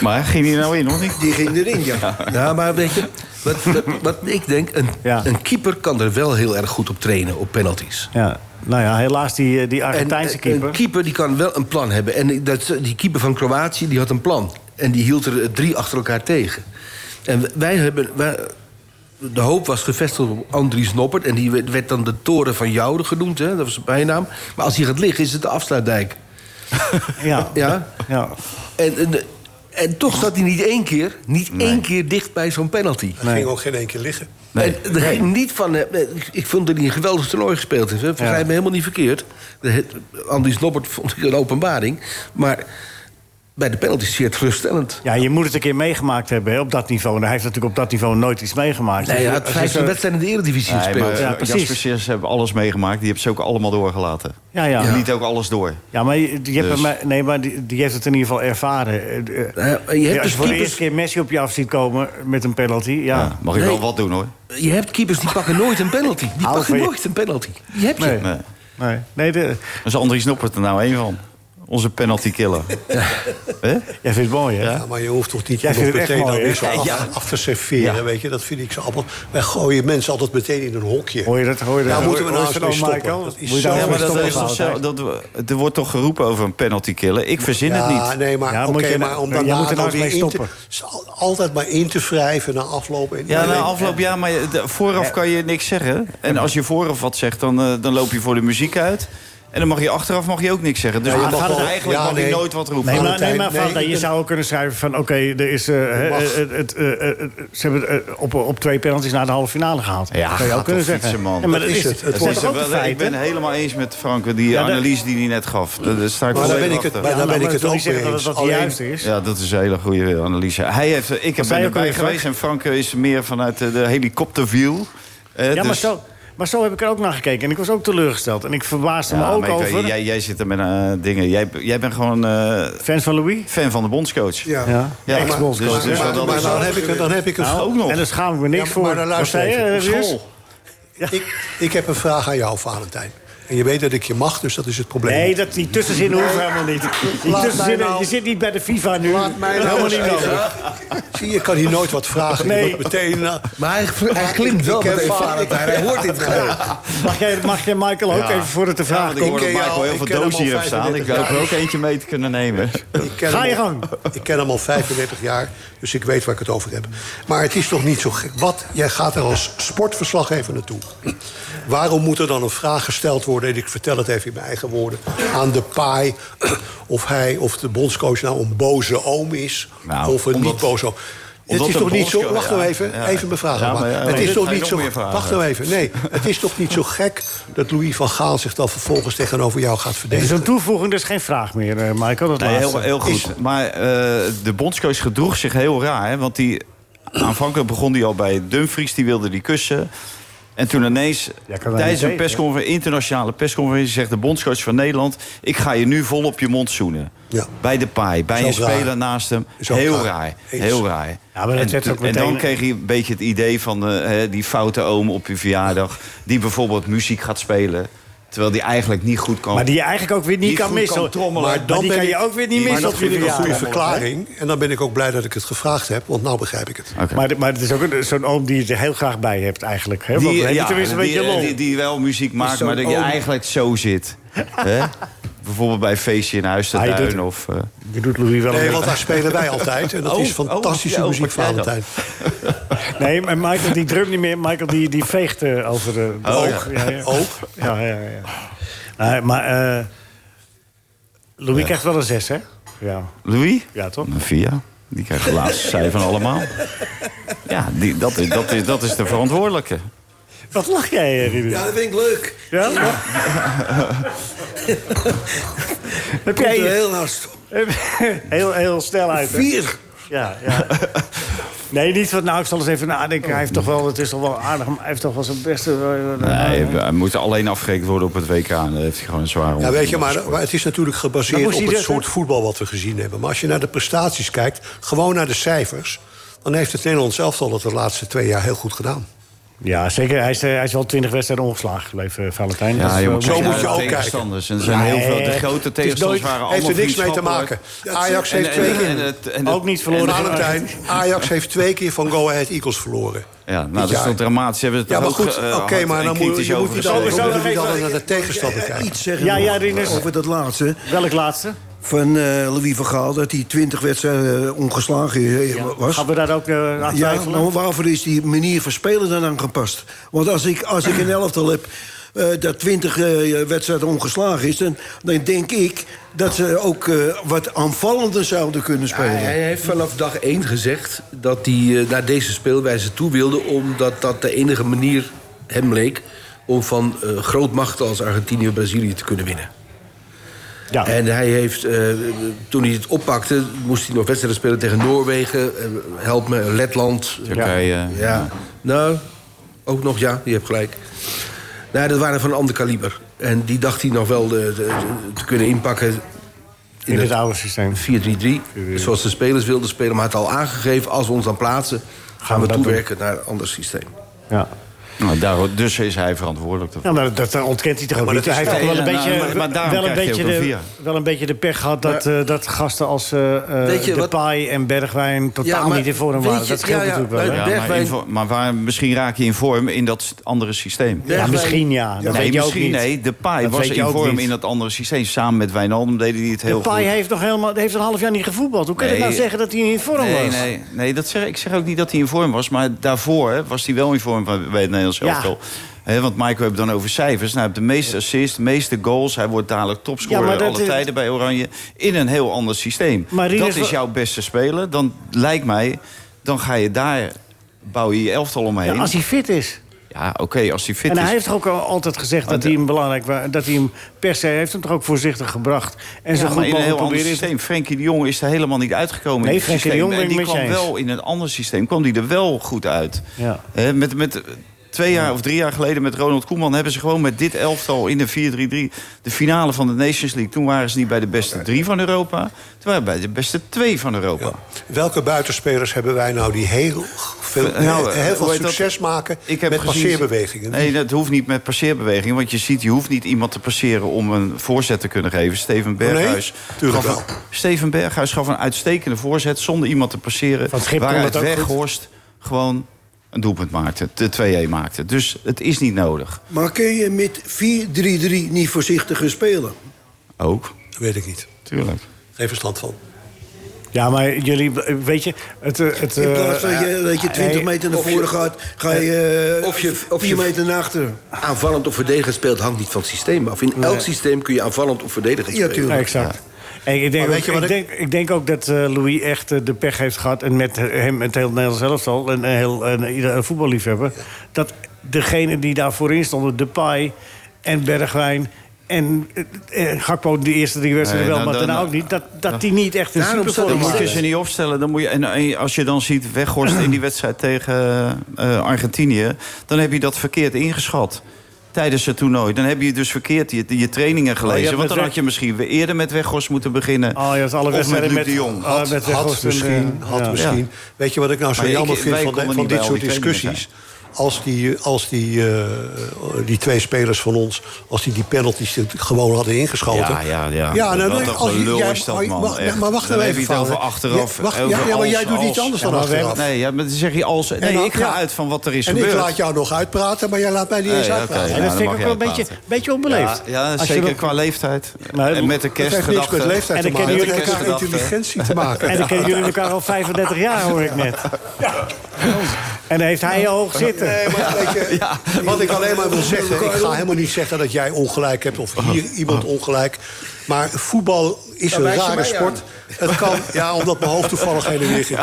*laughs* Maar ging die nou in, nog niet?
Die ging erin, ja.
Ja, maar weet je, wat, wat, wat ik denk, een, een keeper kan er wel heel erg goed op trainen, op penalties.
Ja, nou ja, helaas die, eh, die Argentijnse
En, eh,
keeper.
Een keeper die kan wel een plan hebben. En dat, die keeper van Kroatië die had een plan. En die hield er eh, drie achter elkaar tegen. En wij hebben... wij- de hoop was gevestigd op Andries Noppert. En die werd- werd dan de Toren van Joude genoemd. Hè? Dat was zijn bijnaam. Maar als hij gaat liggen, is het de afsluitdijk.
Ja.
ja?
ja.
En, en, en toch zat hij niet één keer, niet één keer dicht bij zo'n penalty.
Dat ging ook geen één keer liggen.
En er ging niet van. eh, Ik, ik vond dat hij een geweldig toernooi gespeeld heeft. hè. Vergrijp me helemaal niet verkeerd. De, het, Andries Noppert vond ik een openbaring. Maar bij de penalties zeer geruststellend.
Ja, je moet het een keer meegemaakt hebben hè, op dat niveau. En hij heeft natuurlijk op dat niveau nooit iets meegemaakt.
Nee, hij
Dus
had
als je
15
zo-
wedstrijden in de Eredivisie
*laughs* Nee,
gespeeld.
maar,
Ja,
ja,
precies.
precies. hebben alles meegemaakt. Die hebben ze ook allemaal doorgelaten.
Ja, ja.
Die liet ook alles door.
Ja, maar, je, je hebt
Dus.
hem, eh, nee, maar die, die heeft het in ieder geval ervaren. Eh, eh,
je hebt
als
dus
je voor de
keepers-
eerste keer Messi op je af ziet komen met een penalty... Ja.
Ja, mag ik
Nee.
wel wat doen, hoor.
Je hebt keepers die pakken nooit een penalty. Die
Hou
pakken
van je-
nooit een penalty. Die heb je.
Nee.
Nee.
Nee, nee de,
Daar is Andries Noppert er nou één van. Onze penalty
*laughs*
killer. Hè?
jij vindt het mooi, hè?
Ja, maar je hoeft toch niet
Jij
nog
vindt het echt
meteen dan
mooi, hè?
weer zo af,
Ja.
af te serveren,
Ja.
weet je. Dat vind ik zo appel. Wij gooien mensen altijd meteen in een hokje.
Hoor je dat? Hoor je dat?
Daar moeten we
Hoor je
nou
dat
eens mee
dan,
stoppen.
Michael?
Dat
Moet
is
je daar
zo
Ja,
Ja,
maar
maar dat
dat
is
is toch zo-
er wordt toch geroepen over een penalty killer? Ik verzin het
Ja,
niet.
nee, maar,
Ja,
oké,
moet je nou-
maar om
ja, je moet
daarna
er nou
dan
eens
weer
mee
in te,
stoppen.
is al- altijd maar in te wrijven na afloop. En
Ja, na
iedereen-
afloop ja, maar je- de- vooraf kan je niks zeggen. En als je vooraf wat zegt, dan, eh, dan loop je voor de muziek uit. En dan mag je achteraf mag je ook niks zeggen. Dus
Ja, je
dan
mag
mag
wel-
eigenlijk
ja,
mag je
nee.
nooit wat roepen.
Nee, maar, nee,
Valentijn,
maar
nee,
Valentijn, je
ik-
zou ook kunnen schrijven van... oké, er is, eh, hè,
mag.
het, het, eh, eh, het- ze hebben het, eh, op, op twee penalties naar de halve finale gehaald. dat
Ja,
zou je
ga
ook kunnen
toch
zeggen.
fietsen, man.
Ja, maar
Dat
dat
is
is,
het. Het
dat zijn
is
toch ook de
ik
feiten?
ben helemaal eens met Frank, die
Ja, dat-
analyse die hij net gaf. Daar daar sta ik
Maar daar ben
volledig
ik het,
achter.
maar daar
Ja,
ben ik
maar
het
dat wil
ook
niet zeggen
mee
dat
eens.
het dat
Alleen-
juiste is.
Ja, dat is een hele goede analyse. Hij heeft, ik heb
zei je
ben
ook
erbij
alweer,
geweest en Frank is meer vanuit de, de helikopterview.
Ja,
Eh,
maar
dus-
zo, maar zo heb ik er ook naar gekeken. En ik was ook teleurgesteld. En ik verbaasde me
Ja,
ook
maar ik weet-
over...
jij, jij zit er met eh, dingen. Jij, jij bent gewoon eh,
Fans van Louis?
fan van de bondscoach.
Ja.
Ja,
Ja,
ex
maar- dus- dus
Maar,
dat-
maar dan heb ik, dan heb ik een
Nou,
ook nog.
En daar schaam ik me niks
Ja,
voor.
maar dan luister
Wat zei je,
even.
Rinus?
School. Ik, ik heb een vraag aan jou, Valentijn. En je weet dat ik je mag, dus dat is het probleem.
Nee, dat, die tussenzinnen hoeven helemaal niet. Die
Laat
tussenzinnen,
mij nou-
je zit niet bij de FIFA nu.
Nou,
helemaal
eens
niet
even.
nodig.
Zie je, je kan hier nooit wat vragen. Je
Nee.
wordt meteen... eh,
Maar hij, hij klimt wel
Ik heb
meteen
vaak-
Valentijn. Hij hoort dit gewoon.
Mag jij, mag jij Michael ook
Ja.
even voor het te
Ja,
vragen
want ik hoorde
ken jou
Michael
al-
heel
ik
veel
ken hem
dozen
al
hier hebben staan. Ik
35
hoop er
jaar.
ook eentje mee te kunnen nemen.
Ik ken
Ga
hem
je
al-
gang.
Ik ken hem al 35 jaar, dus ik weet waar ik het over heb. Maar het is toch niet zo gek. Wat, jij gaat er als sportverslaggever naartoe. Waarom moet er dan een vraag gesteld worden... en ik vertel het even in mijn eigen woorden... aan de paai of hij of de bondscoach nou een boze oom is...
Nou,
of een
omdat-
niet boze oom. Het
omdat
is
een
toch niet zo...
bondscoach-
Wacht nou
ja,
even,
ja.
even mijn vraag.
Ja,
maar
maar ja,
het
nee,
is
dit
toch
ga je
niet
nog
zo...
meer vragen.
Wacht nou even, nee. Het is toch niet zo gek dat Louis van Gaal zich dan vervolgens tegenover jou gaat
Het is
verdedigen?
een toevoeging, dus geen vraag meer, eh, Michael. Dat
Nee, heel,
laatste.
heel goed.
Is-
Maar eh, de bondscoach gedroeg zich heel raar. Hè? Want die, aanvankelijk begon hij al bij Dumfries. Die wilde die kussen. En toen ineens,
Ja, kan daar niet
tijdens een
tegen,
persconferentie, internationale persconferentie... zegt de bondscoach van Nederland... ik ga je nu vol op je mond zoenen.
Ja.
Bij de paai, bij
Is
een
ook raar.
speler naast hem.
Is ook
Heel raar.
raar. Eens.
Heel raar.
Ja, maar dat
en,
werd ook
toen- en dan
meteen-
kreeg hij een beetje het idee van eh, hè, die foute oom op je verjaardag... die bijvoorbeeld muziek gaat spelen... terwijl die eigenlijk niet goed kan
Maar die je eigenlijk ook weer niet,
Niet
kan
goed
missen.
kan trommelen.
Maar dan
Maar dan
die
ben
kan je
ik-
ook weer niet
Maar
missen
dat
op je
vind ik een
Een goede
verjaardag.
verklaring. En dan ben ik ook blij dat ik het gevraagd heb, want nou begrijp ik het.
Maar, maar het is ook een- zo'n oom die je er heel graag bij hebt eigenlijk. Hè? Want
Die,
dan heb je
ja,
tenminste een
die- eh,
beetje lol.
Die, die wel muziek maakt,
zo'n
maar dat je
oh.
oom.
eigenlijk zo zit.
*laughs*
Hè? Bijvoorbeeld bij een feestje in huis te
Hij
Duin
doet-
of... eh,
Die doet Louis wel
Nee,
een
want daar spelen wij altijd. En dat
Oh,
is fantastische
oh, ja,
muziek,
oh, maar jij
Valentijn.
beetje. Nee, maar Michael die drumt niet meer. Michael die, die veegt eh, over de, de
Oh,
oog. Ja, ja. Ja, ja, ja. Nee, maar eh, Louis krijgt wel een zes, hè? Ja,
Louis?
ja toch?
Een via. Die krijgt de laatste cijfer van allemaal. Ja, die, dat, is, dat, is, dat is de verantwoordelijke.
Wat lach jij, eh, Rinus?
Ja, dat vind ik leuk.
Ja?
*laughs*
Heb
Komt er
jij je-
heel hard op.
*laughs* heel, heel snel uit. hè?
Vier.
Ja, ja. Nee, niet van, nou, ik zal eens even nadenken. Hij heeft toch wel, het is toch wel aardig, maar hij heeft toch wel zijn beste...
Nee, hij moet alleen afgerekend worden op het WK. En dan heeft hij gewoon een zware
Ja, weet je,
onder-
maar, maar het is natuurlijk
Maar
gebaseerd
moest
op
hij
het
dat-
soort voetbal wat we gezien hebben. Maar als je naar de prestaties kijkt, gewoon naar de cijfers... dan heeft het Nederlands elftal het de laatste twee jaar heel goed gedaan.
Ja, zeker. Hij is, eh, hij is wel twintig wedstrijden ongeslagen gebleven, eh, Valentijn. Dat
Ja,
is,
jongen,
eh,
zo
moet
moet
je
je
naar
ook
de
kijken.
tegenstanders. En er zijn heel veel, de grote tegenstanders waren allemaal
heeft er niks mee te maken.
vriendschappelijk.
Ajax
En-
heeft
en-
twee
en- en
keer...
het- en het- en-
Valentijn, Ajax heeft twee keer van Go Ahead Eagles verloren.
Ja, nou,
Dit
dat is
jaar.
toch dramatisch. Ze hebben het
Ja, maar
toch
goed,
ook, eh,
oké,
hard
maar
en
dan moet
kritisch
je moet
over
niet alleen
gesproken.
moet je niet
Zo,
alleen
even-
naar de tegenstander
Ja,
kijken.
iets zeggen
Ja,
nog
ja, Rinus.
over dat laatste
Welk laatste?
van eh, Louis van Gaal... dat hij 20 wedstrijden eh, ongeslagen eh, was.
Gaan we daar ook eh aan
Ja,
twijfelen?
maar waarvoor is die manier van spelen dan aangepast? Want als ik, als ik een elftal heb eh, dat 20 eh, wedstrijden ongeslagen is... Dan, dan denk ik dat ze ook eh, wat aanvallender zouden kunnen
Ja,
spelen.
hij heeft vanaf dag 1 gezegd dat hij eh, naar deze speelwijze toe wilde... omdat dat de enige manier hem leek om van eh, grootmachten als Argentinië en Brazilië te kunnen winnen.
Ja.
En hij heeft, eh, toen hij het oppakte, moest hij nog wedstrijden spelen tegen Noorwegen. eh, help me, Letland.
Turkije.
Ja. nou, ook nog ja, je hebt gelijk. Nou, dat waren van een ander kaliber. En die dacht hij nog wel eh, de- de- de- te kunnen inpakken
In het oude systeem.
4-3-3, zoals de spelers wilden spelen. Maar het al aangegeven, als we ons dan plaatsen... gaan we
dat
toewerken naar een ander systeem.
Ja.
Nou, daar, dus is hij verantwoordelijk daarvoor.
Ja, maar dat eh, ontkent hij toch ook
maar
niet.
dat
Hij
is
heeft ook
toch-
wel een
Nee, nou,
beetje,
maar- maar daarom
wel een
krijg je
beetje,
ook een
de,
vier.
wel een beetje de pech gehad... dat, eh, dat gasten als eh eh
Weet je wat-
Depay en Bergwijn totaal
maar
niet in vorm
weet
waren.
je-
dat scheelt
ja, ja,
natuurlijk wel.
bij
hè?
Ja, maar,
Bergwijn-
in vo- maar waar, misschien raak je in vorm in dat andere systeem.
Ja,
Bergwijn-
misschien ja. Dat
nee,
weet je ook
misschien
niet.
nee. Depay
Dat
was
weet je
in
ook
vorm
niet.
in dat andere systeem. Samen met Wijnaldum deden die het heel
Depay
goed.
heeft nog helemaal, heeft een half jaar niet gevoetbald. Hoe kan je
Nee.
nou zeggen dat hij niet in vorm
Nee,
was?
nee, nee dat zeg, ik zeg ook niet dat hij in vorm was. Maar daarvoor hè, was hij wel in vorm bij bij het Nederlands
Ja.
elftal. Hè, want Michael heeft het dan over cijfers. Nou, hij heeft de meeste assists, de meeste goals. Hij wordt dadelijk
Ja,
topscorer
maar dat
alle
is-
tijden bij Oranje. In een heel ander systeem.
Maar Rinus,
dat is
wa-
jouw beste speler. Dan lijkt mij, dan ga je daar... Bouw je je elftal omheen.
Ja, als hij fit is.
Ja, oké, als hij
en
fit is. Oh,
hij heeft toch ook al- altijd gezegd dat
Want,
hij hem belangrijk was. Dat hij hem per se hij heeft hem toch ook voorzichtig gebracht. En zo goed
Ja, maar in een
mogelijk
heel ander
proberen. is-
systeem. Frenkie de Jong is er helemaal niet uitgekomen
Nee,
in het
Frenkie de
systeem.
Jong ben
en
ik met
die
je
kwam
eens.
wel in een ander systeem. Kwam die er wel goed uit.
Ja.
Hè, met, met twee jaar of drie jaar geleden met Ronald Koeman... hebben ze gewoon met dit elftal in de 4-3-3... de finale van de Nations League. Toen waren ze niet bij de beste drie van Europa. Toen waren ze bij de beste twee van Europa.
Welke buitenspelers hebben wij nou die heel veel,
Eh, nou,
heel
hoe
veel
heet dat?
succes maken
Ik heb
met
gezien-
passeerbewegingen?
Nee, dat hoeft niet met passeerbewegingen. Want je ziet, je hoeft niet iemand te passeren om een voorzet te kunnen geven. Steven Berghuis,
tuurlijk
gaf,
wel.
een- Steven Berghuis gaf een uitstekende voorzet zonder iemand te passeren.
Van Schip kon
waaruit
dat ook goed.
Weghorst gewoon een doelpunt maakte. De 2-1 maakte. Dus het is niet nodig.
Maar kun je met 4-3-3 niet voorzichtiger spelen?
Ook,
Weet ik niet.
tuurlijk.
Geen verstand van.
Ja, maar jullie, weet je... Het, eh, het,
In plaats van
eh,
je, dat je 20
hij-
meter naar
of je- eh,
voren gaat, ga je,
of je- of
4
je-
meter naar achteren.
Aanvallend of verdedigend speelt hangt niet van het systeem af. In elk systeem kun je aanvallend of verdedigend
Ja,
spelen.
tuurlijk.
Ja, exact. En ik, denk
Maar
ook,
weet je
ik,
wat
denk, ik denk ook dat eh, Louis echt eh, de pech heeft gehad... en met eh, hem het heel Nederlands elftal en eh, heel en ieder voetballiefhebber... dat degene die daar voorin stonden, Depay en Bergwijn... en eh, eh, Gakpo de eerste drie wedstrijden
Nee, nou,
wel,
dan-
maar daarna
dan-
ook niet... dat, dat die niet echt in
Daarom
supervorm
staat
Dan
was.
het
moet je
Opstellen.
ze niet opstellen. Dan moet je, en, en als je dan ziet Weghorst in die wedstrijd tegen eh, Argentinië... dan heb je dat verkeerd ingeschat tijdens het toernooi. Dan heb je dus verkeerd je, je trainingen
Oh, je
gelezen.
hebt met
Want dan had
Weg-
je misschien weer eerder met Weghorst moeten beginnen.
Oh, je had alle
Of
wedstrijden
met
met,
Luc de Jong.
oh,
Had,
met
had
Weghorst en,
misschien,
eh,
had
ja.
misschien.
Ja.
Weet je wat ik nou zo
Maar ik-
jammer
wij
vind van, de-
konden
van
niet
dit
bij
soort
al die trainingen
discussies? Als die, als die, eh, die twee spelers van ons, als die die penalties er gewoon hadden ingeschoten.
Ja, ja, ja.
nou,
Wat
dan-
een gelul
jij- oh,
is dat,
maar-
man,
Maar,
echt.
maar wacht
Dan
nou
heb
even.
je het over
Vader.
achteraf,
Ja, wacht,
over
ja, ja, maar
als,
jij doet iets
als.
anders
Ja,
dan
maar
achteraf.
Nee, ja, maar dan zeg je als... Nee,
En dan-
ik ga
ja.
uit van wat er is
en
gebeurd.
ik laat jou nog uitpraten, maar jij laat mij niet eens
Nee, oké.
uitpraten.
En
Ja,
dat
dan
vind ik
mag
ook
jij
wel een
praten.
beetje, beetje onbeleefd.
Ja, ja,
Als je
zeker
dat-
qua leeftijd.
Maar-
en met de
Dat heeft niks
kerstgedachte.
met
En
leeftijd te
dan
maken.
kennen
Het
jullie
heeft met
elkaar
intelligentie
*laughs*
te maken.
En
*laughs*
dan kennen jullie elkaar al 35 jaar, hoor ik net. En dan heeft hij al hoog zitten.
Nee, maar weet je, wat ik alleen maar wil zeggen... ik ga helemaal niet zeggen dat jij ongelijk hebt of hier iemand ongelijk. Maar voetbal is
Dan
een
wijs je
rare
mij
sport. Het
*laughs*
kan, ja, omdat mijn hoofd toevallig heen en weer ging.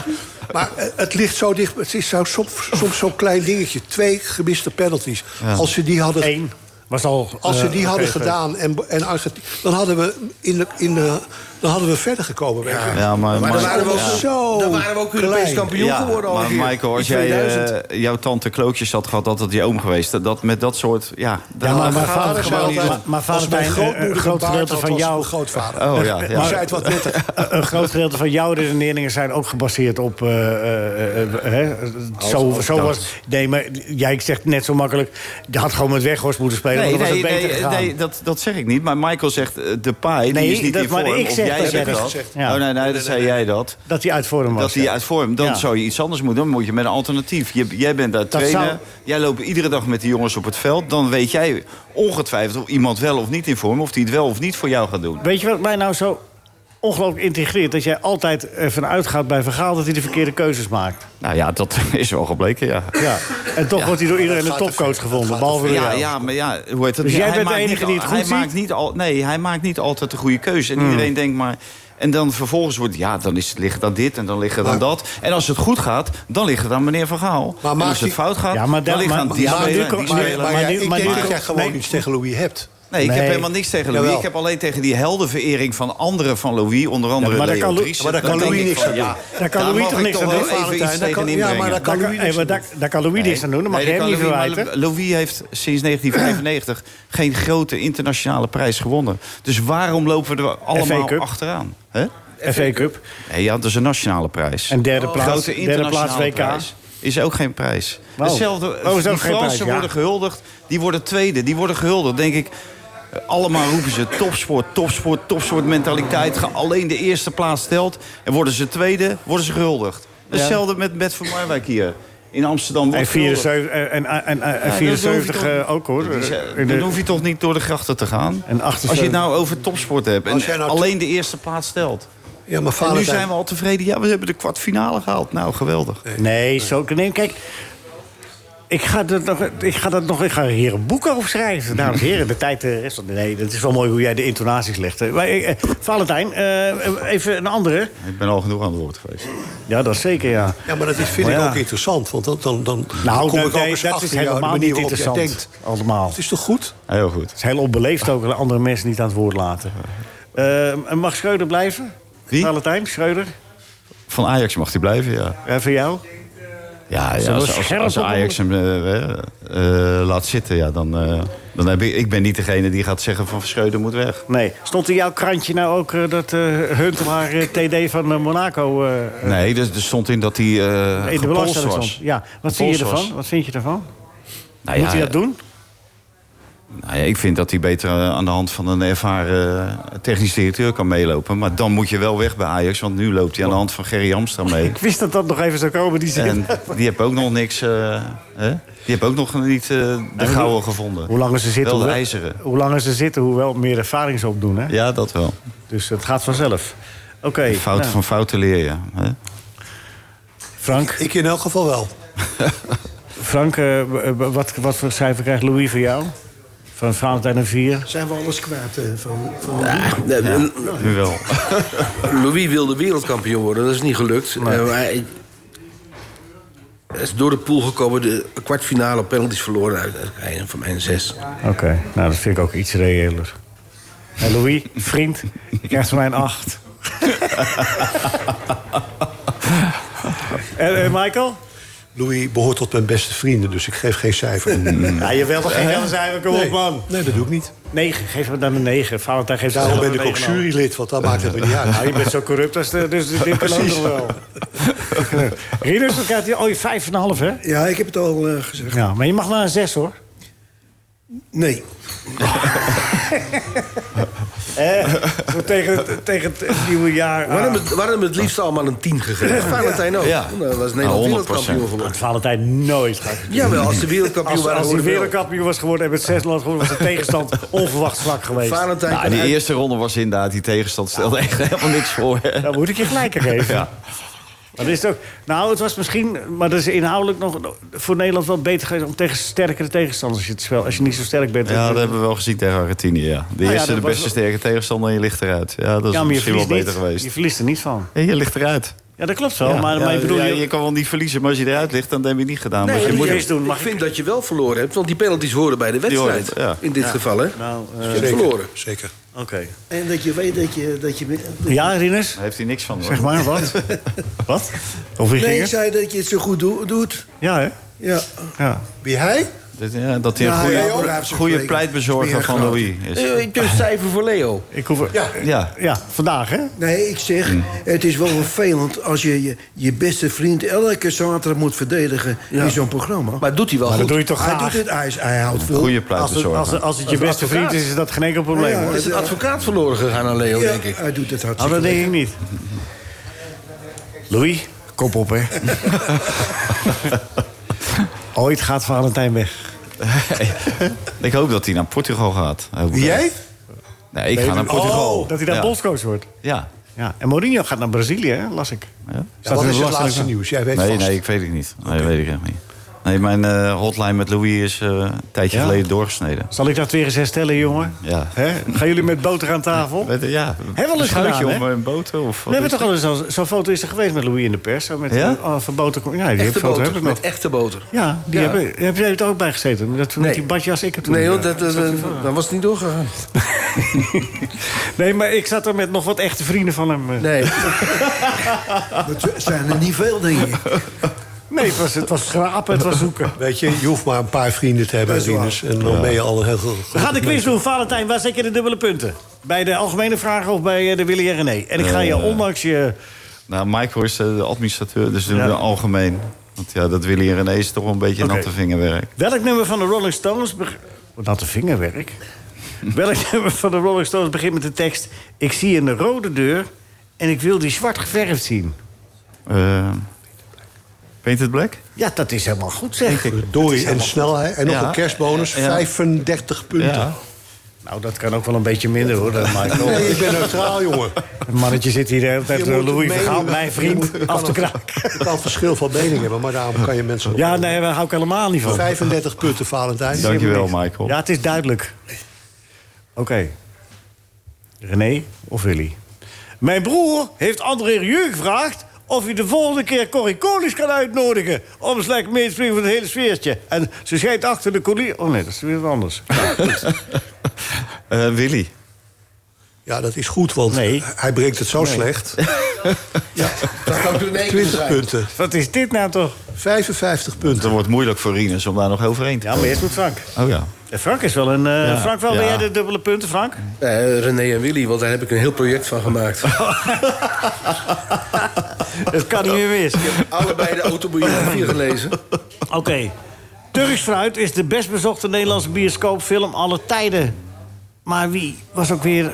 Maar eh, het ligt zo dicht. Het is zo, soms, soms zo'n klein dingetje. Twee gemiste penalties.
Ja.
Als ze die hadden...
Eén. Was al,
Als ze
eh,
die hadden
oké,
gedaan en, en Argentinië... Dan hadden we, in de, in de, dan hadden we verder gekomen. weet je.
Ja, maar-
dan
maar-
waren we ook
ja.
zo
Dan waren we ook Europees
klein.
kampioen
Ja,
geworden al
maar
hier.
Michael, als
In
jij
2000.
eh, jouw tante klootjes had gehad, had dat je oom geweest. Dat, dat met dat soort, ja,
Ja, maar mijn
gaat
vader
het
zei
gewoon
altijd...
niet.
Maar, maar vader
Als mijn
zei, eh,
grootmoeder
een groot
een baard
gedeelte
had,
van
was
jouw...
mijn grootvader.
Oh, ja, ja.
Die zei het wat netter.
Een groot gedeelte van jouw redeneringen zijn ook gebaseerd op... eh, eh, eh, hè, zo,
als
zo
dat.
was... Nee, maar jij zegt net zo makkelijk... Je had gewoon met Weghorst moeten spelen,
Nee,
want dan
nee,
was het beter
nee,
gegaan.
nee, dat, dat zeg ik niet. Maar Michael zegt, eh, de paai,
Nee,
die is niet
dat-
in
maar
vorm.
ik zeg
of
dat,
jij zegt
jij
dat.
dat zegt. Ja.
Oh, nee, nee, dat zei jij dat.
Dat hij uit vorm was.
Dat hij
ja.
uit vorm, dan
Ja.
zou je iets anders moeten doen. Dan moet je met een alternatief. Je- jij bent daar
Dat
trainer.
zou-
Jij loopt iedere dag met die jongens op het veld. Dan weet jij ongetwijfeld of iemand wel of niet in vorm... of die het wel of niet voor jou gaat doen.
Weet je wat mij nou zo ongelooflijk integreert? Dat jij altijd ervan uitgaat bij Vergaal dat hij de verkeerde keuzes maakt.
Nou ja, dat *laughs* is wel gebleken, ja.
Ja. En toch wordt hij door iedereen
dat
een
gaat te
topcoach
ver.
gevonden.
Dat
Behalve
gaat
door
Ja,
jou.
ja, maar ja, hoe heet dat?
Dus
Ja,
jij
hij
bent de
maakt
enige
niet
die het
al-
goed
hij
ziet? Hmm.
Maakt niet al, nee, hij maakt niet altijd de goede keuze. En iedereen denkt maar... En dan vervolgens wordt, ja, dan is, ligt dan dit en dan ligt dan
Maar-
dat. En als het goed gaat, dan ligt het aan meneer Van Gaal.
Maar
en
maakt
als het
die-
fout gaat,
Ja, maar
dan
daar-
ligt het aan
maar-
die
maar
speler,
nu
die
kan-
Maar,
speler.
maar
Maar
ja,
nu-
ik
maar
denk
nu-
dat jij gewoon
nee.
iets tegen Louis hebt.
Nee, ik heb
Nee.
helemaal niks tegen Louis.
Jawel.
Ik heb alleen tegen die heldenverering van anderen van Louis. Onder andere
Ja, maar daar
Leo
kan Lou-
Driessen.
maar daar
Dan
kan
denk
Louis
ik
niks
van,
aan
ja,
Daar kan Louis
mag
toch
ik
niks aan
wel
doen?
even
Valentijn,
iets
daar
tegen
kan-
inbrengen.
ja, maar daar
Daar
kan
kan,
Louis
hey,
niks
maar daar, daar kan Louis niks aan doen, dat mag
Nee,
jij hem niet
dat kan Louis,
verwijten.
maar Louis heeft sinds 1995 geen grote internationale prijs gewonnen. Dus waarom lopen we er allemaal
Cup.
achteraan? Hè?
FA Cup.
Nee, ja, dat is dus een nationale prijs.
En derde
Een
plaats,
grote
derde plaats
internationale
WK.
prijs is ook geen prijs.
Wow.
Hetzelfde,
Oh, is ook
die
geen
Fransen
prijs, ja.
worden gehuldigd, die worden tweede, die worden gehuldigd. Denk ik, eh, allemaal roepen ze topsport, topsport, topsport mentaliteit. Ga- Alleen de eerste plaats telt en worden ze tweede, worden ze gehuldigd. Hetzelfde met, met Van Marwijk hier. In Amsterdam
En
wordt gehuldigd.
74, eh, en, en, en, en
Ja, dat hoef je
74
toch-
eh, ook hoor.
Dat is, eh,
In de-
Dan hoef je toch niet door de grachten te gaan?
En
Als je
78.
het nou over topsport hebt en
Als jij nou
alleen de eerste plaats stelt.
Ja, maar
En nu
Valentijn-
zijn we al tevreden. Ja, we hebben de kwartfinale gehaald. Nou, geweldig.
Nee, zo nee, kijk. Ik ga, dat nog, ik ga dat nog, ik ga hier een boek over schrijven. Dames en heren, de tijd eh, rest nog. Nee, dat is wel mooi hoe jij de intonaties legt. hè. Maar, eh, eh, Valentijn, eh, even een andere.
Ik ben al genoeg aan het woord geweest.
Ja, dat zeker, ja.
Ja, maar dat is, vind
Maar ja.
ik ook interessant. Want dan, dan, dan
Nou,
kom
dat,
ik ook
nee,
eens
dat
achter
is
jou, de
helemaal
manier
niet
waarop jij
interessant.
denkt.
Allemaal.
Het is toch goed?
Heel goed.
Het is heel onbeleefd ook dat andere mensen niet aan het woord laten. Eh, en mag Schreuder blijven?
Wie?
Valentijn, Schreuder?
Van Ajax mag hij blijven, ja.
Eh, voor jou?
Ja, ja
Zullen we
als, als,
scherp
als
op
Ajax hem eh, eh, eh, laat zitten, ja, dan, eh, dan heb ik... Ik ben niet degene die gaat zeggen van Verscheuder moet weg.
Nee. Stond in jouw krantje nou ook eh, dat eh Huntelaar eh, TD van eh, Monaco... eh,
Nee, dus er, er stond in dat hij eh
in de
gepolst
belangstelling
was.
stond? Ja. Wat zie je
Gepolst was.
ervan? Wat vind je ervan?
Nou
Moet
ja,
hij dat doen?
Nou ja, ik vind dat hij beter eh, aan de hand van een ervaren eh, technisch directeur kan meelopen. Maar dan moet je wel weg bij Ajax, want nu loopt hij aan de hand van Gerry Hamstra mee.
Ik wist dat dat nog even zou komen, die *laughs* zin.
En die hebben ook nog niks. eh, hè? Die hebben ook nog niet eh, de gouden gevonden.
Hoe langer ze zitten,
Wel de
hoe-
ijzeren.
hoe langer ze zitten, hoe wel meer ervaring ze opdoen. Hè?
Ja, dat wel.
Dus het gaat vanzelf. Oké,
Fouten
nou,
van fouten leer je. Hè?
Frank,
Ik in elk geval wel.
Frank eh, w- w- wat, wat voor cijfer krijgt Louis voor jou? Van Valentijn een 4?
Zijn we alles kwijt eh, van, van
Nee,
Nu wel.
Louis wilde wereldkampioen worden, dat is niet gelukt. Eh, maar hij hij is door de pool gekomen, de kwartfinale penalties verloren. Uit, uit- van mijn zes.
Oké, nou dat vind ik ook iets reëler. En Eh, Louis, vriend, je krijgt van mij een *laughs* 8. en, eh, Michael?
Louis behoort tot mijn beste vrienden, dus ik geef geen cijfer. Nee.
Ja, je wilt toch geen helder cijfer? Mm. Kom op, man.
Nee, dat doe ik niet.
9, Eh, geef hem dan een 9. Valentijn geeft
Daarom
zichzelf
ben ik
een
ook
9,5.
jurylid, want dat maakt het me niet uit.
Nou, je bent zo corrupt als de, dus dit kan ook nog wel. *laughs* Rieders, dan krijgt hij al je vijf en een half, hè?
Ja, ik heb het al eh, gezegd.
Ja, maar je mag naar een zes, hoor.
Nee.
Eh, *laughs* zo tegen, het, tegen het nieuwe jaar.
Waarom
aan.
het, waarom het liefst allemaal een 10 gegeven? Valentijn ook.
Ja.
Nou, Dan was
Nou,
Nederland
100%.
wereldkampioen
Dat
geworden.
Valentijn nooit gaat.
Jawel, als de wereldkampioen
Als,
waren
als hij
geworden, wel.
wereldkampioen was geworden en met zes land geworden... was de tegenstand onverwacht zwak geweest.
Valentijn
Nou,
kan
die
uit-
eerste ronde was inderdaad, die tegenstand stelde echt helemaal niks voor.
Daar moet ik je gelijk aan geven.
Ja.
Maar dat is ook, nou, het was misschien, maar dat is inhoudelijk nog voor Nederland wel beter geweest om tegen sterkere tegenstanders als je het spel, als je niet zo sterk bent.
Ja, dat hebben we wel gezien tegen Argentinië. Nou Ja. De
ja,
eerste,
dat
de
was
beste
wel-
sterke tegenstander en je ligt eruit. Ja, dat is
Ja, maar je
misschien wel
verliest,
beter
niet,
geweest.
je verliest er niet van.
En je ligt eruit.
Ja, dat klopt wel.
Ja,
maar,
ja,
maar ik bedoel,
ja,
je-
je kan wel niet verliezen, maar als je eruit ligt, dan heb je het niet gedaan.
Nee,
want je
ik-
moet
ik, ik vind dat je wel verloren hebt, want die penalties horen bij de
Die horen,
wedstrijd.
ja.
In dit
Ja.
geval, hè?
Nou,
Dus je hebt verloren.
Zeker.
Oké.
En dat je weet dat je... Dat je
Ja, Rinus?
Daar heeft hij niks van. Hoor.
Zeg
*laughs*
maar, wat? wat? Of wie
nee,
ging
ik
het?
zei dat je het zo goed doe- doet.
Ja, hè?
Ja.
Ja.
Wie hij?
Dat, ja, dat hij een
Ja,
goede,
hij ook. Blijft zich
goede
spreken.
pleitbezorger
Smerig
van
groot.
Louis is.
Ik dus cijfer voor Leo.
Ik hoef...
Ja.
Ja.
Ja, vandaag, hè?
Nee, ik zeg, het is wel vervelend als je je, je beste vriend elke zaterdag moet verdedigen in zo'n programma.
Maar doet hij wel
Maar dat
goed.
doe je toch
hij
graag?
Doet het, hij, is- hij houdt vol.
Als
Goede
het, als,
pleitbezorger.
het- als het je
Als
beste
advocaat.
vriend is, is dat geen enkel probleem.
Ja,
hoor.
Is het
Ja.
advocaat verloren gegaan aan Leo,
Ja,
denk ik?
Hij doet het
Nou,
hartstikke
dat denk ik niet. Louis, kop op, hè? *laughs* Ooit gaat Valentijn weg.
*laughs* Ik hoop dat hij naar Portugal gaat. Hoop ik.
Jij?
Nee, ik ga naar Portugal.
Oh, dat hij daar
ja.
bondscoach wordt.
Ja.
Ja, en Mourinho gaat naar Brazilië, hè? las ik.
ja.
Staat
Wat
in
is
de
het
belasting-
laatste nieuws? Jij weet
Nee,
vast.
nee, ik weet het niet. Nee, dat weet ik echt niet. Nee, mijn eh, hotline met Louis is eh, een tijdje
Ja?
geleden doorgesneden.
Zal ik dat weer eens herstellen, jongen?
Ja.
Hè? Gaan jullie met boter aan tafel?
Weet je, ja.
we al eens
een schuitje
gedaan,
om
hè?
een boter
We
of wat
hebben
is
toch
het?
al eens zo'n- zo'n foto is er geweest met Louis in de pers. Zo met
Ja?
oh, van boter. kom- Ja, die
Echte
foto heb
boter,
ik nog.
met echte boter.
Ja, die
Ja.
Heb, heb jij het ook bij gezeten? Dat,
Nee.
Met die badjas, ik heb toen.
Nee,
eh,
want dat, dat,
zat
dat-
er voor.
dat was het niet doorgegaan.
nee, maar ik zat er met nog wat echte vrienden van hem. eh.
Nee.
*laughs* Dat zijn er niet veel, denk ik.
Nee, het was, het was schrapen, het was zoeken.
Weet je, je hoeft maar een paar vrienden te hebben,
Dat is waar.
Rinus. En dan ben je al een heel goed.
We gaan de quiz doen, Valentijn. Waar zet je de dubbele punten? Bij de algemene vragen of bij eh, de Willy en René? En ik ga je,
Eh.
ondanks je...
Nou, Michael is eh, de administrateur, dus doen we
Ja.
algemeen. Want ja, dat Willy en René is toch wel een beetje
Oké.
natte vingerwerk.
Welk nummer van de Rolling Stones... beg- Wat had de vingerwerk? Welk *laughs* nummer van de Rolling Stones begint met de tekst... Ik zie een rode deur en ik wil die zwart geverfd zien.
Eh Painted Black?
Ja, dat is helemaal goed, zeg.
Doei en snelheid. En nog
Ja.
een kerstbonus,
Ja.
35 punten.
Ja.
Nou, dat kan ook wel een beetje minder, hoor, dat Michael.
Nee, ik ben neutraal, jongen.
Het mannetje zit hier de hele tijd
Je
door
moet
Louis
meningen-
Vergaal, mijn
je
vriend,
moet- je
af te
kan
kraken.
het- Je kan het verschil van mening hebben, maar daarom kan je mensen... op-
Ja, nee, daar hou ik helemaal niet van.
35 punten, Valentijn.
Dankjewel, Michael.
Ja, het is duidelijk. Oké. René of Willy? Mijn broer heeft André Rieu gevraagd... of hij de volgende keer Corrie Konings kan uitnodigen... om slecht mee te springen van het hele sfeertje. En ze schijnt achter de colie... Oh nee, dat is weer wat anders.
Eh, Willy.
Ja, dat is goed, want
Nee.
hij breekt het zo
*laughs*
slecht.
Dat kan toen
20 punten,
Wat is dit nou toch?
55 punten.
Het wordt moeilijk voor Rinus om daar nog overheen te
Ja,
komen.
maar eerst moet Frank.
Oh ja.
Eh, Frank is wel een... eh,
Ja.
Frank, wel ben
Ja.
jij de dubbele punten, *laughs* Frank?
Eh, René en Willy, want daar heb ik een heel project van gemaakt.
Het kan niet meer mis.
Allebei de autobiografie gelezen.
Oké. Turks Fruit is de best bezochte Nederlandse bioscoopfilm aller tijden. Maar wie was ook weer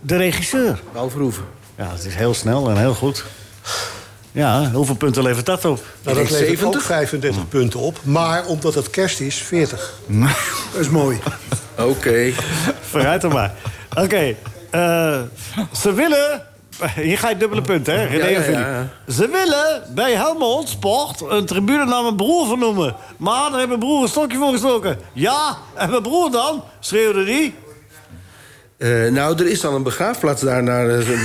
de regisseur?
Al Verhoeven.
Ja, het is heel snel en heel goed. Ja, hoeveel punten levert dat op?
Nou, dat levert
70?
ook
Hm.
35 punten op. Maar omdat het kerst is, 40.
*laughs*
Dat is mooi.
Oké.
Vooruit dan maar. Oké. eh, ze willen... Hier ga je dubbele punten, hè? René
Ja, ja,
en Philip.
ja, ja.
Ze willen bij Helmond Sport een tribune naar mijn broer vernoemen. Maar daar heeft mijn broer een stokje voor gestoken. Ja, en mijn broer dan? Schreeuwde die.
Eh, nou, er is dan een begraafplaats daar naar. eh, zo- Ja,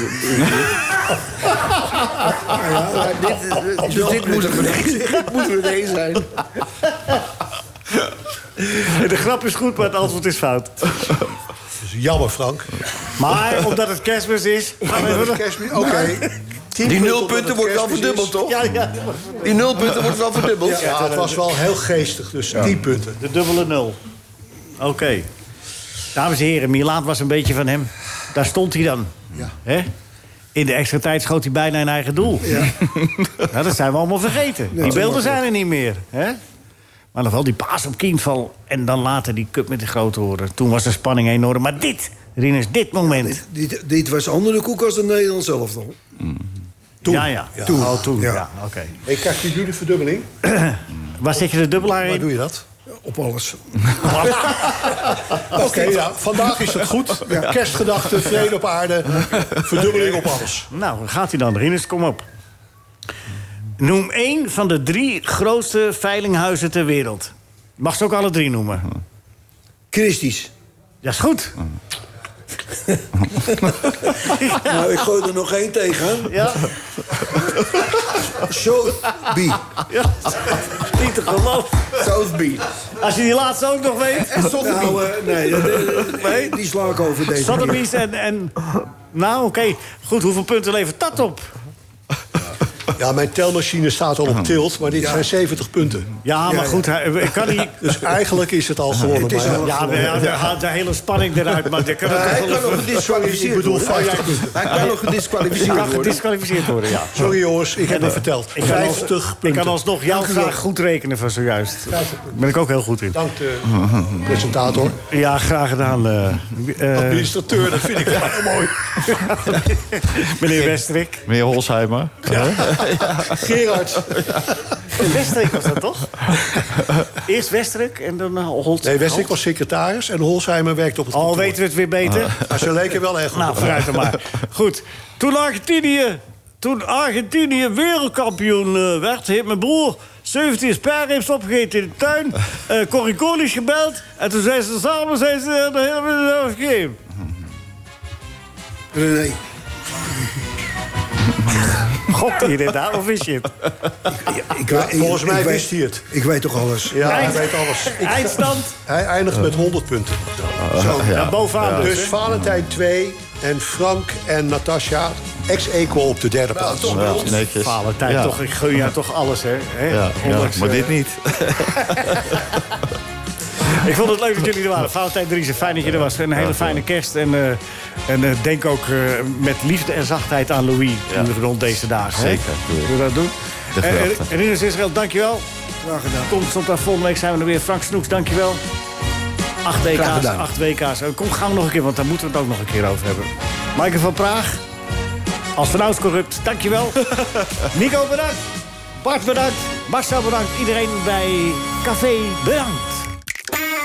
maar dit, eh, dus dit moet René- *laughs* dit moet René zijn.
De grap is goed, maar het antwoord is fout.
Dat is jammer, Frank.
Maar omdat het kerstmis is... gaan we
Omdat
even-
het kerstmis- Oké. 10
Die
punten
nul
omdat
punten
het
wordt wel
kerstmis
verdubbeld,
is.
toch?
Ja, ja,
Die nul punten wordt wel verdubbeld.
Ja, het was wel heel geestig, dus 10 punten.
de dubbele nul. Oké. Dames en heren, Milaan was een beetje van hem. Daar stond hij dan.
Ja.
Hè? In de extra tijd schoot hij bijna een eigen doel. nou, dat zijn we allemaal vergeten. die beelden zijn er niet meer. Hè? Maar nog wel die paas op Kienval. En dan later die cup met de grote horen. Toen was de spanning enorm. Maar dit, Rinus, dit moment.
Dit, dit was andere koek als de Nederlands zelf dan.
Toen. Ja, ja.
Ja.
Toen. Oh, toen. Ja.
Ja.
Oké.
Ik krijg nu de verdubbeling.
Waar zit je de dubbelaar
Waar
in?
doe je dat?
Op
*laughs*
alles.
Oké, ja, vandaag is het goed. Kerstgedachten, vrede op aarde, verdubbeling op alles.
Nou, gaat hij dan. Rinus, kom op. Noem één van de drie grootste veilinghuizen ter wereld. Mag ze ook alle drie noemen.
Christisch.
Ja, is goed.
Nou, ik gooi er nog één tegen.
Ja.
Sotheby.
Ja, niet te geloven.
Sotheby.
Als je die laatste ook nog weet.
En Sotheby. Nou, eh, nee, dat- dat- nee, die sla ik over deze
Sotheby's
keer.
en, en... Nou, oké. Goed, hoeveel punten levert dat op?
Ja, mijn telmachine staat al op tilt, maar dit
Ja.
zijn 70 punten.
Ja, maar goed, hij- ik kan niet-
Dus eigenlijk is het al gewonnen.
Het is
maar-
al- ja, maar ja, daar haalt de hele spanning eruit. Maar dat kan
Ja,
ook
hij
wel
kan
eens-
nog gediskwalificeerd Ik bedoel, worden. 50 punten. Hij kan nog gediskwalificeerd
Hij kan
worden.
gediskwalificeerd worden, ja.
Sorry jongens, ik heb
En,
het
eh,
verteld.
ik kan als-
50
Ik
punten.
kan alsnog jou
Dank u wel.
graag goed rekenen van zojuist. Daar ben ik ook heel goed in.
Dank de presentator.
Ja, graag gedaan. eh eh,
Administrateur, dat vind ik wel *laughs* mooi.
meneer Westrik.
Meneer Holsheimer.
Gerard.
Westrik was dat *laughs* toch? Eerst Westrik en dan eh, Holt.
Nee, Westrik was secretaris en Holsheimer werkt op het
Al weten we het weer beter.
Maar ze leken wel erg goed
Nou,
op
vooruit dan
elkaar.
maar. Goed. Toen Argentinië, toen Argentinië wereldkampioen eh, werd... heeft mijn broer 17 spaarrips opgegeten in de tuin. eh Corricone is gebeld. En toen zijn ze samen zijn ze eh, de hele wereld afgegeven.
René.
Gokt hij dit aan of is je het?
Ik,
Ja,
ik-
*laughs* volgens
ik
mij
weet-
wist hij het.
Ik weet toch alles.
Ja, hij
Eind-
weet alles.
Eindstand?
Hij eindigt met 100 punten. Zo.
Ah, Ja, bovenaan dus,
Dus
hè?
Valentijn 2 en Frank en Natasja ex-equal op de derde plaats.
Ja, netjes.
Valentijn,
Ja.
toch, ik gun jou toch alles, hè? hè?
Ja, ja,
Ondanks,
maar
eh,
dit niet.
*laughs* Ik vond het leuk dat jullie er waren. Valentijn Driessen, fijn dat je er was. Een hele fijne kerst. En, eh, en eh, denk ook eh, met liefde en zachtheid aan Louis rond deze dagen. hè?
Zeker, doe ik.
Zullen we dat doen?
De
En- en-
gedachte.
En Rinus Israël, dankjewel.
Graag gedaan.
Kom, stond daar volgende week zijn we er weer. Frank Snoeks, dankjewel. Acht WK's,
gedaan.
acht WK's. Eh, Kom, gaan we nog een keer, want daar moeten we het ook nog een keer over hebben. Maaike van Praag, als vanouds corrupt,
*laughs*
dankjewel. Nico, bedankt. Bart, bedankt. Marcel, bedankt. Iedereen bij Café, bedankt.